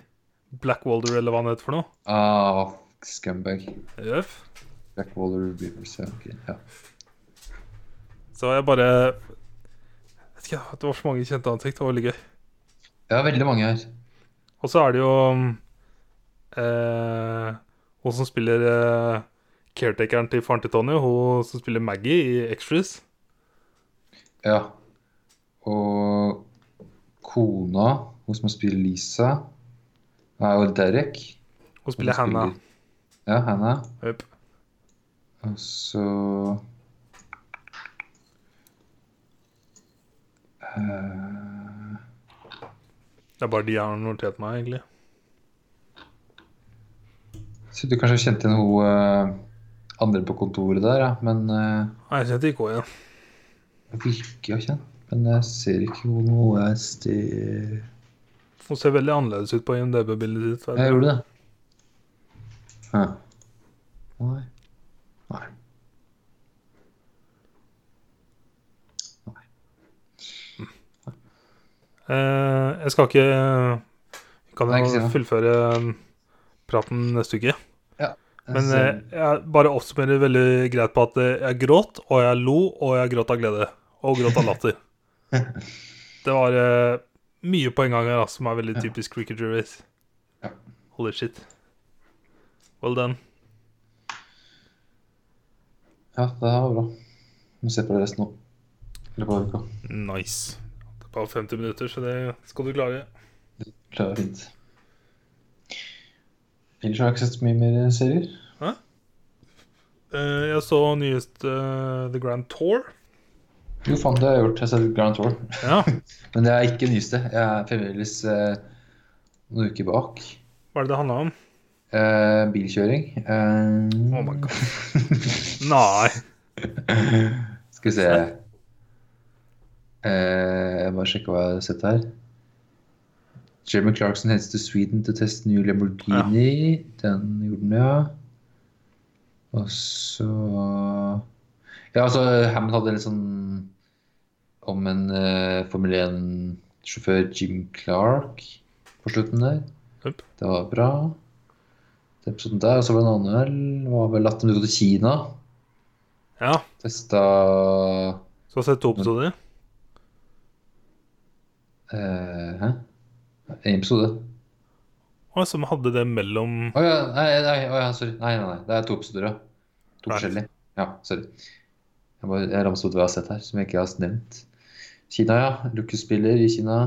Black Walder, eller hva han heter for noe. Ah, scumbag. Jøff. Jack Waller Rivers, ja. ok, ja. Så jeg bare Vet ikke, Det var så mange kjente ansikt. Det var veldig gøy. Det er veldig mange her. Og så er det jo eh, hun som spiller eh, caretakeren til faren til Tony, hun som spiller Maggie i Extras. Ja. Og kona, hun som spiller Lisa, er jo Derek. Hun Hun spiller Hannah. Ja, Hannah. Jep. Og så Eh, Det er bare de jeg har notert meg, egentlig. Så du kanskje kjente igjen hun eh, andre på kontoret der, ja. Men eh, Nei, jeg kjente ikke henne igjen. jeg virker jo kjent. Men jeg ser ikke hvor noe er sted Hun ser veldig annerledes ut på IMDb-bildet sitt. vet Jeg du. gjorde det. Hæ. Nei. Nei. Eh, jeg skal ikke eh, Kan Nei, ikke si jo noe. fullføre um, praten neste uke. Men Så- eh, jeg bare oppsummerer veldig greit på at eh, jeg gråt, og jeg lo, og jeg gråt av glede. Og gråt av latter. Det var eh, mye på en gang her, altså, som er veldig typisk Cricket Gervais. Ja. Holy shit. Well done. Ja, det var bra. Vi ser på det resten nå. Eller på uka. Nice. Det er bare 50 minutter, så det skal du klare. Klarer det fint. Ellers har jeg ikke sett så mye mer serier. Eh, jeg så nyest eh, The Grand Tour. Jo, faen, det har jeg gjort. Jeg har sett Grand Tour. Ja, Men det er ikke det nyeste. Jeg er fremdeles eh, noen uker bak. Hva er det det handla om? Eh, bilkjøring. Eh, Oh my God. Nei. Skal vi se eh, Jeg må sjekke hva jeg har sett her. Jeremy Clarkson heads to Sweden to test new Lamborghini. Den gjorde den, ja. Og så Ja, altså, Hammond hadde en litt sånn om en eh, Formel 1-sjåfør, Jim Clark, på slutten der. Japp. Det var bra. Den episoden der, og så var det en annen vel, var vel at de dro til Kina. Ja, Testa så har jeg sett to episoder. Eh, Hæ? En episode? Og som hadde det mellom Å ja, nei, nei, å ja, sorry. Nei, nei, nei, det er to episoder, ja. To Right. forskjellige. Ja, sorry. Jeg, bare, jeg ramset opp hva jeg har sett her, som jeg ikke har nevnt. Kina, ja. Lucas spiller i Kina.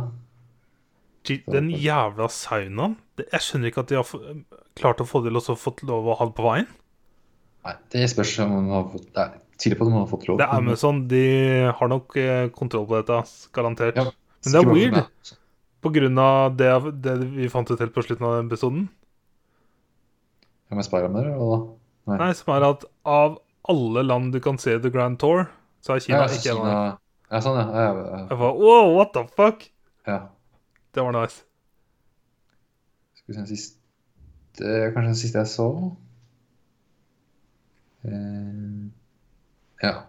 Shit, Den jævla saunaen. Det- Jeg skjønner ikke at de har få- klart å få til og så fått lov å ha det på veien. Nei, det spørs om man har fått Det er tydelig på at man har fått lov. Det er Amazon. De har nok eh, kontroll på dette, ass, garantert. Ja. Men det er Sikkert weird. mange som er- På grunn av det, det vi fant ut helt på slutten av den episoden. Jeg må spare med det, eller hva? Nei, som er at av alle land du kan se The Grand Tour, så er Kina Ja, ikke en av dem. Kina- Ja, sånn, ja. Ja, ja, ja. Jeg bare, wow, what the fuck? ja. Det var nice. Skal vi se den siste Kanskje den siste jeg så? Eh, ja.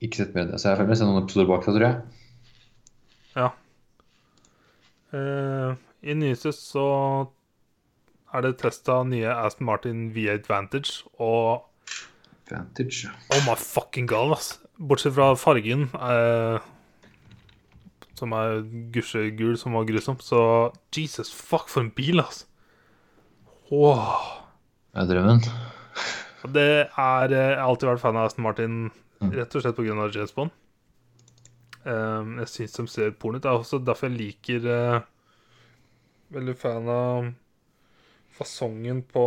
Ikke sett mer enn det. Så jeg har fremdeles noen episoder bak det, tror jeg. Eh, I nyeste så er det test av nye Aston Martin V8 Vantage, og Vantage. ja. oh my fucking god, ass. Bortsett fra fargen, eh, som er gusjegul, som var grusom, så Jesus fuck, for en bil, ass. Wow. Det er drømmen. Det er eh, Jeg har alltid vært fan av Aston Martin, Mm. rett og slett pga. James Bond. Um, jeg syns de ser porno ut. Det er også derfor jeg liker eh, Veldig fan av fasongen på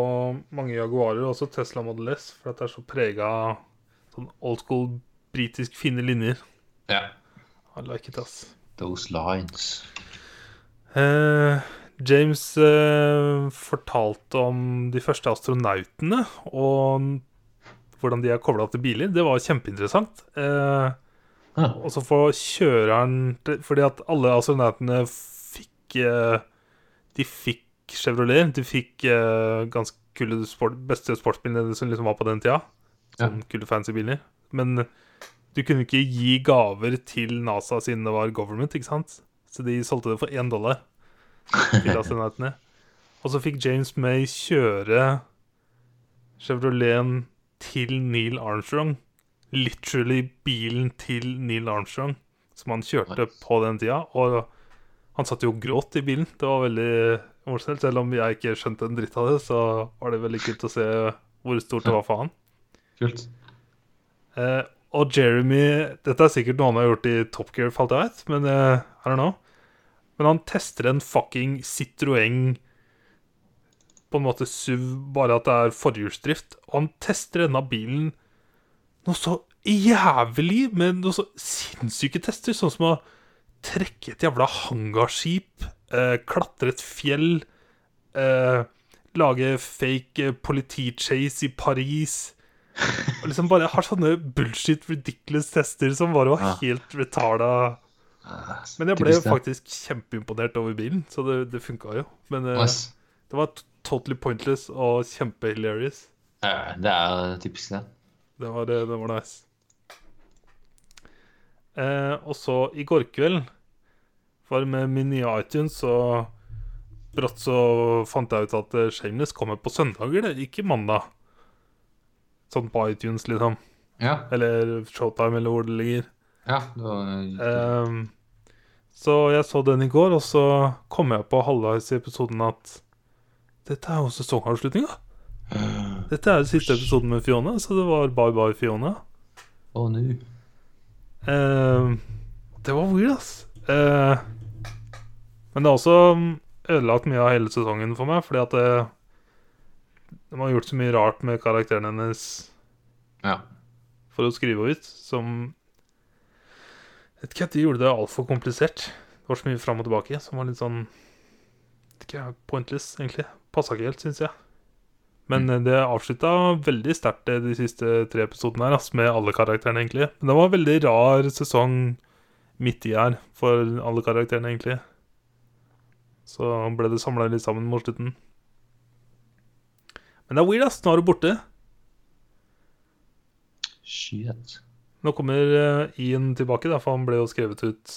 mange Jaguarer, og også Tesla Model S, for at det er så prega av sånn old school britisk fine linjer. Ja. I like it, ass. Those lines. Eh, James eh, fortalte om de første astronautene og hvordan de er kobla opp til biler. Det var kjempeinteressant. Eh, Huh. og så får kjøreren til- Fordi at alle astronautene fikk eh, De fikk Chevrolet. De fikk eh, ganske kule sport, beste sportsbilene som liksom var på den tida. Ja. Sånn kule, fancy biler. Men du kunne ikke gi gaver til NASA siden det var government, ikke sant? Så de solgte det for én dollar til astronautene. Og så fikk James May kjøre Chevroleten til Neil Armstrong. Literally bilen til Neil Armstrong, som han kjørte Nice. på den tida. Og han satt jo og gråt i bilen. Det var veldig morsomt. Selv om jeg ikke skjønte en dritt av det, så var det veldig kult å se hvor stort det var for han. Kult. Eh, og Jeremy Dette er sikkert noe han har gjort i Top Gear, falt jeg vet, men eh, I don't know. Men han tester en fucking Citroën På en måte SUV, bare at det er forhjulsdrift. Og han tester denne bilen noe så jævlig, med noe så sinnssyke tester. Sånn som å trekke et jævla hangarskip, eh, klatre et fjell, eh, lage fake eh, politichase i Paris. Og liksom bare har sånne bullshit ridiculous tester som bare var Ja. helt retarda. Ah, Men jeg ble typisk det. faktisk kjempeimponert over bilen, så det, det funka jo. Men eh, Nice. det var t- totally pointless og kjempehilarious. Ja, Eh, det er typisk det. Det var, det var nice. Eh, og så Eh, i går kveld For med min nye iTunes så brått så fant jeg ut at eh, Shameless kommer på søndager, det, ikke mandag. Sånn på iTunes, liksom. Ja. Eller Showtime, eller hvor det ligger. ja det var, Ehm, så jeg så den i går, og så kom jeg på halvveis i episoden at dette er jo sesongavslutninga. Dette er jo siste episoden med Fiona, så det var bye bye, Fiona. Å, nå. Ehm, det var weird, ass. Eh, men det har også mm, ødelagt mye av hele sesongen for meg, fordi at det, de har gjort så mye rart med karakteren hennes Ja. for å skrive ut, som Jeg vet ikke, de gjorde det altfor komplisert. Det var så mye fram og tilbake som var litt sånn vet ikke, pointless, egentlig. Passa ikke helt, syns jeg. Men eh, det avslutta veldig sterkt eh, de siste tre episodene her, ass, med alle karakterene, egentlig. Men det var en veldig rar sesong midt i her for alle karakterene, egentlig. Så ble det samla litt sammen mot slutten. Men det er weird, ass. Nå er du borte. Shit. Nå kommer eh, Ian tilbake, da, for han ble jo skrevet ut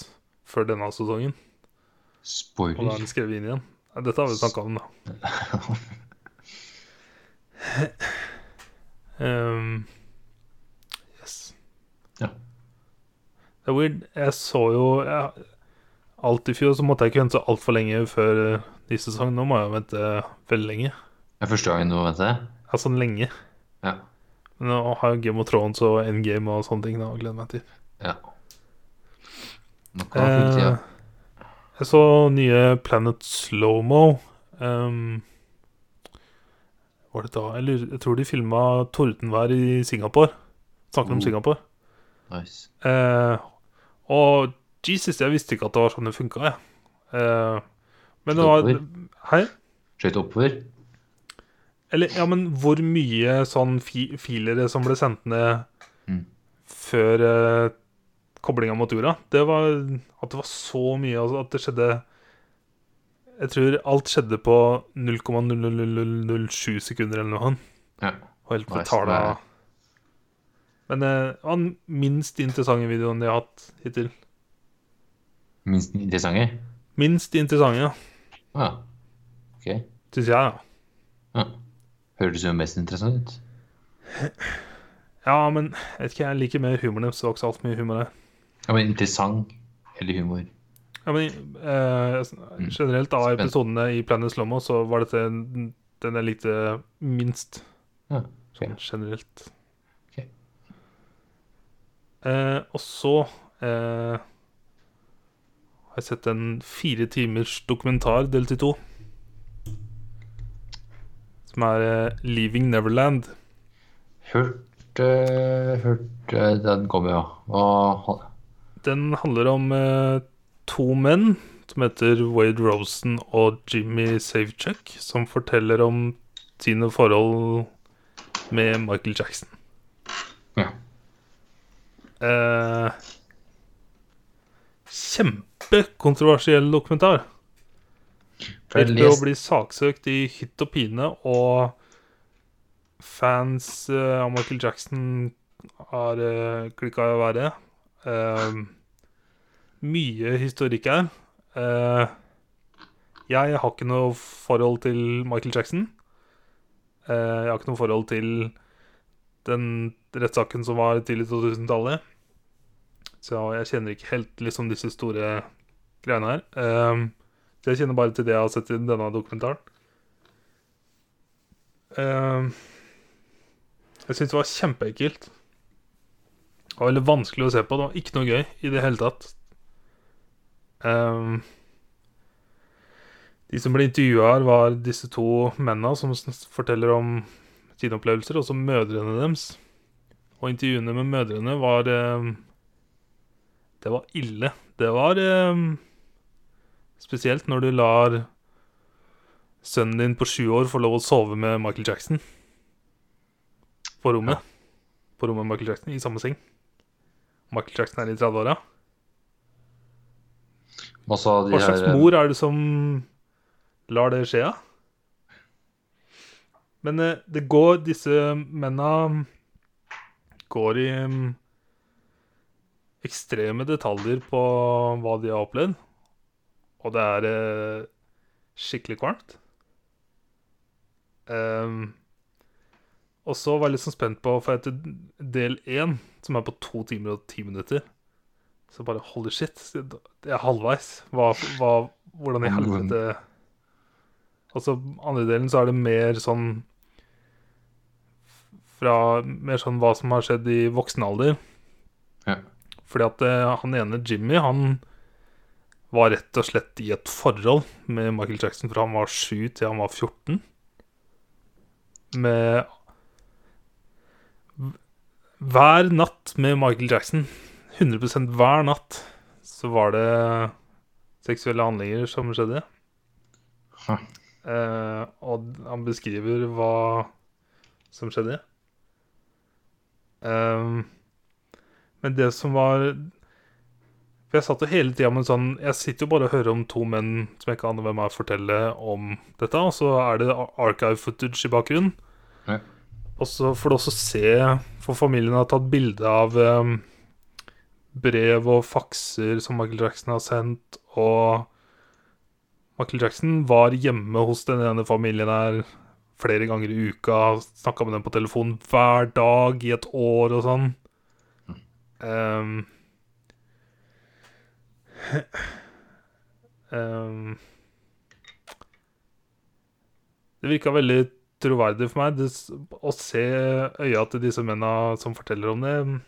før denne sesongen. Og da er Spoiler. han skrevet inn igjen. Nei, Dette har vi snakka om, da. Ehm, yes. Ja. Det er weird. Jeg så jo jeg, Alt i fjor så måtte jeg ikke vente så altfor lenge før eh, ny sesong. Nå må jeg vente eh, veldig lenge. Det er første gangen du vet det? Ja, sånn lenge. Ja. Men nå har jeg Game of Thrones og Endgame og sånne ting da, å glede meg til. ja. Nå kan man fylle tida. Eh, Jeg så nye Planet Slowmo. Um, var det da Jeg, lurer, jeg tror de filma tordenvær i Singapore. Snakker om Mm. Singapore. Nice. Eh, og Jesus, jeg visste ikke at det var sånn det funka, jeg. Eh, men det var Hei? Skøyt oppover? Eller, ja, men hvor mye sånn fi filere som ble sendt ned Mm. før eh, koblinga mot jorda, det var at det var så mye, altså at det skjedde Jeg tror alt skjedde på 0,0007 sekunder eller noe. Ja. Og helt Nice, fortala. nei. Men eh, det var den minst interessante videoen de har hatt hittil. Minst interessante? Minst interessante, Ja. Ok. syns jeg, da. Ja. Høres jo mest interessant ut. Ja, men jeg vet ikke, jeg liker mer humoren deres. Det var ikke så altfor mye humor der. Ja, men interessant eller humor? Ja, men eh, Mm. generelt av Spennende. episodene i Planet Slowmo så var dette den den jeg likte minst, Ja. sånn generelt. Ok. Eh, og så eh, har jeg sett en fire timers dokumentar delt i to. Som er eh, 'Leaving Neverland'. Hørt, eh, hørt eh, Den kommer, ja. Hva Den handler om eh, to menn som heter Wade Rosen og Jimmy Safechuck, som forteller om sine forhold med Michael Jackson. Ja. Eh, kjempekontroversiell dokumentar. For jeg Etter å lest- bli saksøkt i hytt og pine, og fans eh, av Michael Jackson har uh, klikka i været. Eh, mye historikk her. Eh, jeg har ikke noe forhold til Michael Jackson. Eh, jeg har ikke noe forhold til den rettssaken som var tidlig i 2000-tallet. Så jeg kjenner ikke helt liksom disse store greiene her. Eh, så jeg kjenner bare til det jeg har sett i denne dokumentaren. Ehm, jeg syns det var kjempeekkelt. Det var veldig vanskelig å se på. Det var ikke noe gøy i det hele tatt. Ehm, de som ble intervjua her, var disse to mennene som s- forteller om sine opplevelser, og så mødrene deres. Og intervjuene med mødrene var ehm, Det var ille. Det var ehm, Spesielt når du lar sønnen din på sju år få lov å sove med Michael Jackson. På rommet. På rommet med Michael Jackson, i samme seng. Michael Jackson er i 30-åra. Hva sa de Hva slags her, eh, mor er det som lar det skje, da? Men eh, det går Disse menna går i mm, ekstreme detaljer på hva de har opplevd. og det er eh, skikkelig kvalmt. Ehm, og så var jeg litt sånn spent på, for etter del én, som er på to timer og ti minutter Så bare holy shit, det er halvveis. Hva, hva, hvordan i helvete Og så andre delen så er det mer sånn fra mer sånn hva som har skjedd i voksen alder. Ja. Fordi at eh, han ene, Jimmy, han var rett og slett i et forhold med Michael Jackson fra han var 7 til han var 14. Med Hver natt med Michael Jackson, 100 hver natt, så var det seksuelle handlinger som skjedde. Hæ. Eh, og han beskriver hva som skjedde. Ehm, men det som var For jeg satt jo hele tida med en sånn Jeg sitter jo bare og hører om to menn som jeg ikke aner hvem er, fortelle om dette, og så er det ar- archive footage i bakgrunnen. Ja. Og så får du også se For familien har tatt bilde av ehm, brev og fakser som Michael Jackson har sendt, og Michael Jackson var hjemme hos den ene familien her flere ganger i uka, snakka med dem på telefon hver dag i et år og sånn. Ehm. Ehm. det virka veldig troverdig for meg det, s- å se øya til disse mennene som forteller om det.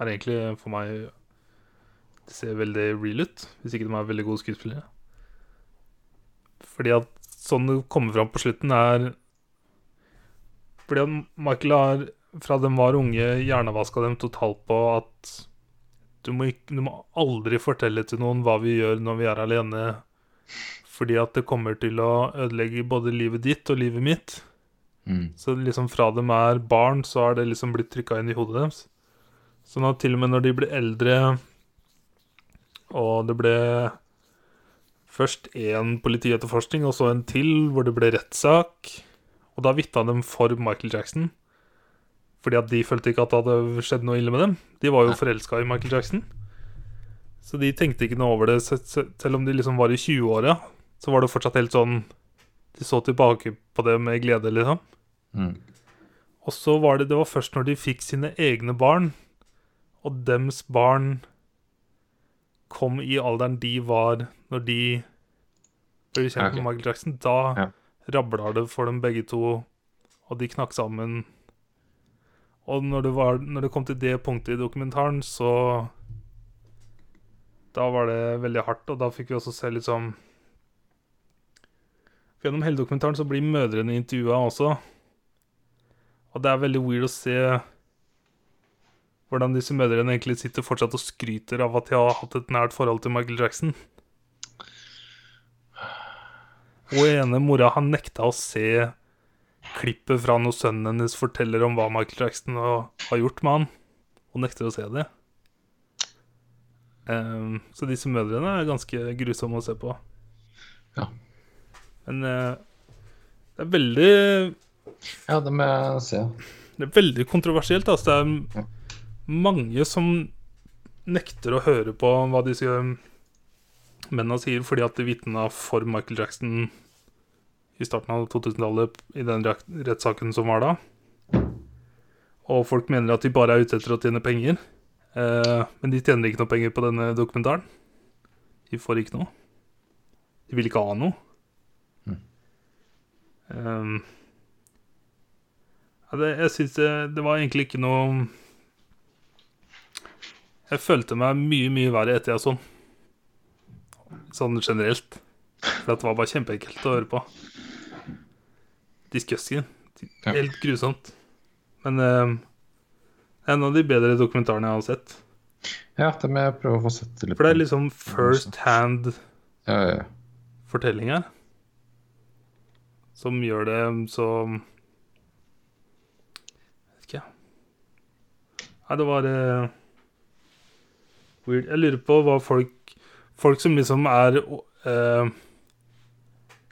Er egentlig for meg Det ser veldig real ut, hvis ikke de er veldig gode skuespillere. Fordi at sånn det kommer fram på slutten, er Fordi at Michael har fra de var unge, hjernevaska dem totalt på at du må, ikke, du må aldri fortelle til noen hva vi gjør når vi er alene, fordi at det kommer til å ødelegge både livet ditt og livet mitt. Mm. Så liksom fra dem er barn, så har det liksom blitt trykka inn i hodet deres. Sånn at til og med når de ble eldre, og det ble først én politietterforskning, og så en til, hvor det ble rettssak Og da vitna dem for Michael Jackson. Fordi at de følte ikke at det hadde skjedd noe ille med dem. De var jo Nei. forelska i Michael Jackson. Så de tenkte ikke noe over det, se- se- selv om de liksom var i 20-åra. Så var det fortsatt helt sånn De så tilbake på det med glede, liksom. Mm. Og så var det, det var først når de fikk sine egne barn, og dems barn kom i alderen de var når de ble kjent Ok. med Michael Jackson, da Ja. rabla det for dem begge to, og de knakk sammen. Og når det, var, når det kom til det punktet i dokumentaren, så Da var det veldig hardt, og da fikk vi også se litt sånn For gjennom hele dokumentaren så blir mødrene intervjua også. Og det er veldig weird å se hvordan disse mødrene egentlig sitter fortsatt og skryter av at de har hatt et nært forhold til Michael Jackson. Og ene mora har nekta å se klippet fra når sønnen hennes forteller om hva Michael Jackson har har gjort med han. Hun nekter å se det. Ehm, så disse mødrene er ganske grusomme å se på. Ja. Men eh, det er veldig Ja, det må jeg se. det er veldig kontroversielt. Altså. Det Ja. er mange som nekter å høre på hva disse um, mennene sier, fordi at de vitna for Michael Jackson i starten av 2000-tallet i den rett- rettssaken som var da. Og folk mener at de bare er ute etter å tjene penger. Eh, men de tjener ikke noe penger på denne dokumentaren. De får ikke noe. De vil ikke ha noe. Mm. Eh, ja, det, jeg syns det, det var egentlig ikke noe Jeg følte meg mye, mye verre etter jeg sånn. Sånn generelt. For at det var bare kjempeenkelt å høre på. Disgusting. Ja. Helt grusomt. Men eh, det er en av de bedre dokumentarene jeg har sett. Ja, det må jeg prøve å få sett litt. For det er liksom first hand-fortelling Ja, ja, ja. her. Som gjør det så Vet ikke, jeg. Nei, det var eh, weird. Jeg lurer på hva folk Folk som liksom er eh,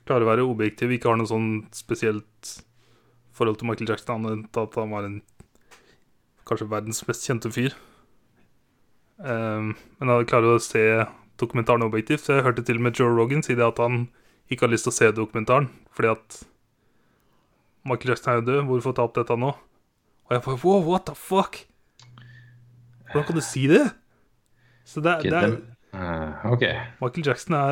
Klarer å være objektive, ikke har noe sånn spesielt forhold til Michael Jackson, annet enn at han var en kanskje verdens mest kjente fyr. Eh, men han klarer å se dokumentaren objektivt. Jeg hørte til og med Joe Rogan si det at han ikke har lyst til å se dokumentaren fordi at Michael Jackson er jo død, hvorfor ta opp dette nå? Og jeg bare wow, what the fuck? Hvordan kan du si det? Så det, er- Ikke det er dem. Eh, ok. Michael Jackson er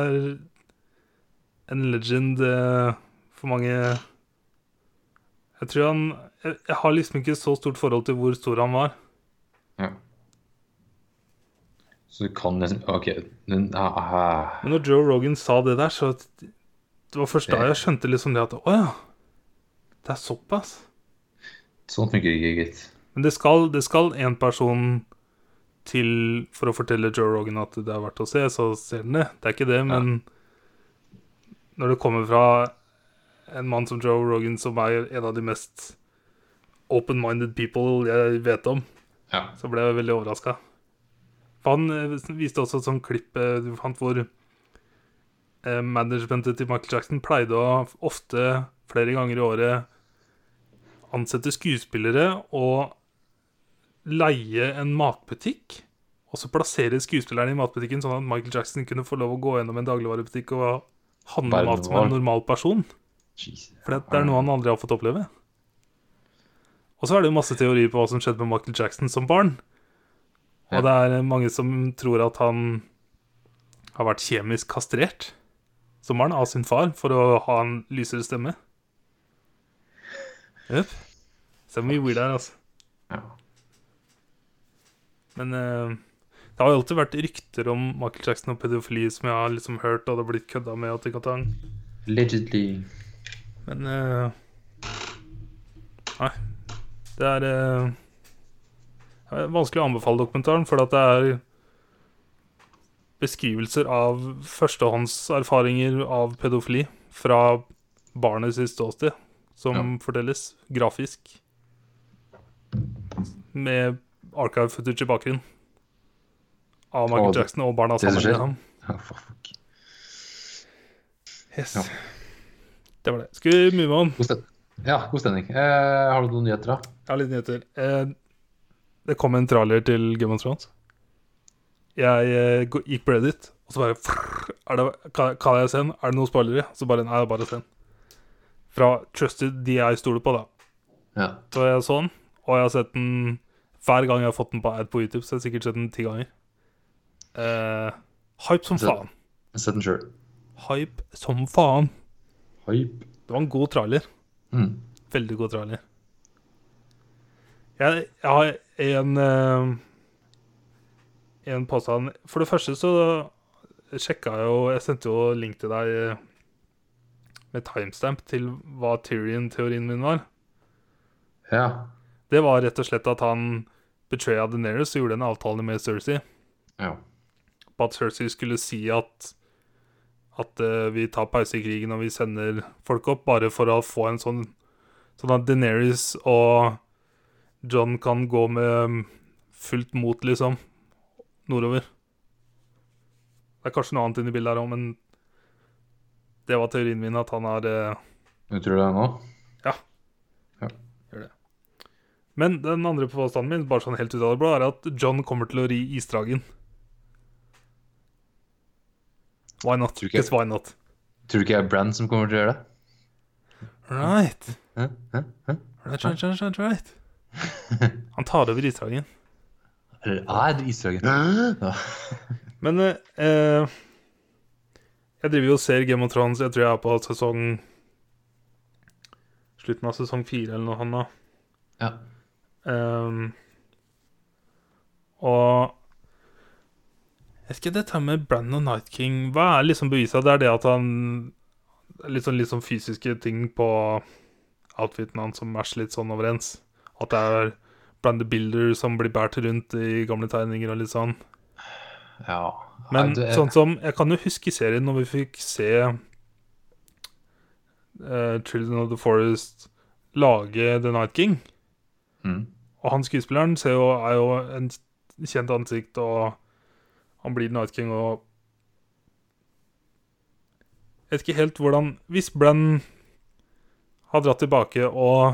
en legend eh, for mange Jeg tror han jeg, jeg har liksom ikke så stort forhold til hvor stor han var. Ja. Så du kan nesten OK. Den, ah, ah. Men når Joe Rogan sa det der, så Det var først da jeg skjønte liksom det at Å ja. Det er såpass. Sånn funker ikke, gitt. Men det skal, det skal en person til for å fortelle Joe Rogan at det er verdt å se, så ser den det. Det er ikke det, men når det kommer fra en mann som Joe Rogan, som er en av de mest open-minded people jeg vet om, Ja. så ble jeg veldig overraska. Han eh, viste også et sånt klipp eh, du fant hvor eh, managementet til Michael Jackson pleide å ofte, flere ganger i året, ansette skuespillere og leie en matbutikk. Og så plassere skuespillerne i matbutikken, sånn at Michael Jackson kunne få lov å gå gjennom en dagligvarebutikk og handle Være mat som en normal. normal person. Jesus. For det, det er noe han aldri har fått oppleve. Og så er det jo masse teorier på hva som skjedde med Michael Jackson som barn. Og det er mange som tror at han har vært kjemisk kastrert som barn av sin far for å ha en lysere stemme. Jøp. Se hvor mye weird det er, altså. Ja. Men eh, det har jo alltid vært rykter om Michael Jackson og pedofili som jeg har liksom hørt, og det har blitt kødda med. og ting og tang. Allegedly. Men eh, Nei. Det er eh, det er vanskelig å anbefale dokumentaren, for at det er beskrivelser av førstehåndserfaringer av pedofili fra barnet sitt ståsted, som Ja. fortelles grafisk. Med archive footage i bakgrunnen. Av Michael Og det- Jackson og barna det som sammen skjer. med ham. Ja, for fuck. Yes. Ja. Det var det. Skal vi move on? God stemning. Ja, god stemning. Eh, har du noen nyheter, da? Jeg har litt nyheter. Eh, det kom en trailer til Game of Thrones. Jeg eh, gå- gikk på Reddit, og så bare frrr, er det, kan, kan jeg se den? Er det noen spoilere? Så bare nei, det er bare se den. Fra Trusted, de jeg stoler på, da. Ja. Så jeg så den, og jeg har sett den hver gang jeg har fått den på ad på YouTube. Så jeg har sikkert sett den ti ganger. Eh, hype som Så- faen. Sett den sjøl. Hype som faen. Hype. Det var en god trailer. Mm. Veldig god trailer. Jeg, jeg har en eh, En påstand. For det første så sjekka jeg jo Jeg sendte jo link til deg eh, med timestamp til hva Tyrion-teorien min var. Ja. Det var rett og slett at han betraya Deneris og gjorde en avtale med Cersei Ja. på at Cersei skulle si at at eh, vi tar pause i krigen og vi sender folk opp, bare for å få en sånn Sånn at Deneris og John kan gå med mm, fullt mot, liksom, nordover. Det er kanskje noe annet inne i bildet her òg, men det var teorien min, at han har eh, Du tror det nå? Men den andre påstanden min, bare sånn helt ut av det blå, er at John kommer til å ri isdragen. Why not? Tror ikke jeg- Guess why not? Tror du ikke det er Brann som kommer til å gjøre det? Right. Hæ? Hæ? Hæ? Right, right, right, right, right. Han tar over isdragen. Eller er det isdragen? Ja. Men eh, eh, jeg driver jo og ser Game of Thrones. Jeg tror jeg er på sesong Slutten av sesong fire eller noe sånt. da. ja. Ehm, og Jeg vet ikke dette her med Brann og Night King Hva er liksom beviset? Det er det at han Litt sånn, litt sånn fysiske ting på outfiten hans som matcher litt sånn overens. At det er Brann the Builder som blir båret rundt i gamle tegninger og litt sånn. ja. Men Nei, det- sånn som Jeg kan jo huske i serien når vi fikk se eh, Children of the Forest lage The Night King. mm. Og han skuespilleren ser jo, er jo en kjent ansikt, og han blir Night King og Jeg vet ikke helt hvordan Hvis Brenn har dratt tilbake og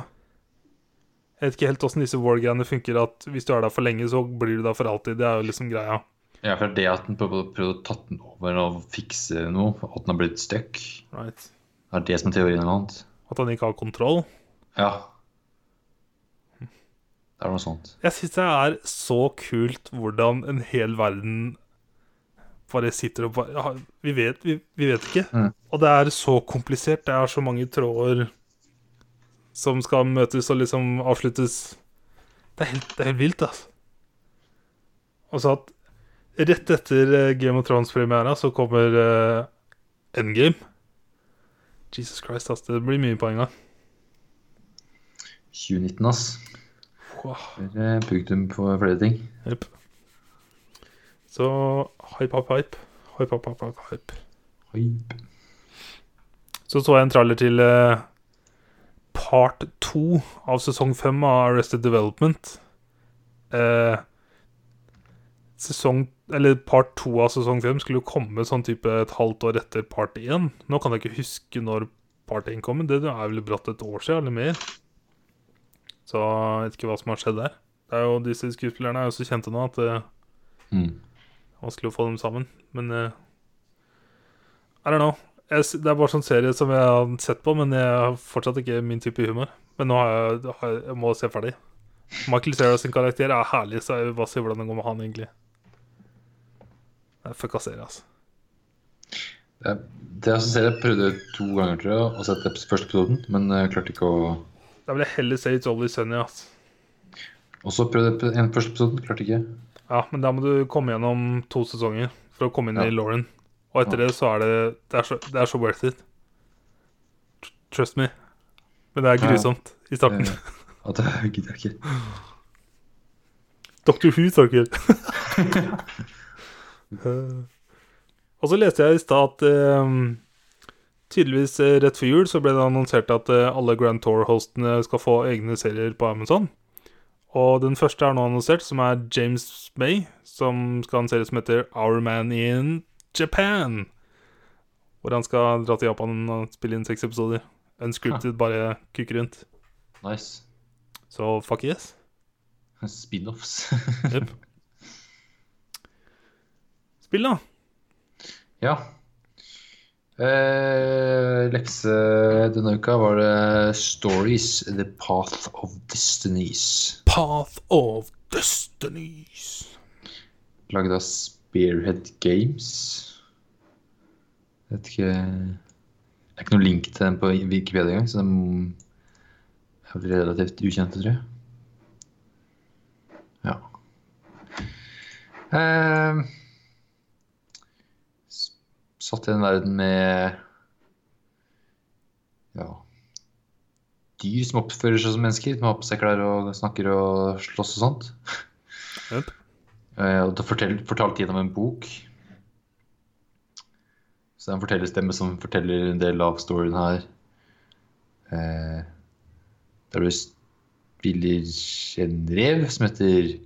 Jeg vet ikke helt åssen disse war-greiene funker, at hvis du er der for lenge, så blir du der for alltid. Det er jo liksom greia. Ja, for det at den prøvde, prøvde å tatt den over og fikse noe, at den har blitt stuck, Right. det er det som er teorien eller noe annet. At han ikke har kontroll. Ja. Det er noe sånt. Jeg syns det er så kult hvordan en hel verden bare sitter og bare ja, vi, vet, vi, vi vet ikke. Mm. Og det er så komplisert. Det er så mange tråder som skal møtes og liksom avsluttes. Det er helt, det er helt vilt, altså. Og så at rett etter eh, Game of Thrones-premiera så kommer eh, Endgame. Jesus Christ, ass. Det blir mye poeng, da. 2019, ass. Wow. Dere brukte dem på flere ting. Jepp. Så hype, hype, hype. Hype, hype, hype, hype, hype. Hype. Så så jeg en trailer til eh, part to av sesong fem av Arrested Development. Eh, sesong Eller part to av sesong fem skulle jo komme sånn type et halvt år etter part én. Nå kan jeg ikke huske når part én kom, men det er vel bratt et år siden eller mer. Så jeg vet ikke hva som har skjedd der. Det er jo, disse skuespillerne er jo så kjente nå at eh, det Mm. Vanskelig å få dem sammen, men eh, I don't know. Jeg, s- det er bare sånn serie som jeg har sett på, men jeg har fortsatt ikke min type humor. Men nå har jeg, har jeg, jeg må se ferdig. Michael Cera sin karakter er herlig, så jeg vil bare se hvordan det går med han, egentlig. Det er fucka serie, altså. Det er- det er også en serie jeg prøvde to ganger tror jeg, å sette opp første episoden, men jeg klarte ikke å Da vil jeg heller se It's Only Sunny, altså. Også prøvde jeg en første episoden, klarte ikke. Ja, men da må du komme gjennom to sesonger for å komme inn Ja. i Lauren. Og etter det så er det Det er så, det er så worth it. Tr- Trust me. Men det er Ja. grusomt i starten. Eh, At jeg gidder jeg ikke. Dr. Who, takker. Eh, og så leste jeg i stad at eh, tydeligvis eh, rett før jul så ble det annonsert at eh, alle Grand Tour-hostene skal få egne serier på Amazon. Og den første er nå annonsert, som er James May, som skal ha en serie som heter Our Man in Japan. Hvor han skal dra til Japan og spille inn seks episoder. Unscripted, bare kukke rundt. Nice. Så fuck yes. Spin-offs. Jep. Spill, da. ja. Eh, lekse denne uka var det 'Stories The Path of Destinies'. Path of Destinies. Laget av Spearhead Games. Jeg vet ikke Det er ikke noen link til den på Wikipedia engang, så den er vel relativt ukjent, tror jeg. Ja. Eh, s- satt i en verden med ja dyr som oppfører seg som mennesker. De har på seg klær og snakker og slåss og sånt. Jep. Eh, Og det fortell, fortalt gjennom en bok. Så det er en fortellerstemme som forteller en del av storyen her. Eh, der du spiller en rev som heter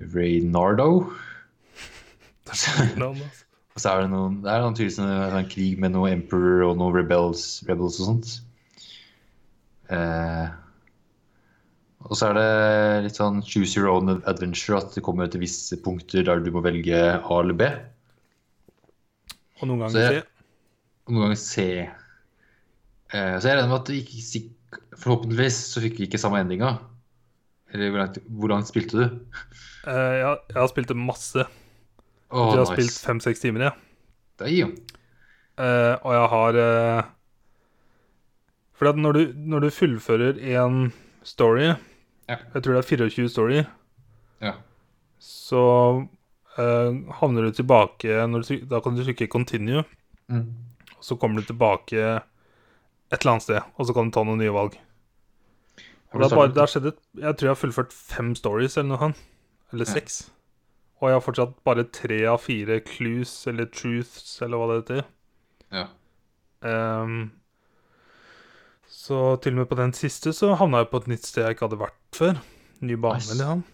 Reynardo. og Navn, altså. så er det noen Det er noen tydeligvis en, en krig med noen Emperor og noen rebels, rebels og sånt. Eh, og så er det litt sånn choose your own adventure, at det kommer til visse punkter der du må velge A eller B. Og noen Så ganger jeg- se. Og noen ganger C. Eh, så jeg regner med at vi ikke sikk- Forhåpentligvis så fikk vi ikke samme endinga. Eller hvor langt, hvor langt spilte du? Eh, jeg, har- jeg har spilt det masse. Åh, jeg nice. har spilt fem-seks timer, jeg. Det er jo. Eh, og jeg har eh, Fordi at når du, når du fullfører en story Ja. Jeg tror det er 24 storyer. Ja. Så eh, havner du tilbake når du, tryk- Da kan du trykke 'continue', Mm. og så kommer du tilbake et eller annet sted. Og så kan du ta noen nye valg. Og det, er bare, det har skjedd et, Jeg tror jeg har fullført fem stories eller noe sånt. Eller Ja. seks. Og jeg har fortsatt bare tre av fire clues, eller truths, eller hva det heter. ja. Ehm, så til og med på den siste så havna jeg på et nytt sted jeg ikke hadde vært før. Ny bane, Nice. eller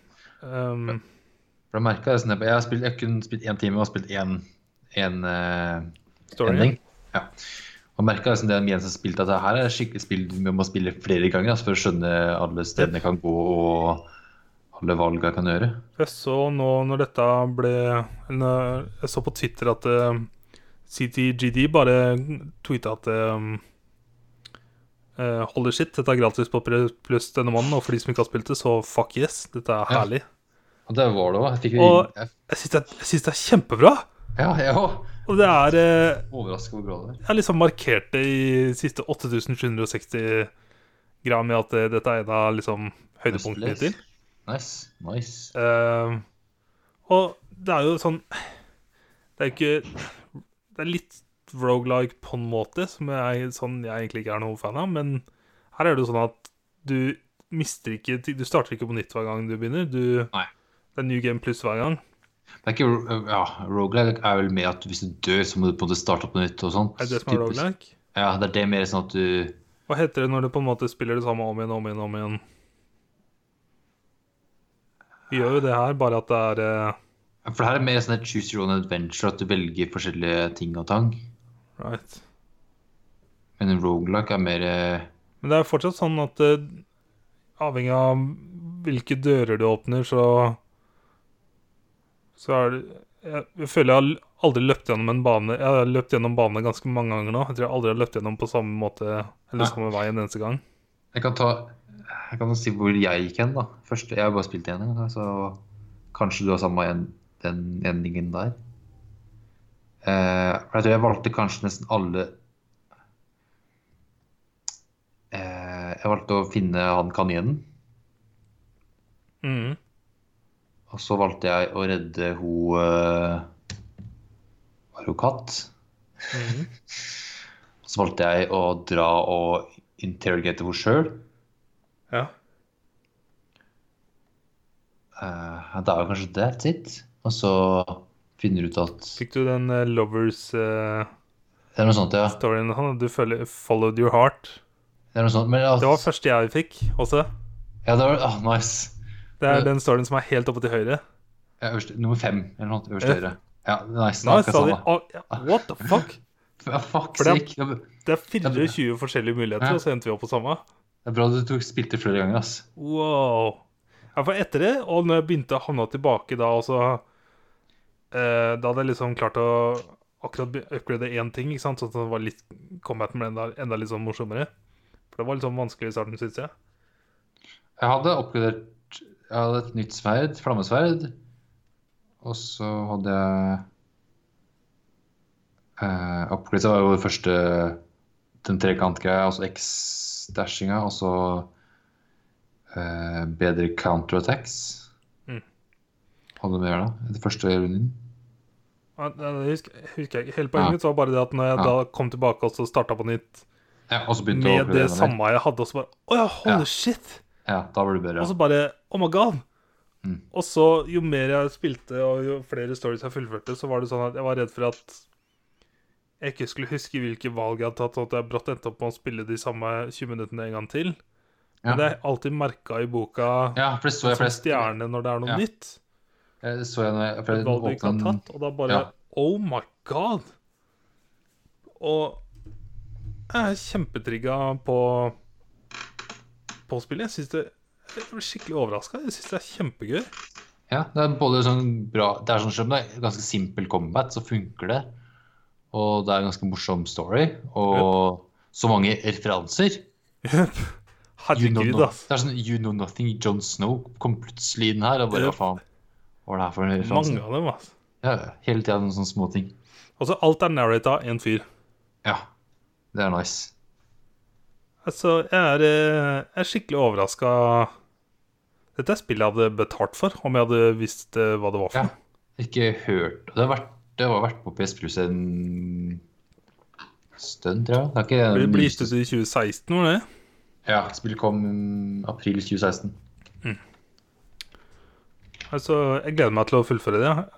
Ehm, For jeg merket det sånn at jeg har spilt, jeg har kun spilt én time og har spilt én én eh, story. ending. Ja. Og merka liksom det mens jeg spilte, at det her er skikkelig spill vi må spille flere ganger altså, for å skjønne alle stedene jeg kan gå og alle valga jeg kan gjøre. Jeg så nå når dette ble eller når Jeg så på Twitter at eh, CTGD bare tweeta at eh, eh, Holy shit, dette er gratis på Pre- pluss denne måneden, og for de som ikke har spilt det, så fuck yes. Dette er Ja. herlig. Og det var det òg. Jeg fikk Og- jeg, Jeg syns det, er- jeg synes det er kjempebra! Ja, jeg òg. Og det er eh, Overraska hvor bra det er. Jeg har liksom markert det i siste 8760 gram med at eh, dette er en av liksom høydepunktene til. Nice. Nice. Eh, og det er jo sånn Det er jo ikke Det er litt roguelike på en måte, som jeg, sånn jeg egentlig ikke er noen fan av, men her er det jo sånn at du mister ikke ting- Du starter ikke på nytt hver gang du begynner. Du, Nei. Det er New Game Plus hver gang. Det er ikke, øh, ja, Roguelike er vel med at hvis du dør, så må du på en måte starte opp på nytt og sånt. Er det det som er Typisk. roguelike? Ja, det er det mer sånn at du Hva heter det når du på en måte spiller det samme om igjen, om igjen, om igjen? Vi gjør jo det her, bare at det er eh, For det her er mer sånn et choose your own adventure, at du velger forskjellige ting og tang. Right. Men en roguelike er mer eh, Men det er fortsatt sånn at eh, avhengig av hvilke dører du åpner, så Så er det Jeg, jeg føler jeg har l- aldri løpt gjennom en bane Jeg har løpt gjennom banene ganske mange ganger nå. Jeg tror jeg aldri har løpt gjennom på samme måte eller Nei. samme vei en eneste gang. Jeg kan ta Jeg kan si hvor jeg gikk hen, da. Først, jeg har bare spilt én gang, da, så kanskje du har samme en, den endingen der. Eh, for jeg tror jeg valgte kanskje nesten alle eh, Jeg valgte å finne han kaninen. Mhm. Og så valgte jeg å redde ho eh, Var hun katt? Mhm. Og så valgte jeg å dra og interrogate henne sjøl. Ja. Eh, det er jo kanskje that's it. Og så finner du ut at Fikk du den eh, lovers eh, Det er noe sånt, ja. storyen han, du føler Followed your heart. Det er noe sånt, men at, Det var første jeg fikk også. Ja, det var ah, nice. Det er den storyen som er helt oppe til høyre. Ja, øverst, nummer fem eller noe sånt. Øverst Ja. høyre. Ja, nice. Nei, Nice, sa de, sånn, da. ah, ja, what the fuck? Ja, fuck For det- sake. Det er- Det er 24 forskjellige muligheter, Ja. og så endte vi opp på samme. det er bra du tok, spilte flere ganger, ass. Wow. Ja, for etter det, og når jeg begynte å havne tilbake da, og så eh, Da hadde jeg liksom klart å akkurat be- upgrade én ting, ikke sant? sånn at det var litt combaten ble enda, enda litt sånn morsommere. For det var litt sånn vanskelig i starten, syns jeg. Jeg hadde oppgradert Jeg hadde et nytt sverd, flammesverd. Og så hadde jeg eh, Oppgradert var jo det første den trekantgreia, altså X-dashinga, og så eh, bedre counterattacks. Mm. Hadde mer da, etter første runden. Ja, det- det husker, husker jeg ikke. Hele poenget mitt var bare det at når jeg Ja. da kom tilbake og så starta på nytt Ja, og så begynte jeg å med det oppgradere mer. samme jeg hadde, og så bare Å ja, holy Ja. shit! Ja, da var det bedre. Og så bare Oh my god! Mm. Og så, jo mer jeg spilte, og jo flere stories jeg fullførte, så var det sånn at jeg var redd for at jeg ikke skulle huske hvilke valg jeg hadde tatt, og at jeg brått endte opp med å spille de samme 20 minuttene en gang til. ja. Men det er alltid merka i boka ja, for det så jeg som flest. Jeg, stjerne når det er noe Ja. nytt. det så jeg når jeg, for Et jeg valg du ikke har åpnet en- tatt, og da bare Ja. Oh my god! Og jeg er kjempetrigga på på spillet. Jeg synes det jeg blir skikkelig overraska. Jeg syns det er kjempegøy. Ja, det er både sånn bra Det er sånn selv om det er ganske simpel combat, så funker det. Og det er en ganske morsom story. Og så mange referanser. You know Herregud, no- ass. Det er sånn You Know Nothing, John Snow kom plutselig inn her. Og bare, Yep. hva faen hva var det her for en referanse? Mange av dem, ass. Ja, ja, hele tida noen sånne småting. Altså, alt er narrata av én fyr. Ja, det er nice. Altså, jeg er, eh, jeg er skikkelig overraska. Dette er spill jeg hadde betalt for, om jeg hadde visst eh, hva det var for Ja. noe. Ikke hørt Det har vært, det har vært på PS Plus en stund, tror jeg. Det er ikke Det ble gitt ut i 2016, var det? Ja, spillet kom april 2016. Altså, jeg gleder meg til å fullføre det.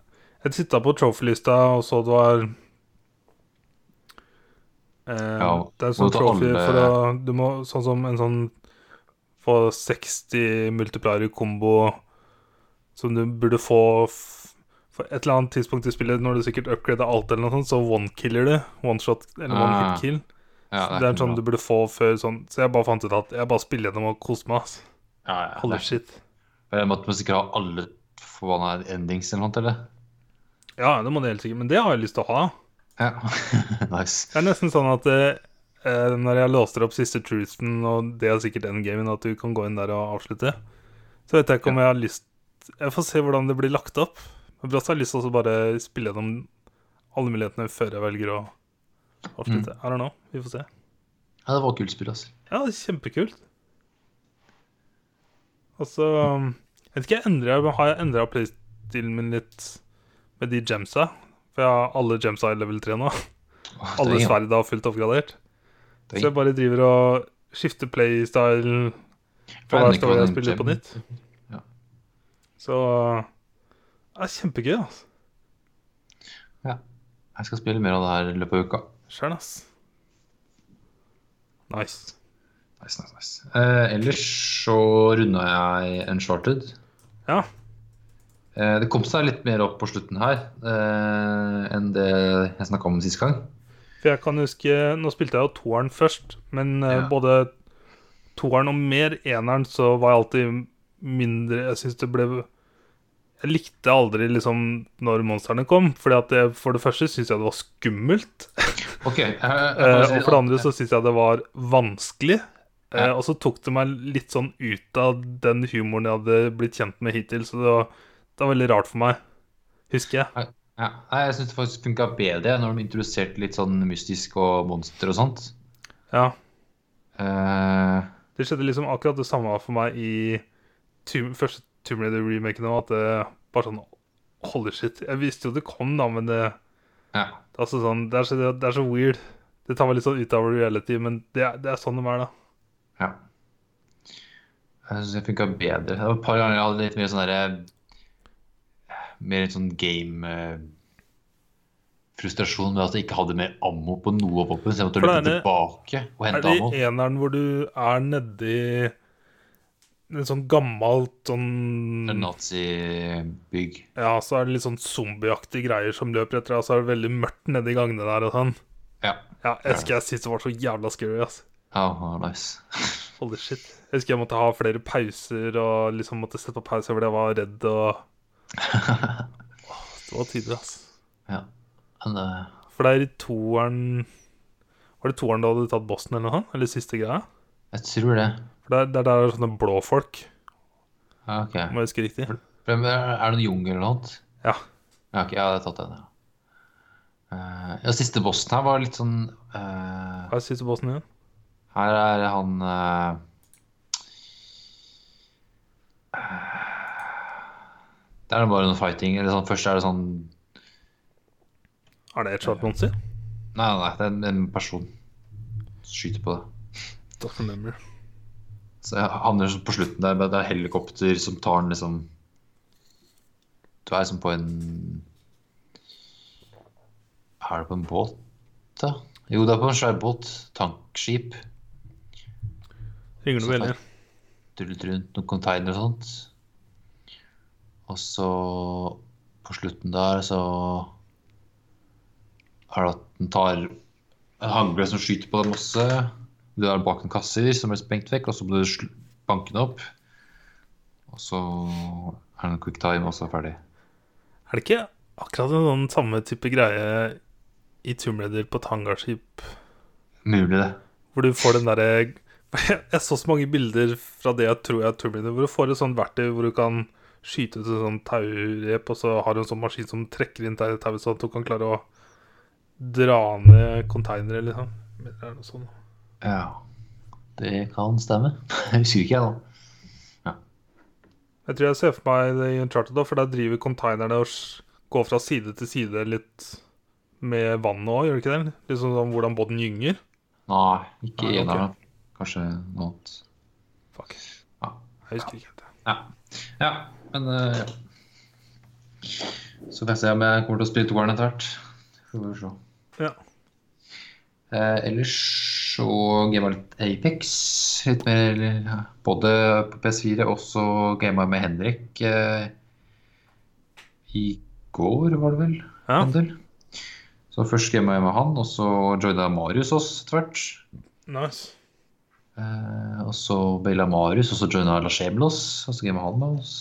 Jeg titta på trophy-lista og så det var eh, Ja, Det er må sånn du ta trophy alle- for å Du må sånn som en sånn Få 60 multiplier i kombo som du burde få f- For et eller annet tidspunkt i spillet, når du sikkert upgrader alt eller noe sånt, så one-killer du. One-shot eller Ah, one-hit-kill. Ja, det er ikke bra. sånn du burde få før sånn Så jeg bare fant ut at jeg bare spiller gjennom og koser meg. ass. ja, ja, det Holy er- shit. Eh, Måtte man sikkert ha alle forbanna endings eller noe til det? Ja, det må du helt sikkert. Men det har jeg lyst til å ha. Ja. nice. Det er nesten sånn at eh, eh, når jeg låser opp siste truthen, og det er sikkert endgamen, at du kan gå inn der og avslutte, så vet jeg ikke om jeg har lyst Jeg får se hvordan det blir lagt opp. Men brått har jeg lyst til å bare spille gjennom alle mulighetene før jeg velger å avslutte. Mm. I don't know. Vi får se. Ja, det var kult spill, altså. Ja, det er kjempekult. Og så um, Jeg vet ikke, jeg endrer, men har jeg endra playstilen min litt med de gemsa? For jeg har alle gemsa i level 3 nå. Åh, Alle det er- sverda er fullt oppgradert. det er- Så jeg bare driver og skifter playstyle For jeg for hver vet ikke hva story jeg den spiller på gem- nytt. Ja. Så det er kjempegøy, altså. Jeg skal spille mer av det her i løpet av uka. Sjæl, ass. Nice. Nice, nice, nice. Eh, ellers så runda jeg Uncharted. Ja. Eh, det kom seg litt mer opp på slutten her eh, enn det jeg snakka om sist gang. For jeg kan huske Nå spilte jeg jo toeren først, men eh, Ja. både toeren og mer eneren så var jeg alltid mindre Jeg syns det ble Jeg likte aldri liksom når monstrene kom, fordi at jeg, for det første syns jeg det var skummelt. Ok, jeg, jeg kan Eh, si og for det andre så syns jeg det var vanskelig. Eh, og så tok det meg litt sånn ut av den humoren jeg hadde blitt kjent med hittil, så det var, det var veldig rart for meg, husker jeg. ja, Nei, jeg syns det faktisk funka bedre når de introduserte litt sånn mystisk og monster og sånt. Ja. Eh, Det skjedde liksom akkurat det samme for meg i Tomb- første Tomb Raider-remaken òg, at det bare sånn Holy shit. Jeg visste jo det kom, da, men det, ja. det, er, altså sånn, det, er, så, det er så weird. Det tar meg litt sånn ut av reality, men det, er- det er sånn de er, da. ja. Jeg syns det funka bedre. Det var et par ganger jeg hadde litt mer sånn derre Mer litt sånn game eh, Frustrasjon med at jeg ikke hadde mer ammo på noe av våpenet. Så jeg måtte For det løpe er det- tilbake og Er hente det ammo. i eneren hvor du er nedi en sånn gammelt sånn Nazibygg. Ja, så er det litt sånn zombieaktige greier som løper etter deg, og så er det veldig mørkt nedi gangene der og sånn. Ja. Ja, jeg husker jeg syntes det var så jævla scary, ass. Ja, det var nice. Holy shit. Jeg husker jeg måtte ha flere pauser og liksom måtte sette på pause fordi jeg var redd og Åh, Det var tider, ass. Ja. Men eh, det For det er i toeren Var det toeren da du hadde tatt bossen eller noe sånt? Eller siste greia? Jeg tror det. For det er der det er sånne blå folk, Ja, ok. om jeg husker riktig. Men Er er det en jungel eller noe? Ja. Ja, ok, jeg hadde tatt den, ja. Eh, ja, siste bossen her var litt sånn eh, Hva er siste bossen igjen? Her er han eh, Det er bare noe fighting. Eller sånn, først er det sånn Er det et shot monster? Nei, nei, nei, det er en, en person skyter på det. Doesn't remember. Så jeg havner sånn på slutten der, men det er helikopter som tar den liksom Du er liksom på en Er det på en båt, da? Jo, det er på en svær båt. Tankskip. Ringer du veldig? Rullet rundt noen container og sånt. Og så På slutten der så er det at den tar en hagle som skyter på deg masse. Du er bak en kasser som blir sprengt vekk, og så må du sl- banke den opp. Og så er det en quick time, og så er det ferdig. Er det ikke akkurat en sånn samme type greie i Tomb Raider på Tangaskip, Mulig, det. hvor du får den derre Jeg så så mange bilder fra det jeg tror jeg er Tomb Raider, hvor du får et sånt verktøy hvor du kan skyte ut et sånt taurep, og så har du en sånn maskin som trekker inn tau- tauet, sånn at du kan klare å dra ned containere, liksom. Eller er det noe sånt? Ja. Det kan stemme. Jeg husker ikke, jeg, da. Jeg tror jeg ser for meg det i Uncharted, da, for der driver containerne og s- går fra side til side litt med vannet òg, gjør det ikke det? Litt sånn som hvordan båten gynger. Nei, ikke Nei, ok. eneren. Kanskje noe annet. Fuck. Ja. Jeg husker ikke. helt, Ja. ja men eh, ja. Så får jeg se om jeg kommer til å spille toeren etter hvert. Får vi se. Ja. Eh, ellers så gama jeg litt Apex. Litt mer, eller, ja, både på PS4 og så gama jeg med Henrik eh, i går, var det vel? Ja. en del. Så først gama jeg med han, og så joina Marius oss etter hvert. Nice. Eh, og så Bella Marius, og så Jonah Lasjeblos, og så gamet han med oss.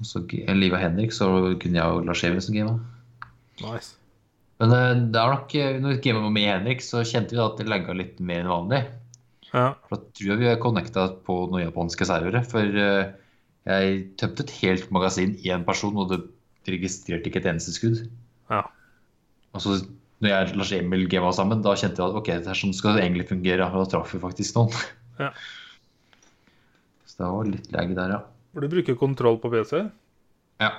Og så G- eh, Liva Henrik, så kunne jeg og Lasjeblos game. Nice. Men eh, det er nok, eh, når vi gamet med Henrik, så kjente vi da at det lagga litt mer enn vanlig. Ja. For da tror jeg vi er connecta på noen japanske servere. For eh, jeg tømte et helt magasin i en person, og det registrerte ikke et eneste skudd. Ja. Og så når jeg og Lars Emil gama sammen, da kjente jeg at ok, det er sånn skal det egentlig fungere. Og da traff vi faktisk noen. Ja. Så det var litt lag der, ja. For du bruker kontroll på PC? ja.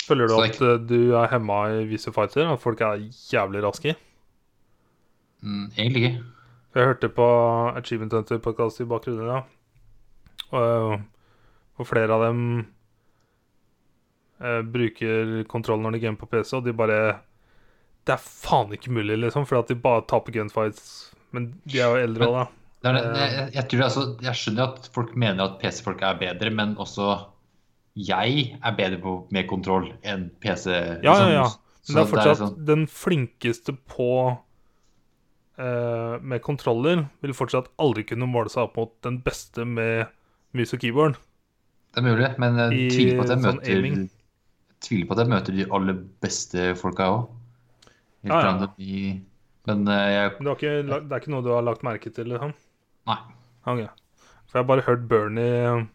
Føler du Så at eh, du er hemma i visse fighter? At folk er jævlig raske? Mm, egentlig ikke. Jeg hørte på Achievement Hunter podcast i bakgrunnen da. Og, eh, og flere av dem eh, bruker kontroll når de gamer på PC, og de bare Det er faen ikke mulig, liksom, fordi at de bare taper gunfights. Men de er jo eldre òg, da. Det er, det- Eh. jeg, jeg, tror, altså, jeg skjønner at folk mener at PC-folk er bedre, men også jeg er bedre på, med kontroll enn PC. liksom. Ja, ja, ja. Men det Så er fortsatt sånn- den flinkeste på eh, med kontroller vil fortsatt aldri kunne måle seg opp mot den beste med mus og keyboard. Det er mulig, men jeg I tviler på at jeg sånn møter aiming. jeg tviler på at jeg møter de aller beste folka òg. Helt Ja, ja. random i Men eh, jeg Men du har ikke, la- det er ikke noe du har lagt merke til, liksom? Nei. Ja, ok. For jeg har bare hørt Bernie Nei,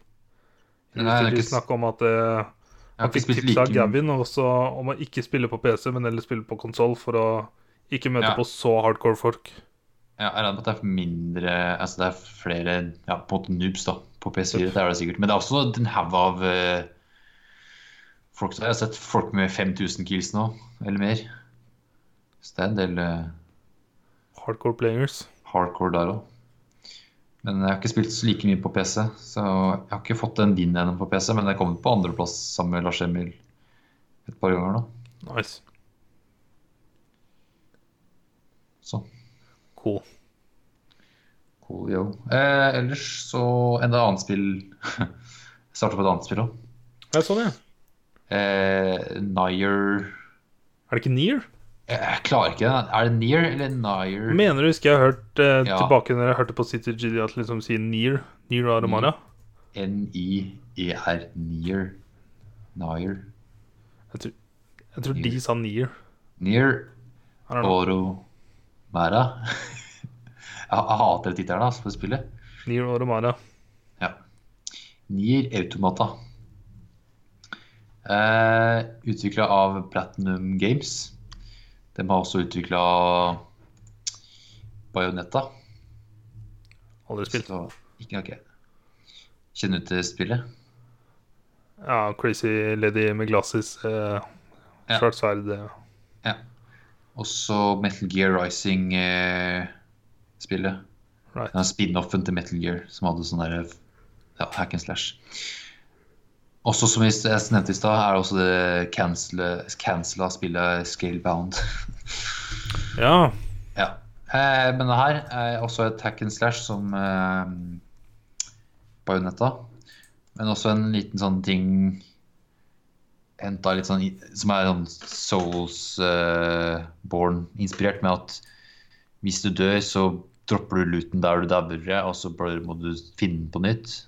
jeg har Nei, ikke s- snakke om at Jeg eh, har han ikke fikk spilt tips like av mye. Gavin også om å ikke spille på PC, men heller spille på konsoll for å ikke møte Ja. på så hardcore folk. Jeg er redd for at det er mindre Altså det er flere ja, på en måte noobs da, på PS4. Det er det sikkert. Men det er også en haug av eh, folk som Jeg har sett folk med 5000 kills nå, eller mer. Så det er en del eh, Hardcore players. hardcore der òg. Men jeg har ikke spilt så like mye på PC, så jeg har ikke fått en vinn ennå på PC. Men jeg kom på andreplass sammen med Lars Emil et par ganger nå. Nice. Så Cool. cool, yo. Eh, ellers så enda annet spill Jeg starter på et annet spill òg. Ja, sånn, ja. Eh, Nier Er det ikke Near? jeg, jeg klarer ikke den. Er det Nier eller Nier? Mener du husker jeg har hørt eh, Mm. Ja. tilbake når jeg hørte på City GD at liksom sier Near? Near Aramara? Mm. N-I-E-R. Nier. Nier. Jeg tror, jeg tror Nier. de sa Near. Nier I don't know. Oro Mæra. jeg, jeg hater tittelen altså, på spillet. Near Aramara. Ja. Nier Automata. Eh, Utvikla av Platinum Games. De har også utvikla Bajonetta. Aldri spilt. Så ikke ok. Kjenner du til spillet? Ja, Crazy Lady med glasses. Eh, Ja. Svart sverd. Eh. Også Metal Gear Rising-spillet. Right. Den spin-offen til Metal Gear som hadde sånn derre ja, hack and slash. Også som jeg s- jeg nevnte i stad, er også det cancele- cancela spillet Scalebound. Ja. ja. eh, men det her er også et hack and slash som eh, Bajonetta. Men også en liten sånn ting henta litt sånn i- Som er sånn Souls-born-inspirert, med at hvis du dør, så dropper du looten der du dauer, og så bare må du finne den på nytt.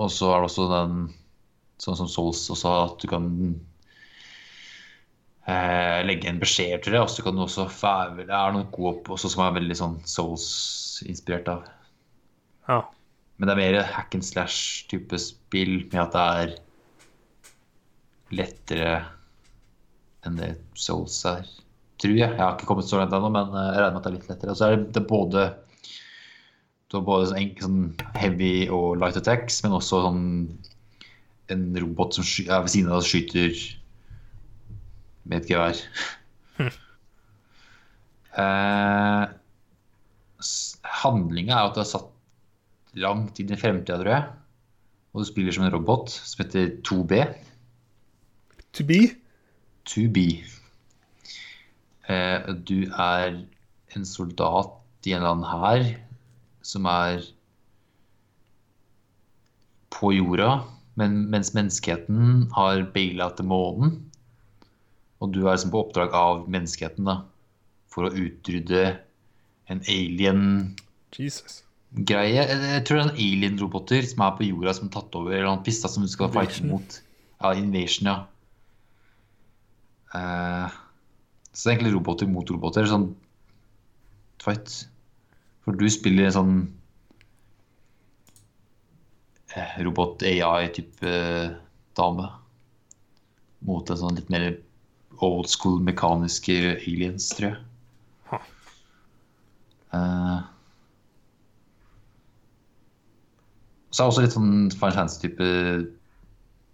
Og så er det også den sånn som Souls også, at du kan eh, legge en beskjed til det, og så kan du også fæve Det er noen gode opp også som er veldig sånn Souls-inspirert av. ja. Men det er mer hack and slash-type spill, med at det er lettere enn det Souls er, tror jeg. Jeg har ikke kommet så langt ennå, men eh, jeg regner med at det er litt lettere. Og så er det, det er både du har både sånn, enk- sånn heavy og light attacks, men også sånn en robot som sky, er ved siden av deg og skyter med et gevær. eh, Handlinga er jo at det er satt langt inn i fremtida, tror jeg. Og du spiller som en robot som heter 2B. To be? 2B. Eh, du er en soldat i en eller annen hær som er på jorda, men, mens menneskeheten har beila til månen. Og du er liksom på oppdrag av menneskeheten da, for å utrydde en alien Jesus. greie. Jeg, jeg tror det er en alien-roboter som er på jorda som er tatt over, eller noen pista som du skal fighte Invasion. mot. Ja, Invasion, ja. Eh, så det er egentlig roboter mot roboter, sånn fight. For du spiller en sånn eh, robot-AI-type eh, dame mot en sånn litt mer old school mekaniske aliens, tror jeg. Ha. Eh, Så er det også litt sånn Final Fantasy-type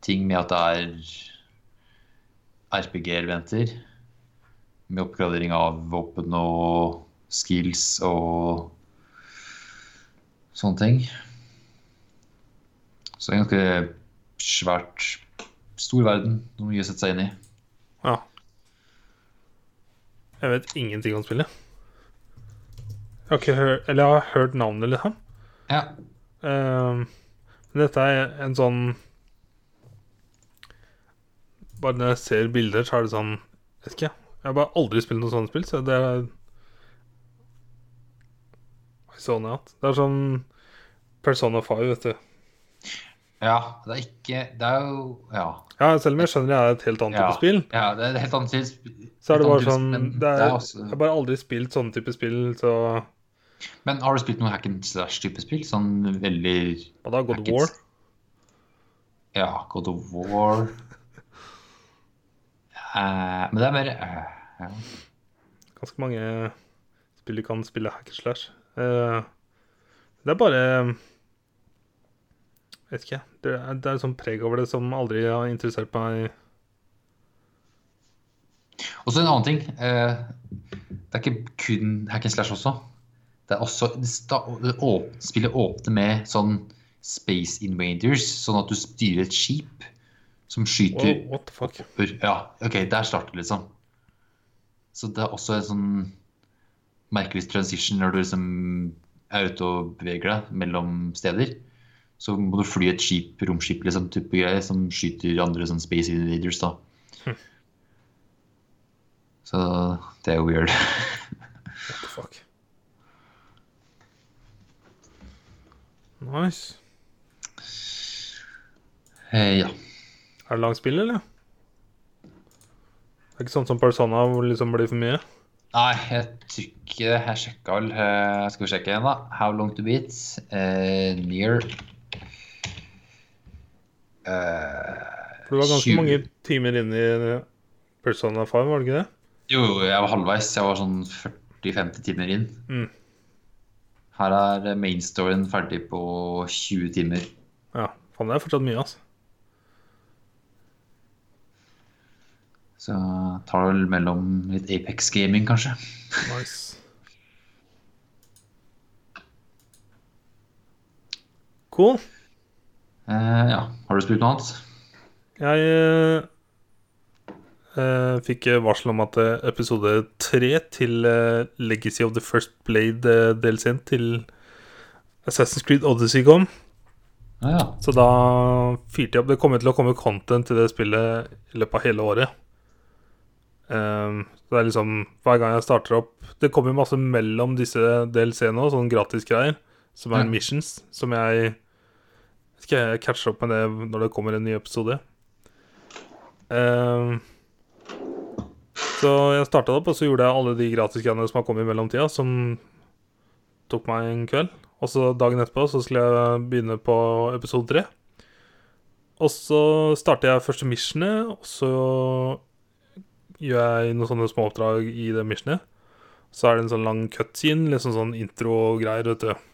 ting med at det er RPG-elementer. Med oppgradering av våpen og skills og sånne ting. Så det er en ganske svært stor verden som mye å sette seg inn i. Ja. Jeg vet ingenting om spillet. Jeg har ikke hørt Eller jeg har hørt navnet, liksom. Ja. Ehm, Men dette er en sånn Bare når jeg ser bilder, så er det sånn Jeg vet ikke. Jeg har bare aldri spilt noe sånt spill, så det er I saw not. Det er sånn Persona 5, vet du. ja. Det er ikke Det er jo Ja. Ja, selv om jeg skjønner det er et helt annet Ja. type spill, ja det er et helt annet tids- så er helt det bare annet tids- sånn men det er, også- Jeg har bare aldri spilt sånne type spill, så Men har du spilt noen hack and slash-type spill? Sånn veldig Og da God hack of and- War. Ja, God of War. Eh, men det er mer eh, ja. Ganske mange spillere kan spille hack and slash. Eh, det er bare Vet ikke. Det er, det er sånn preg over det som aldri har interessert meg. Og så en annen ting. eh, det er ikke kun hack and slash også. Det er også det sta- det åp- Spillet åpner med sånn Space Invaders, sånn at du styrer et skip som skyter Wow, what the fuck? Hvor- Ja, ok, der starter det liksom. Så det er også en sånn merkelig transition når du liksom er ute og beveger deg mellom steder. Så må du fly et skip, romskip liksom, type greier, som skyter andre sånn space invaders da. Så det er jo weird. What the fuck? Nice. Eh, ja. Er det langt spill, eller? Det er ikke sånn som Persona hvor det liksom blir for mye? Nei, jeg tror ikke det. Jeg sjekka vel. Eh, skal vi sjekke igjen, da? How long to beat? Eh, near eh, For det var ganske 20. mange timer inn i Persona 5, var det ikke det? Jo, jo, jeg var halvveis. Jeg var sånn 40-50 timer inn. Mm. Her er main storyen ferdig på 20 timer. Ja. Faen, det er fortsatt mye, altså. Så tar det vel mellom litt Apex gaming, kanskje. Nice. Cool. Eh, ja. Har du spilt noe annet? Jeg eh, eh, fikk varsel om at eh, episode tre til eh, Legacy of the First Blade-delscenen til Assassin's Creed Odyssey kom. Ja, ja. Så da fyrte jeg opp. Det kommer til å komme content til det spillet i løpet av hele året. Ehm, så det er liksom hver gang jeg starter opp Det kommer masse mellom disse DLC-ene òg, sånn gratisgreier, som er Ja. missions, som jeg skal jeg catche opp med det når det kommer en ny episode. Ehm, så jeg starta opp, og så gjorde jeg alle de gratisgreiene som har kommet i mellomtida, som tok meg en kveld. Og så dagen etterpå så skulle jeg begynne på episode tre. Og så starter jeg første missionet, og så gjør jeg noen sånne små oppdrag i det missionet. Så er det en sånn lang cutscene, liksom sånn intro-greier, vet du.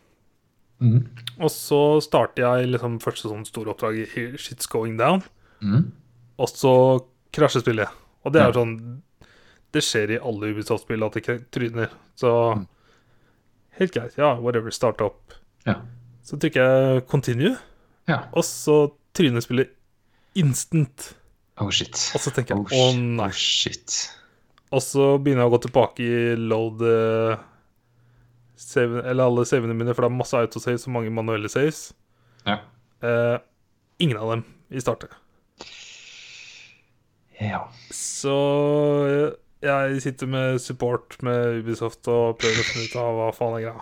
Mm. Og så starter jeg liksom første sånn store oppdrag i Here Shit's Going Down, Mm. og så krasjer spillet. Og det Ja. er sånn Det skjer i alle Ubisoft-spill at det kre- tryner. Så helt greit. Ja, whatever. Start opp. Ja. Så trykker jeg continue. ja. Og så tryner spillet instant. Oh shit. Og så tenker Oh, jeg å shit. nei. Oh, shit. Og så begynner jeg å gå tilbake i load eh, save, Eller alle savene mine, for det er masse autosaves og mange manuelle saves. Ja. Eh, ingen av dem i startet. ja. Så eh, jeg sitter med support med Ubisoft og prøver å finne ut av hva faen er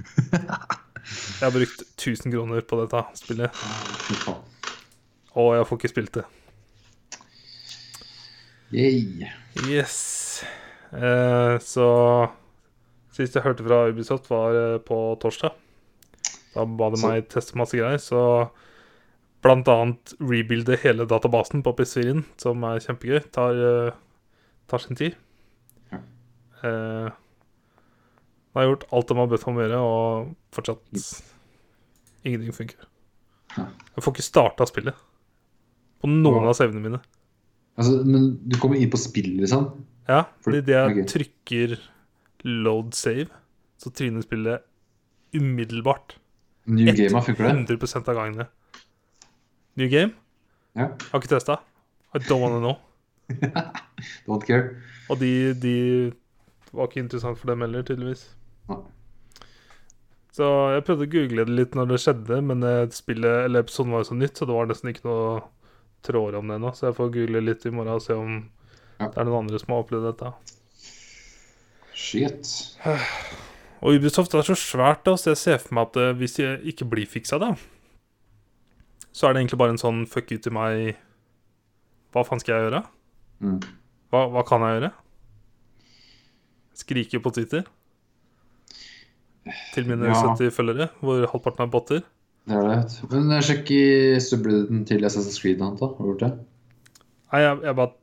greia. Jeg har brukt 1000 kroner på dette spillet, Fy faen. og jeg får ikke spilt det. Yay. Yes. Eh, så sist jeg hørte fra Ubisoft, var eh, på torsdag. Da ba de Så- meg teste masse greier, så blant annet rebuilde hele databasen på PS4-en, som er kjempegøy. Tar, eh, tar sin tid. Ja. Eh, de har gjort alt de har bedt meg om å gjøre, og fortsatt ingenting funker. Ja. Jeg får ikke starta spillet på noen Hva? av savene mine. Altså, men du kommer inn på spill, liksom? Ja, For- fordi det jeg ok. trykker load save, så tryner spillet umiddelbart. New Ett. Game, funker det? 100 av gangene. New game? Ja. Har ikke testa. I don't wanna know. Don't care. Og de, de var ikke interessant for dem heller, tydeligvis. Nei. Så jeg prøvde å google det litt når det skjedde, men eh, spillet, eller episoden var jo så nytt, så det var nesten ikke noe tråder om det ennå. Så jeg får google litt i morgen og se om Ja. det er noen andre som har opplevd dette. Shit. Og Ubisoft er så svært, da, så jeg ser for meg at eh, hvis jeg ikke blir fiksa, da, så er det egentlig bare en sånn fuck you til meg Hva faen skal jeg gjøre? Mm. Hva, hva kan jeg gjøre? Skrike på Twitter til mine Ja. 70 følgere, hvor halvparten er botter. Det er det. vet du. Men jeg sjekker subredditen til Assassin's Creed. Han, da. Har du gjort det? Nei, jeg, jeg bare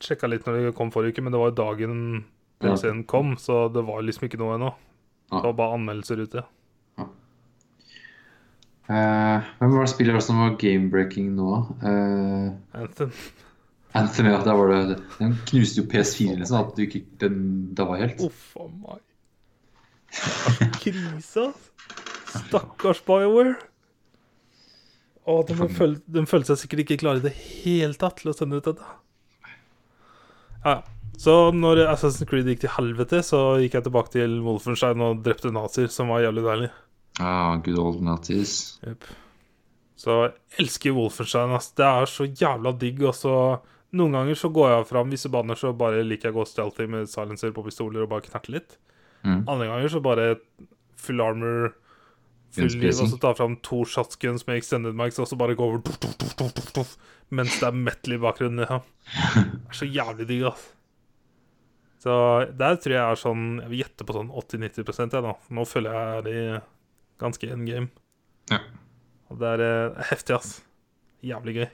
sjekka litt når det kom forrige uke, men det var jo dagen Ja. DLC-en kom, så det var liksom ikke noe ennå. Ja. Det var bare anmeldelser ute. Eh, hvem var det spillet var som var game-breaking nå? Uh, Anthem. Anthem, ja. Der var det, den knuste jo PS4, liksom. At du ikke den da var helt. Uff a meg. Det er Krise, ass. Stakkars BioWare. Å, de, må føl de følte seg sikkert ikke klare i det hele tatt til å sende ut dette. Ja, ja. Så når Assassin's Creed gikk til helvete, så gikk jeg tilbake til Wolfenstein og drepte nazier, som var jævlig deilig. Ah, good old Nazis. Jep. Så jeg elsker Wolfenstein, ass. Det er så jævla digg. Og så noen ganger så går jeg fram visse baner, så bare liker jeg å gå stealthy med silencer på pistoler og bare knerte litt. Mm. Andre ganger så bare full armor, full liv, Gunsplacing. og så tar fram to shotguns med extended mics, og så bare går over tuff, tuff, tuff, tuff, tuff, tuff, mens det er metal i bakgrunnen. Ja. Det er så jævlig digg, ass. Så der tror jeg er sånn Jeg vil gjette på sånn 80-90 jeg, da. Nå føler jeg jeg er i ganske end game. Ja. Og det er eh, heftig, ass. Jævlig gøy.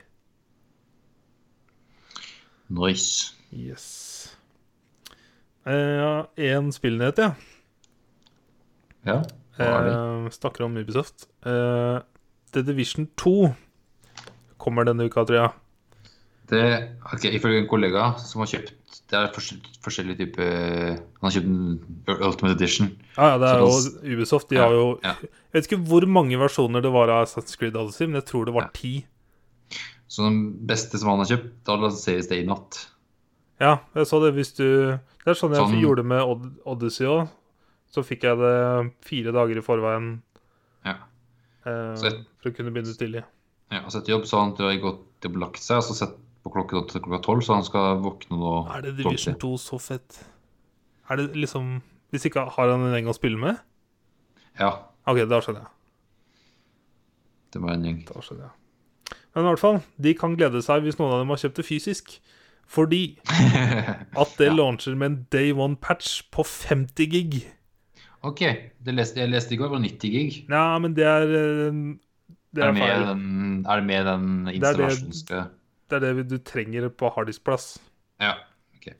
Nice. Yes. Én Eh, spillnyhet, ja. Ja. hva er det? Eh, snakker om Ubisoft. Eh, The Division 2 kommer denne uka, tror jeg. Det, ok, Ifølge en kollega som har kjøpt Det er forskjell, forskjellige typer Han har kjøpt en Ultimate Edition. Ja, ja, det er Så jo Ubisoft. De har jo Ja. Jeg vet ikke hvor mange versjoner det var av Assassin's Creed Odyssey, men jeg tror det var Ja. ti. Så den beste som han har kjøpt, da lanseres det i natt. Ja, jeg så det hvis du Det er sånn jeg Sånn- gjorde med Od- Odyssey òg. Så fikk jeg det fire dager i forveien Ja. eh, Så et- for å kunne begynne tidlig. Ja, og så etter jobb så har han tror jeg gått og lagt seg, og så sett på klokken til klokka tolv, så han skal våkne nå. Er det Division 2 så fett? Er det liksom Hvis ikke har han en gjeng å spille med? Ja, OK, da skjønner jeg. det var en gjeng. Da skjønner jeg. Men i hvert fall, de kan glede seg hvis noen av dem har kjøpt det fysisk. Fordi at det launcher med en day one patch på 50 gig. ok, det leste, jeg leste i går, det var 90 gig. Nei, men det er eh, Det Er er det med feil. den, er det med den Det er det- installasjonske Det er det du trenger på harddisk-plass. Ja. ok.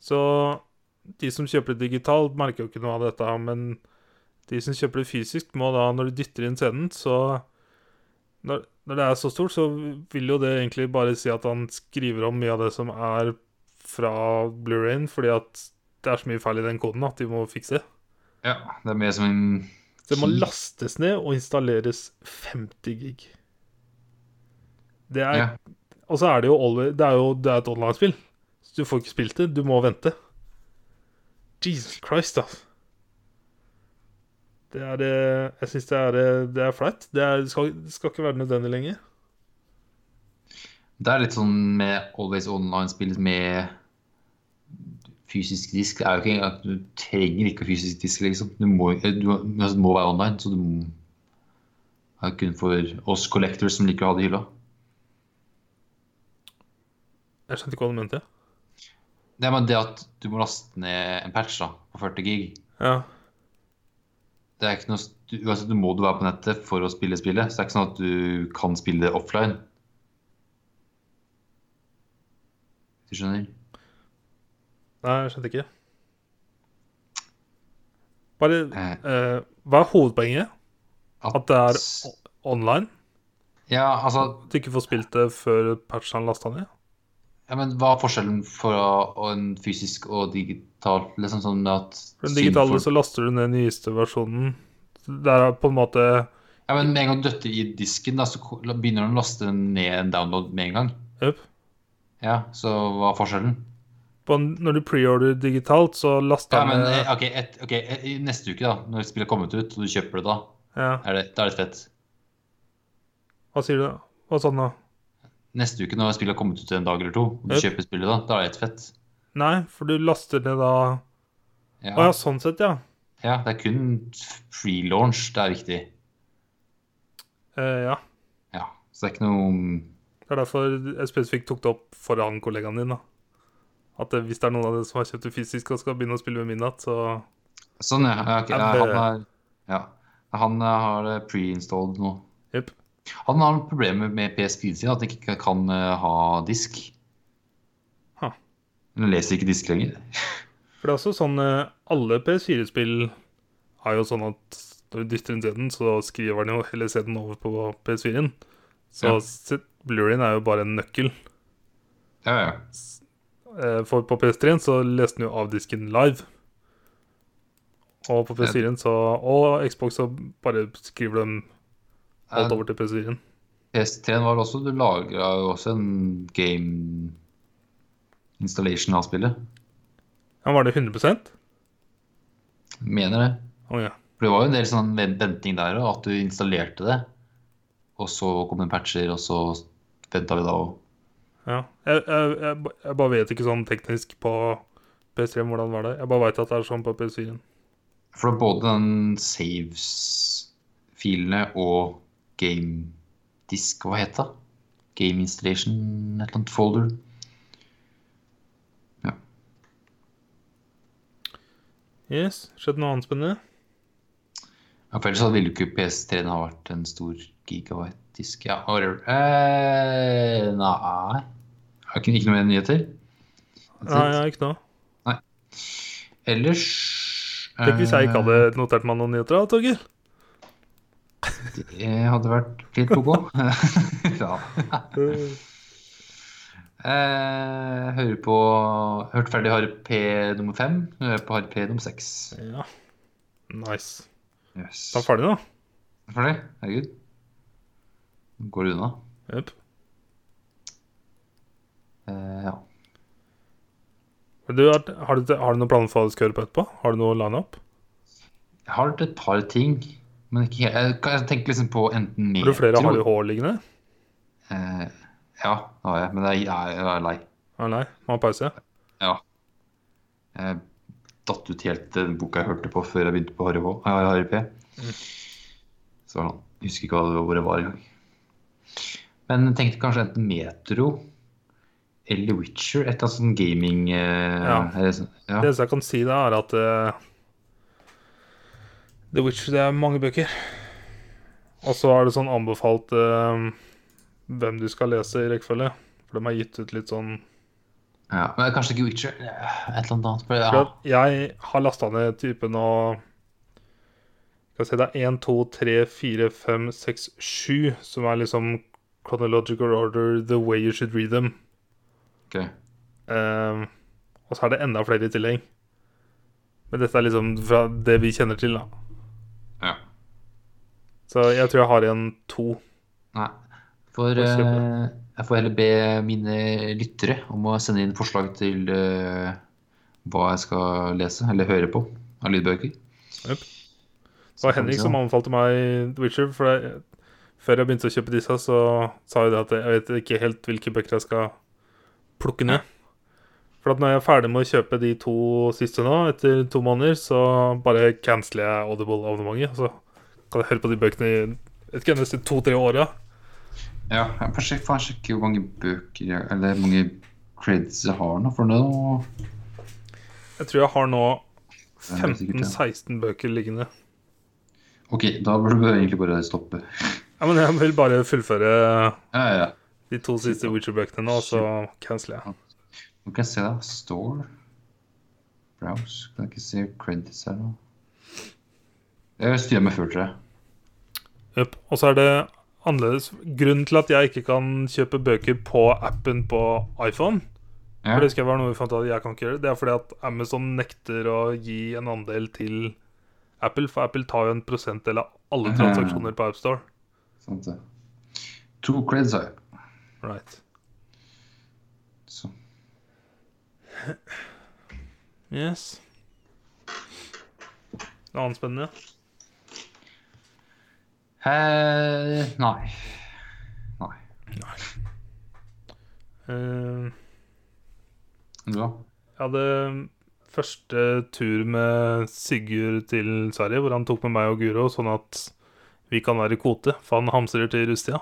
Så de som kjøper det digitalt, merker jo ikke noe av dette. Men de som kjøper det fysisk, må da, når du dytter inn CD-en, så når, når det er så stort, så vil jo det egentlig bare si at han skriver om mye av det som er fra Blu-rayen, fordi at det er så mye feil i den koden at de må fikse. Ja, det er mer som en Så det må Shit. lastes ned og installeres 50 gig. Det er, Ja. Og så er det jo, always, det er jo det er et online-spill. Så du får ikke spilt det. Du må vente. Jesus Christ, altså. Det er eh, Jeg syns det er, eh, det er flaut. Det, er- det skal, det skal ikke være nødvendig lenger. Det er litt sånn med Always Online-spill med fysisk disk er jo ikke at Du trenger ikke fysisk disk, liksom. Du må, du, altså, det må være online, så du må er kun for oss collectors som liker å ha det i hylla. Jeg skjønte ikke hva du mente. Det er bare det at du må laste ned en patch da, på 40 gig. Ja. Det er ikke noe, st- du- altså, du må du være på nettet for å spille spillet, så det er ikke sånn at du kan spille det offline. Hvis du skjønner? Nei, jeg skjønte ikke. Bare Eh. eh, Hva er hovedpoenget? At- At det er o- online? Ja, altså At du ikke får spilt det før patchen lasta ned? Ja, men Hva er forskjellen fra å- en fysisk og digital? liksom sånn med at... For den synd digitale for- så laster du ned den nyeste versjonen. Der er på en måte Ja, men Med en gang du døtter i disken, da, så ko- la- begynner den å laste ned en download med en gang. Jep. Ja, Så hva er forskjellen? på en, Når du preorder digitalt, så laster Ja, den men ned- eh, ok, et, ok, eh, i Neste uke, da, når spillet har kommet ut, og du kjøper det da, ja. er det, da er det fett. Hva sier du? da? Hva sa den da? Neste uke, når spillet har kommet ut en dag eller to, og du Jep. kjøper spillet da, da er det helt fett. Nei, for du laster ned da Å Ja, ja, sånn sett, ja. ja Det er kun pre-launch det er viktig. Eh, ja. Ja, Så det er ikke noe Det er derfor jeg spesifikt tok det opp foran kollegaen din. da. At eh, hvis det er noen av dere som har kjøpt det fysisk og skal begynne å spille ved midnatt, så Sånn, ja. ja, ok. Ja, ja det- han, er, ja. han eh, har det pre-installed nå. Jepp. Han har problemer med PS4-en sin, at han ikke kan eh, ha disk. Ha. Han leser ikke disk lenger. For det er også sånn eh, Alle PS4-spill er jo sånn at når du dytter inn CD-en, så skriver den jo hele CD-en over på PS4-en. Så Ja. ja. Blurin er jo bare en nøkkel. Ja, ja. Eh, For på PS3-en så leste den jo av disken live. Og på PS4-en så Og Xbox så bare skriver de alt Eh, over til PS4-en. PS3-en var det også Du lagra jo også en game installation av spillet. Ja, var det 100 Mener det. Å ja. For det var jo en del sånn ven- venting der òg, at du installerte det. Og så kom det patcher, og så venta vi da òg. ja. Jeg, jeg, jeg, ba- jeg bare vet ikke sånn teknisk på PS3 hvordan var det. Jeg bare veit at det er sånn på PS4-en. For det er både den saves-filene og game disk, hva heter det? Game installation, et eller annet folder. Yes. Skjedd noe annet spennende? Ja, for ellers så ville jo ikke PS3-en ha vært en stor gigabyte-disk. Ja, whatever. Eh, nei. Har ikke, ikke noe mer nyheter? Nei, jeg har ikke noe. Ellers Tenk hvis jeg ikke eh, hadde notert meg noen nyheter, da, Torgeir. eh, Det hadde vært helt ok. ja. Eh, hører på Hørt ferdig Harry P nummer fem. Hører på Harry P nummer seks. Ja. Nice. Yes. Da er ferdig, da. for det. Herregud. Nå Går det unna? Jep. Eh, ja. Du, har, har, du, har du noen planer for hva du skal høre på etterpå? Har du noe lineup? Jeg har hørt et par ting, men ikke helt Jeg, kan- jeg tenker liksom på enten Har du flere metro- har du hår liggende? Eh, ja, det har jeg, men jeg er, jeg er lei. Ah, nei, må ha pause. Ja. Jeg datt ut helt den boka jeg hørte på før jeg begynte på Harry, Vå- eh, Harry P. Så var det sånn. Jeg husker ikke hva det, hvor jeg var engang. Men jeg tenkte kanskje enten Metro eller Witcher. Et eller annet sånn gaming eh, Ja. eller sånn- ja. Det eneste jeg kan si, da, er at eh, The Witcher, det er mange bøker. Og så er det sånn anbefalt eh, hvem du skal lese i rekkefølge. For de har gitt ut litt sånn ja. Men kanskje ikke Witcher. eh, Et eller annet annet. for det- For Ja. at Jeg har lasta ned typen og Skal vi se, det er 1, 2, 3, 4, 5, 6, 7 som er liksom chronological order, the way you should read them. ok. Eh, og så er det enda flere i tillegg. Men dette er liksom fra det vi kjenner til, da. ja. Så jeg tror jeg har igjen to. Nei. For Bare se på eh, jeg får heller be mine lyttere om å sende inn forslag til eh, hva jeg skal lese eller høre på av lydbøker. Jep. Det Så var får vi Henrik se. som anbefalte meg The Witcher. For jeg, før jeg begynte å kjøpe disse, så sa jeg det at jeg vet ikke helt hvilke bøker jeg skal plukke ned. For at når jeg er ferdig med å kjøpe de to siste nå, etter to måneder, så bare canceler jeg Audible-abonnementet. Så kan jeg høre på de bøkene i vet ikke, neste to-tre åra. Ja, jeg får sjek- får sjekke hvor mange bøker jeg, Eller hvor mange credits jeg har nå. For nå Jeg tror jeg har nå Ja, det er sikkert det. 15-16 bøker liggende. OK, da burde vi egentlig bare stoppe. Ja, men jeg vil bare fullføre Ja, ja, ja. de to siste Witcher-bøkene nå, og så canceler jeg. Nå kan jeg se da. Store. Browse. Kan jeg ikke se credits her nå. Jeg styrer med før, tror jeg. Jøp. Og så er det annerledes. Grunnen til at jeg ikke kan kjøpe bøker på appen på iPhone, Ja. For det husker jeg var noe vi fant ut at jeg kan ikke gjøre. Det er fordi at Amazon nekter å gi en andel til Apple, for Apple tar jo en prosentdel av alle Mhm. transaksjoner på AppStore. Sant det. To credits har jeg. Right. Så. Yes. Noe annet spennende? Eh, nei. Nei. Eh, Du da? jeg hadde um, første tur med Sigurd til Sverige, hvor han tok med meg og Guro, sånn at vi kan være i kvote, for han hamstrer til Rustia.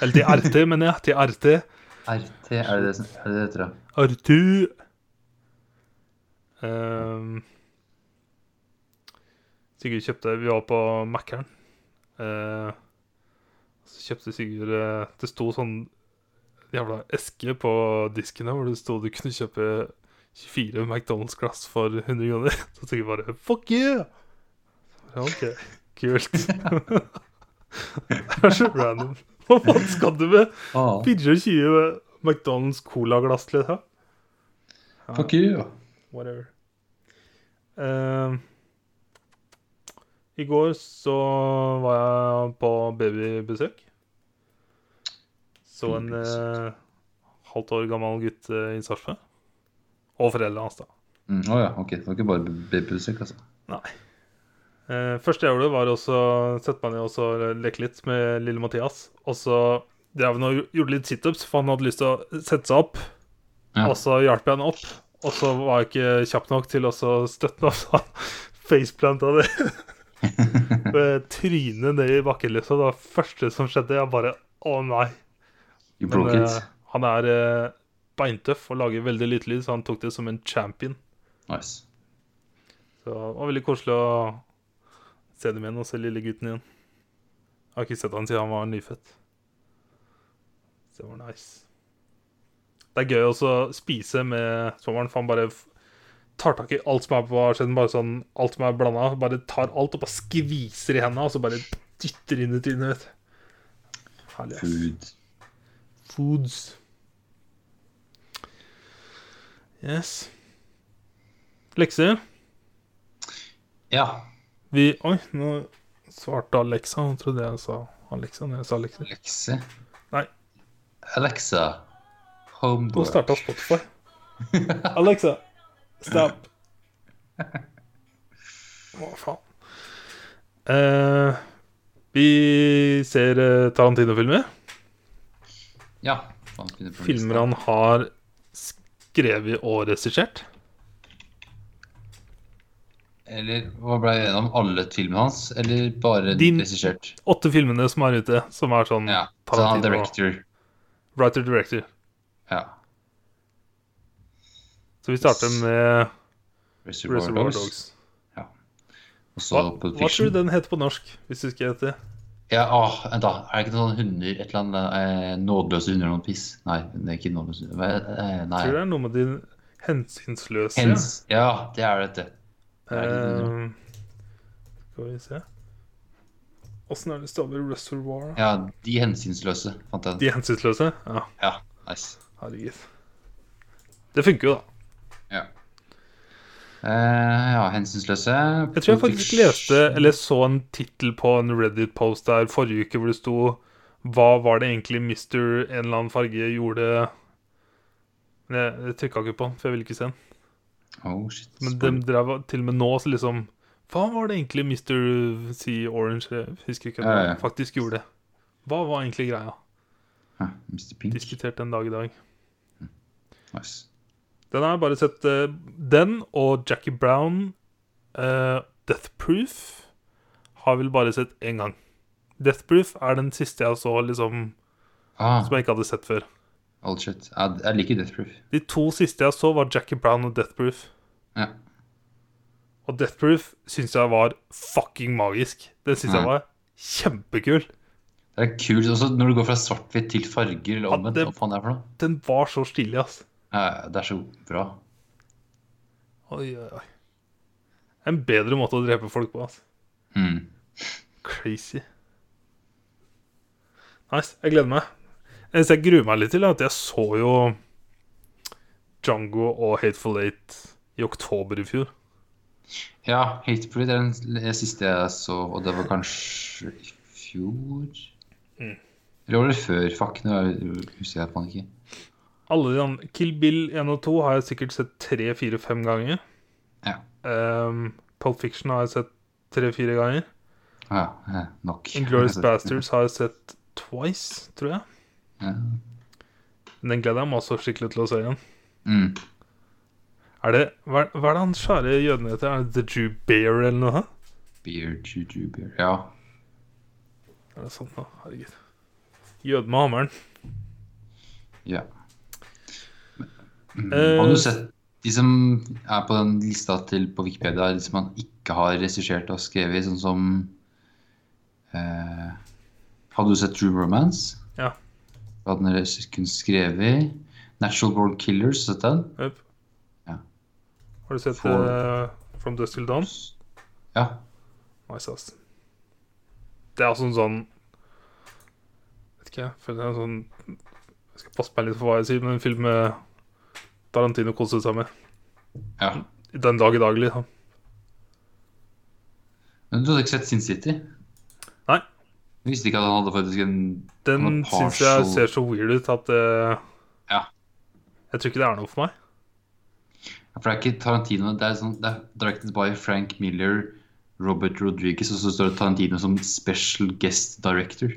Eller til RT, mener jeg. Til RT. RT, er det det som er det det heter? da? Arthur Ehm, Sigurd kjøpte Vi var på Mækkern. Eh, så kjøpte Sigurd eh, Det sto sånn jævla eske på disken der hvor det sto du kunne kjøpe 24 McDonald's-glass for 100 kroner. Så Sigurd bare Fuck yeah! Ja, OK. Kult. det er så random. Hva faen skal du med? 24 McDonald's colaglass til det. Ah. Fuck you! Whatever. Eh, I går så var jeg på babybesøk. Så en eh, halvt år gammel gutt eh, i Sarpsborg. Og foreldrene hans, da. Å mm, å ja, ok. Det var ikke bare babymusikk, altså. Eh, første jeg gjorde, var også sette meg ned og så leke litt med lille Mathias. Og så drev han og gjorde litt situps, for han hadde lyst til å sette seg opp. Ja. Og så hjalp jeg han opp, og så var jeg ikke kjapp nok til å så støtte ham. Så han faceplanta det med trynet ned i bakken, liksom. Det var det første som skjedde. Jeg bare Å, nei. You Men broke eh, it. han er eh, beintøff og lager veldig lite lyd, så han tok det som en champion. Nice. Så det var veldig koselig å se dem igjen og se lille gutten igjen. Jeg har ikke sett han siden han var nyfødt. Så det var nice. Det er gøy også å spise med svogeren, for han bare f- tar tak i alt som er på skjeden, bare sånn alt som er blanda. Bare tar alt og bare skviser i hendene, og så bare dytter inn i trynet, vet du. Herlig. ass. Food. Foods. Yes. Lekser. Ja. Vi Oi, nå svarte Alexa. Hun trodde jeg sa Alexa når jeg sa Alexa. Lekse. Nei. Alexa. Hun Homework. starta Spotify. Alexa, stop. Hva faen? Eh, vi ser eh, Tarantino-filmer. Ja. faen, skulle jeg på Filmer lista. han har skrevet og regissert. Eller hva ble jeg gjennom? Alle filmene hans? Eller bare Din- regissert? Åtte filmene som er ute, som er sånn Ja. Så han er director. Writer-director. Ja. Så vi starter med Reservoir, Reservoir Dogs. Dogs. Og så Hva, Pulp hva Fiction. tror du den heter på norsk? Hvis du husker jeg det? Ja, åh, vent da. Er det ikke noen sånn hunder, et eller annet eh, nådeløse hunder og noen piss? Nei, det er ikke nådeløse hunder. Hva- Eh, nei. Tror det er noe med de hensynsløse. Hens, ja, det er dette. det er litt Eh, skal vi se Åssen er det staver reservoir? Ja, de hensynsløse, fant jeg. De hensynsløse? Ja, Ja, nice. herregud. Det funker jo, da. Ja. Eh, ja, hensynsløse. Jeg tror jeg faktisk Pulp leste Fiction. eller så en tittel på en Reddit-post der forrige uke hvor det sto Hva var det egentlig Mr. en eller annen farge gjorde Men jeg, jeg trykka ikke på den, for jeg ville ikke se den. Oh, shit. Men de drev til og med nå så liksom Hva var det egentlig Mr. C. Orange Jeg husker ikke hva Ja, ja. faktisk gjorde. Hva var egentlig greia? Hæ, Mr. Pink. Diskutert den dag i dag. Nice. Den har jeg bare sett eh, Den og Jackie Brown, eh, Death Proof, har jeg vel bare sett én gang. Death Proof er den siste jeg så liksom, Ah, som jeg ikke hadde sett før. all shit. Jeg, jeg liker Death Proof. De to siste jeg så, var Jackie Brown og Death Proof. Ja. Og Death Proof syns jeg var fucking magisk. Den syns jeg Mm. var kjempekul. Det er kult også når du går fra svart-hvitt til farger eller Ja, omvendt. det- Hva faen det er for noe? Den var så stilig, ass. Ja, ja, det er så bra. Oi, oi, oi. En bedre måte å drepe folk på, ass. Mm. Crazy. Nice. Jeg gleder meg. Det jeg gruer meg litt til, er at jeg så jo Django og Hateful Eight i oktober i fjor. Ja, Hatebreed er den l- siste jeg så, og det var kanskje i fjor? Mm. Eller var det før? Fuck, nå husker jeg faen ikke. Alle de andre Kill Bill 1 og 2 har jeg sikkert sett tre, fire, fem ganger. Ja. Um, Pulp Fiction har jeg sett tre-fire ganger. Ja, ja, nok. Inglorious Bastards har jeg sett twice, tror jeg. Ja. Men den gleder jeg meg også skikkelig til å se igjen. Mm. Er det, hva, er- hva er det han svære jøden heter? Er det The Jew Bear eller noe? Beer, juju, beer. Ja. Er det sånn, da? Herregud. Jøden med hammeren. ja. Mm. Eh, Har du sett de som er på den lista til på Wikipedia, de som han ikke har regissert og skrevet, sånn som eh, Hadde du sett True Romance? Ja. Hva hadde den kun skrevet? Natural Born Killers, sett den? Jep. Ja. Har du sett For- eh, From Dusk Till Dawn? Ja. Nice, ass. Det er altså en sånn Vet ikke, jeg føler det er en sånn Jeg skal passe meg litt for hva jeg sier, men en film eh, Tarantino koste seg med. ja. Den dag i dag, liksom. Men du hadde ikke sett Sin City? Nei. Du visste ikke at han hadde faktisk en Den Han er syns jeg partial. ser så weird ut at eh, Ja. Jeg tror ikke det er noe for meg. For det er ikke Tarantino, det er, sånn, det er directed by Frank Miller, Robert Rodriguez, og så står det Tarantino som special guest director.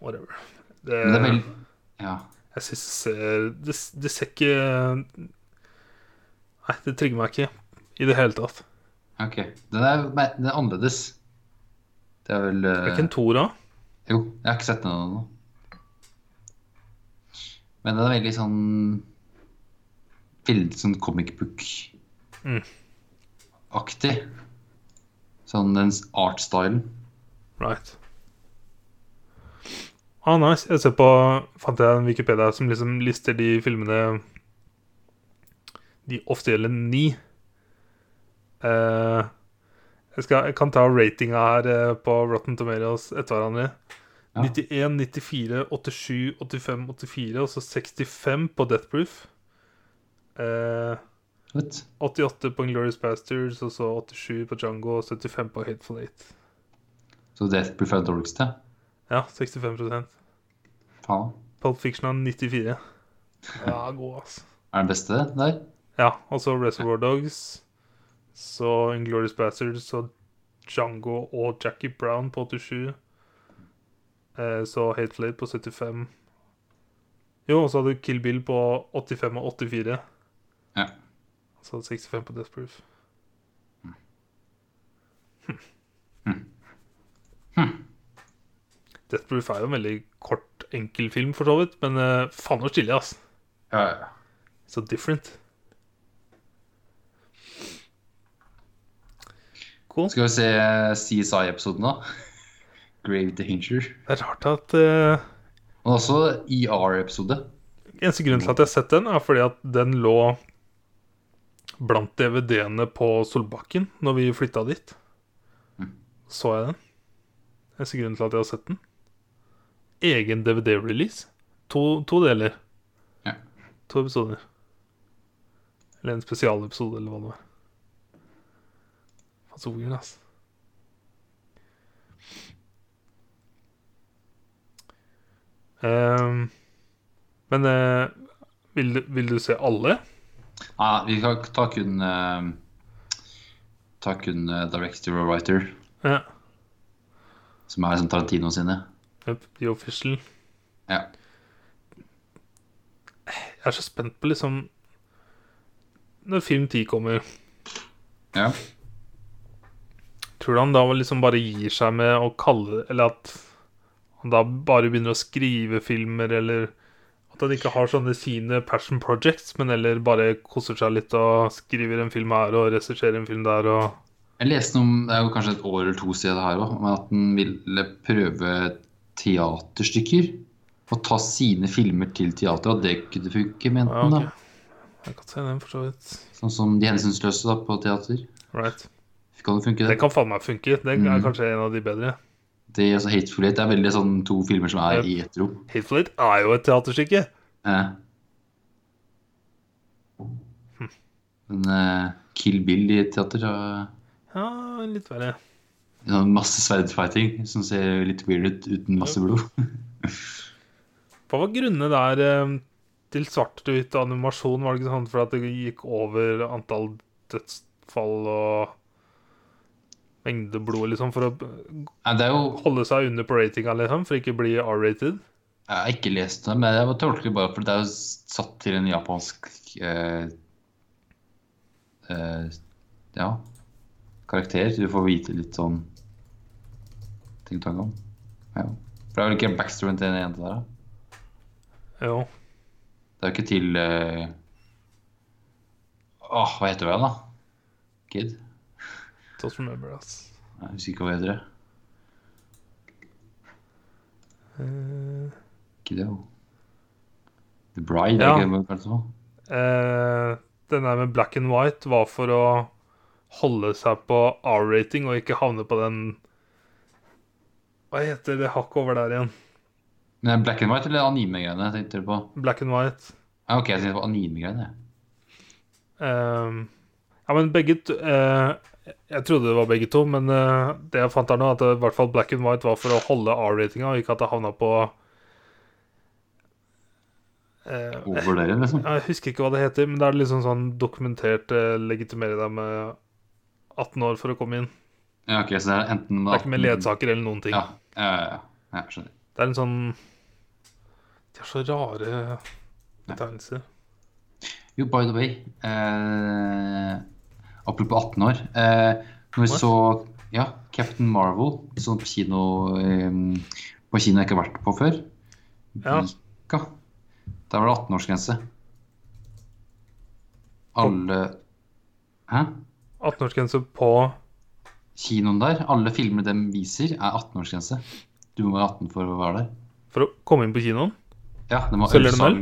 Whatever. Det, Men det er veldig Eh. Ja. Jeg syns det ser det, det ser ikke Nei, det trigger meg ikke i det hele tatt. Ok. Den er, mer- den er annerledes. Det er vel Er eh, ikke en toer, da? Jo, jeg har ikke sett den ennå. Men den er veldig sånn Veldig sånn comic book-aktig. Mm. Sånn den art-stylen. Right. Ah, nice. Jeg ser på Fant jeg en Wikipedia som liksom lister de filmene De offisielle ni. Eh, jeg, skal, jeg kan ta ratinga her eh, på Rotten Tomatoes etter hverandre. Ja. 91, 94, 87, 85, 84 og så 65 på Death Proof. Eh, Vet. 88 på Glorious Bastards og så 87 på Django og 75 på Hateful Eight. Så Death Proof er det dårligste. Ja, 65 Faen. Pulp Fiction er 94. Ja, god, altså. Er den beste der? Ja, og så Reservoir Dogs, så Inglourious Bastards, så Django og Jackie Brown på 87. Eh, så Hateful Eight på 75. Jo, og så hadde du Kill Bill på 85 og 84. Ja. Og så 65 på Death Proof. Death Proof er jo en veldig kort, enkel film, for så vidt, men eh, faen så stilig, ass. Ja, ja. So different. Cool. Skal vi se eh, CSI-episoden, da? Grave Danger. Det er rart at eh, Men også E ER-episode. Eneste grunnen til at jeg har sett den, er fordi at den lå blant DVD-ene på Solbakken når vi flytta dit. Mm. Så jeg den. Eneste grunnen til at jeg har sett den. Egen DVD-release. To, to deler. Ja. To episoder. Eller en spesialepisode, eller hva det var. Faen så weird, ass. Ehm, men eh, vil, du- vil du se alle? Nei, Ah, vi kan ta kun eh, Ta kun eh, director og writer, Ja. som er som Tarantino sine. Yep, The Official. Ja. Jeg er så spent på liksom Når film 10 kommer, Ja. tror du han da liksom bare gir seg med å kalle Eller at han da bare begynner å skrive filmer, eller at han ikke har sånne sine passion projects, men heller bare koser seg litt og skriver en film her og regisserer en film der og Jeg leste noe om det er jo kanskje et år eller to siden det her òg, men at han ville prøve teaterstykker. Og ta sine filmer til teater, og det kunne funke, mente Ja, han. Ah, ok. da. Jeg kan se den, for så vidt. Sånn som De hensynsløse da, på teater. Right. Kan det funke, Det det? kan faen meg funke. Det er Mhm. kanskje en av de bedre. Det er også Hateful Eight. Det er veldig sånn to filmer som er Yep. i ett rom. Hateful Eight er jo et teaterstykke. Eh. Men eh, Kill Bill i et teater har Ja, litt verre. sånn masse sverdfighting som ser litt weird ut uten masse blod. Hva var grunnene der eh, til svart-hvitt animasjon? Var det ikke sånn for at det gikk over antall dødsfall og mengde blod, liksom, for å Nei, det er jo holde seg under på ratinga, liksom, for ikke bli R-rated? Jeg har ikke lest det, men jeg tolker det bare for det er jo satt til en japansk eh, eh, ja karakter. Du får vite litt sånn ting og tang om. Ja. For det er vel ikke backstoryen til den jenta der? da? Jo. Det er jo ikke til eh, Åh, hva heter hun igjen, da? Kid? Don't remember, ass. Jeg husker ikke hva hun heter. jeg. Eh, Kid, ja. The Bride, Ja. er ikke det hva det kalles nå? eh, den der med black and white var for å holde seg på R-rating og ikke havne på den Hva heter det hakket over der igjen? Men er det Black and White eller anime-greiene? tenkte du på? Black and white. Ja, ok, jeg tenkte på anime-greiene. jeg. Ehm, ja, men begge to eh, Jeg trodde det var begge to, men eh, det jeg fant her nå, at det, i hvert fall black and white var for å holde R-ratinga, og ikke at det havna på eh, Over dere, liksom. Jeg husker ikke hva det heter, men det er liksom sånn dokumentert eh, legitimere deg med 18 år for å komme inn. Ja, ok, så det er enten Det er ikke med ledsaker eller noen ting. Ja, ja, ja, ja. ja, jeg skjønner. Det er en sånn De har så rare betegnelser. Jo, by the way eh, Apropos 18 år. Eh, når vi What? så ja, Captain Marvel sånn på kino eh, På kino jeg ikke har vært på før. Ja. Vika. Der var det 18-årsgrense. Alle Hæ? 18-årsgrense på Kinoen der, alle filmer de viser, er 18-årsgrense. Du må være 18 for å være der. For å komme inn på kinoen? Ja, det må Selger de øl?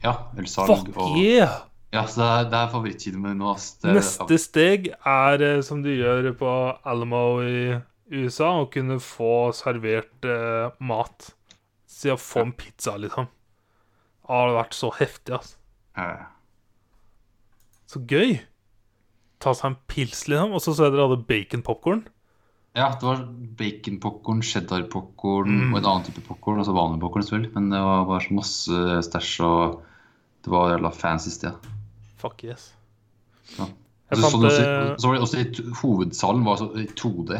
Ja, ølsalg Fuck yeah! Ja, så det er, det er favorittkinoen min nå. ass. Det- Neste steg er eh, som du gjør på Alamo i USA, å kunne få servert eh, mat. Si å få en pizza, liksom. Det har vært så heftig, altså. Ja, ja. Så gøy! Ta seg en pils, liksom. Og så så jeg dere hadde baconpopkorn. Ja, det var baconpopkorn, cheddarpopkorn Mm. og en annen type popkorn. Altså vanlig popkorn, selvfølgelig. Men det var bare så masse stæsj, og det var jævla fancy sted. Fuck yes. Ja. Jeg Så, fant sånn også, eh, så var det også i t- hovedsalen var så, i 2D.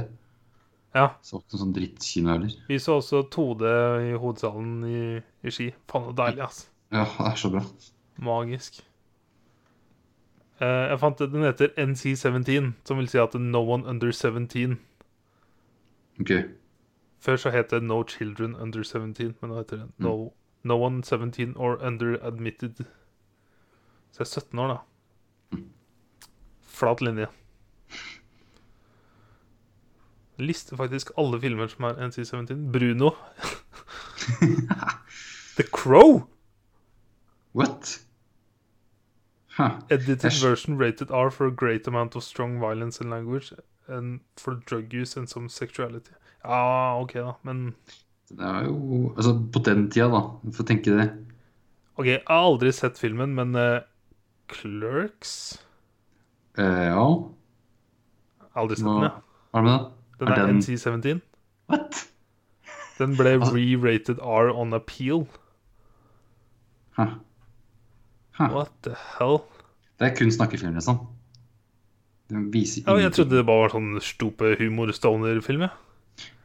Ja. Så det var ikke sånn drittkino heller. Vi så også 2D i hovedsalen i, i Ski. Faen, så deilig, ass. Ja, det er så bra. Magisk. Eh, jeg fant den heter NC17, som vil si at No One Under 17. Ok. Før så het det No Children Under 17, men nå heter det No, no One 17 or Under Admitted. Så jeg er 17 år, da. Flat linje. Lister faktisk alle filmer som er NC17. Bruno. The Crow! What? Huh. Edited Æsj. version rated R for a great amount of strong violence and language and for drug use and some sexuality. Ja, OK, da, men Det er jo Altså, på den tida, da. Du får tenke det. Ok, jeg har aldri sett filmen, men eh, Clerks Eh, ja. Aldri sett Hva den, ja. hva er det med den? Den er er den- NC-17. What? Den ble Altså- re-rated R on appeal. Huh. Huh. What the hell? Det er kun snakkefilm, liksom. Den viser Ja, jeg ingenting. trodde det bare var sånn stupe humor-stoner-film, jeg.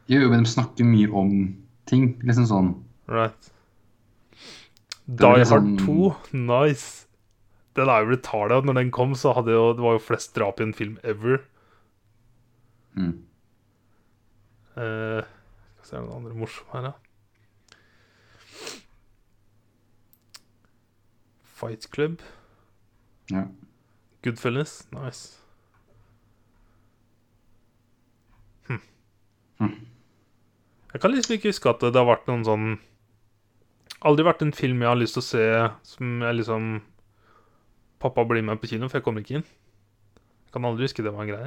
Jo, jo, men de snakker mye om ting. Liksom sånn Right. var Die Hard liksom- 2, nice. Den er jo retarda. Når den kom, så hadde jo, det var jo flest drap i en film ever. Mm. Eh, skal vi se om det er noen andre morsomme her, da. Fight Club. Ja. Goodfellas. Nice. Hm. Hm. Jeg kan liksom ikke huske at det har vært noen sånn Aldri vært en film jeg har lyst til å se som jeg liksom Pappa blir med på kino, for jeg kommer ikke inn. Jeg kan aldri huske det var en greie.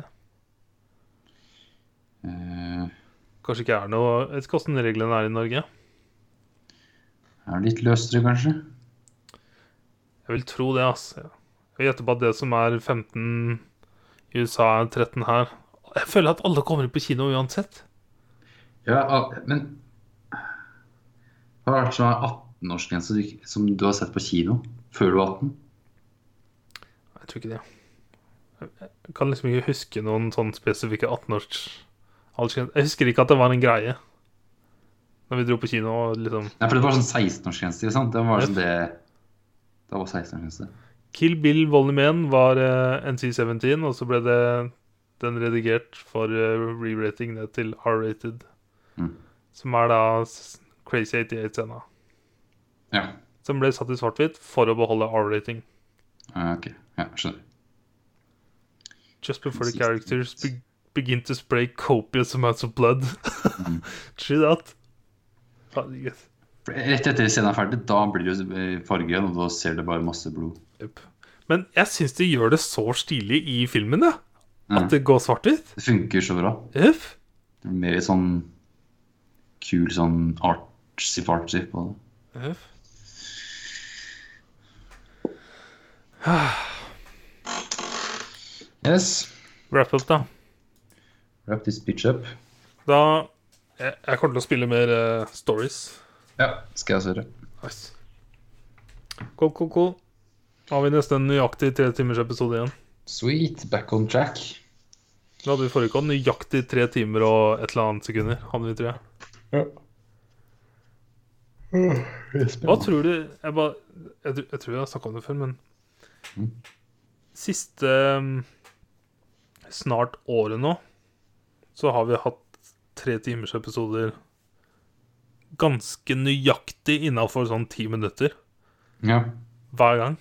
Eh, Kanskje ikke er noe Jeg vet ikke åssen reglene er i Norge. er det litt løsere, kanskje? Jeg vil tro det, ass. Ja. Jeg gjetter på at det som er 15 i USA, er 13 her. Jeg føler at alle kommer på kino uansett. Ja, al- men Hva har vært sånn 18-årsgrense du, ikke- som du har sett på kino før du var 18? Jeg tror ikke det. Jeg kan liksom ikke huske noen sånn spesifikke 18-års aldersgrense. Jeg husker ikke at det var en greie. Når vi dro på kino og liksom Nei, for det var sånn 16-årsgrense, ikke sant? Det var sånn det Det var 16-årsgrense. Kill Bill Volley Man var eh, NC-17, og så ble det den redigert for eh, re-rating ned til R-rated. Mm. Som er da s- Crazy 88-scena. Ja. Som ble satt i svart-hvitt for å beholde R-rating. ja, Ah, ok. Ja, skjønner. Just before the Siste characters bit. be begin to spray copious amounts of blood. True that. Herregud. For Rett etter scenen er ferdig, da blir det jo eh, fargegrønn, og da ser du bare masse blod. Jep. Men jeg syns de gjør det så stilig i filmen, da. Ja. At det går svart-hvitt. Det funker så bra. Jep. Det blir mer sånn kul sånn artsy-fartsy på det. Jep. Yes. Wrap up, da. Wrap this bitch up. Da Jeg, jeg kommer til å spille mer eh, stories. Ja, skal jeg også gjøre. Nice. Cool, cool, cool. Da har vi nesten nøyaktig tre timers episode igjen. Sweet. Back on track. Det hadde vi forrige gang. Nøyaktig tre timer og et eller annet sekunder. Hadde vi, tror jeg. Ja. Hva tror du Jeg, bare, jeg, tr- jeg tror jeg har snakka om det før, men Siste um, snart året nå, så har vi hatt tre timers episoder ganske nøyaktig innafor sånn ti minutter Ja. hver gang.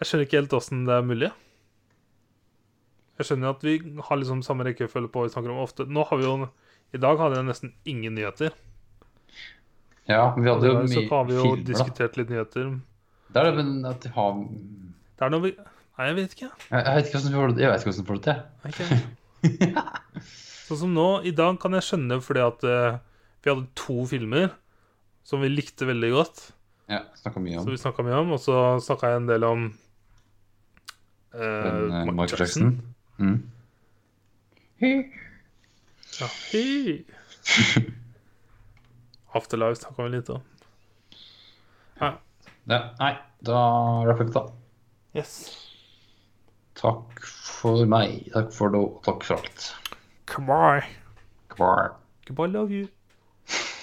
Jeg skjønner ikke helt åssen det er mulig. Jeg skjønner at vi har liksom samme rekkefølge på hva vi snakker om ofte. Nå har vi jo I dag hadde jeg nesten ingen nyheter. ja, men vi I hadde jo dag så mye har vi jo filmer, da. diskutert litt nyheter. Det er det, men at de har Det er noe vi Nei, jeg vet ikke. Jeg, jeg vet ikke hvordan vi får det- jeg vet ikke hvordan vi får det til. Ok. sånn som nå, i dag kan jeg skjønne fordi at eh, vi hadde to filmer som vi likte veldig godt, Ja, snakka mye som om vi snakka mye om, og så snakka jeg en del om eh, den, eh, Michael Jackson. Mm. Ja, hei. Afterlife snakka vi litt om. Ja, nei, da rapper vi da. Yes. Takk for meg. Takk for det, og takk for alt. Goodbye. Kvar. Goodbye, love you.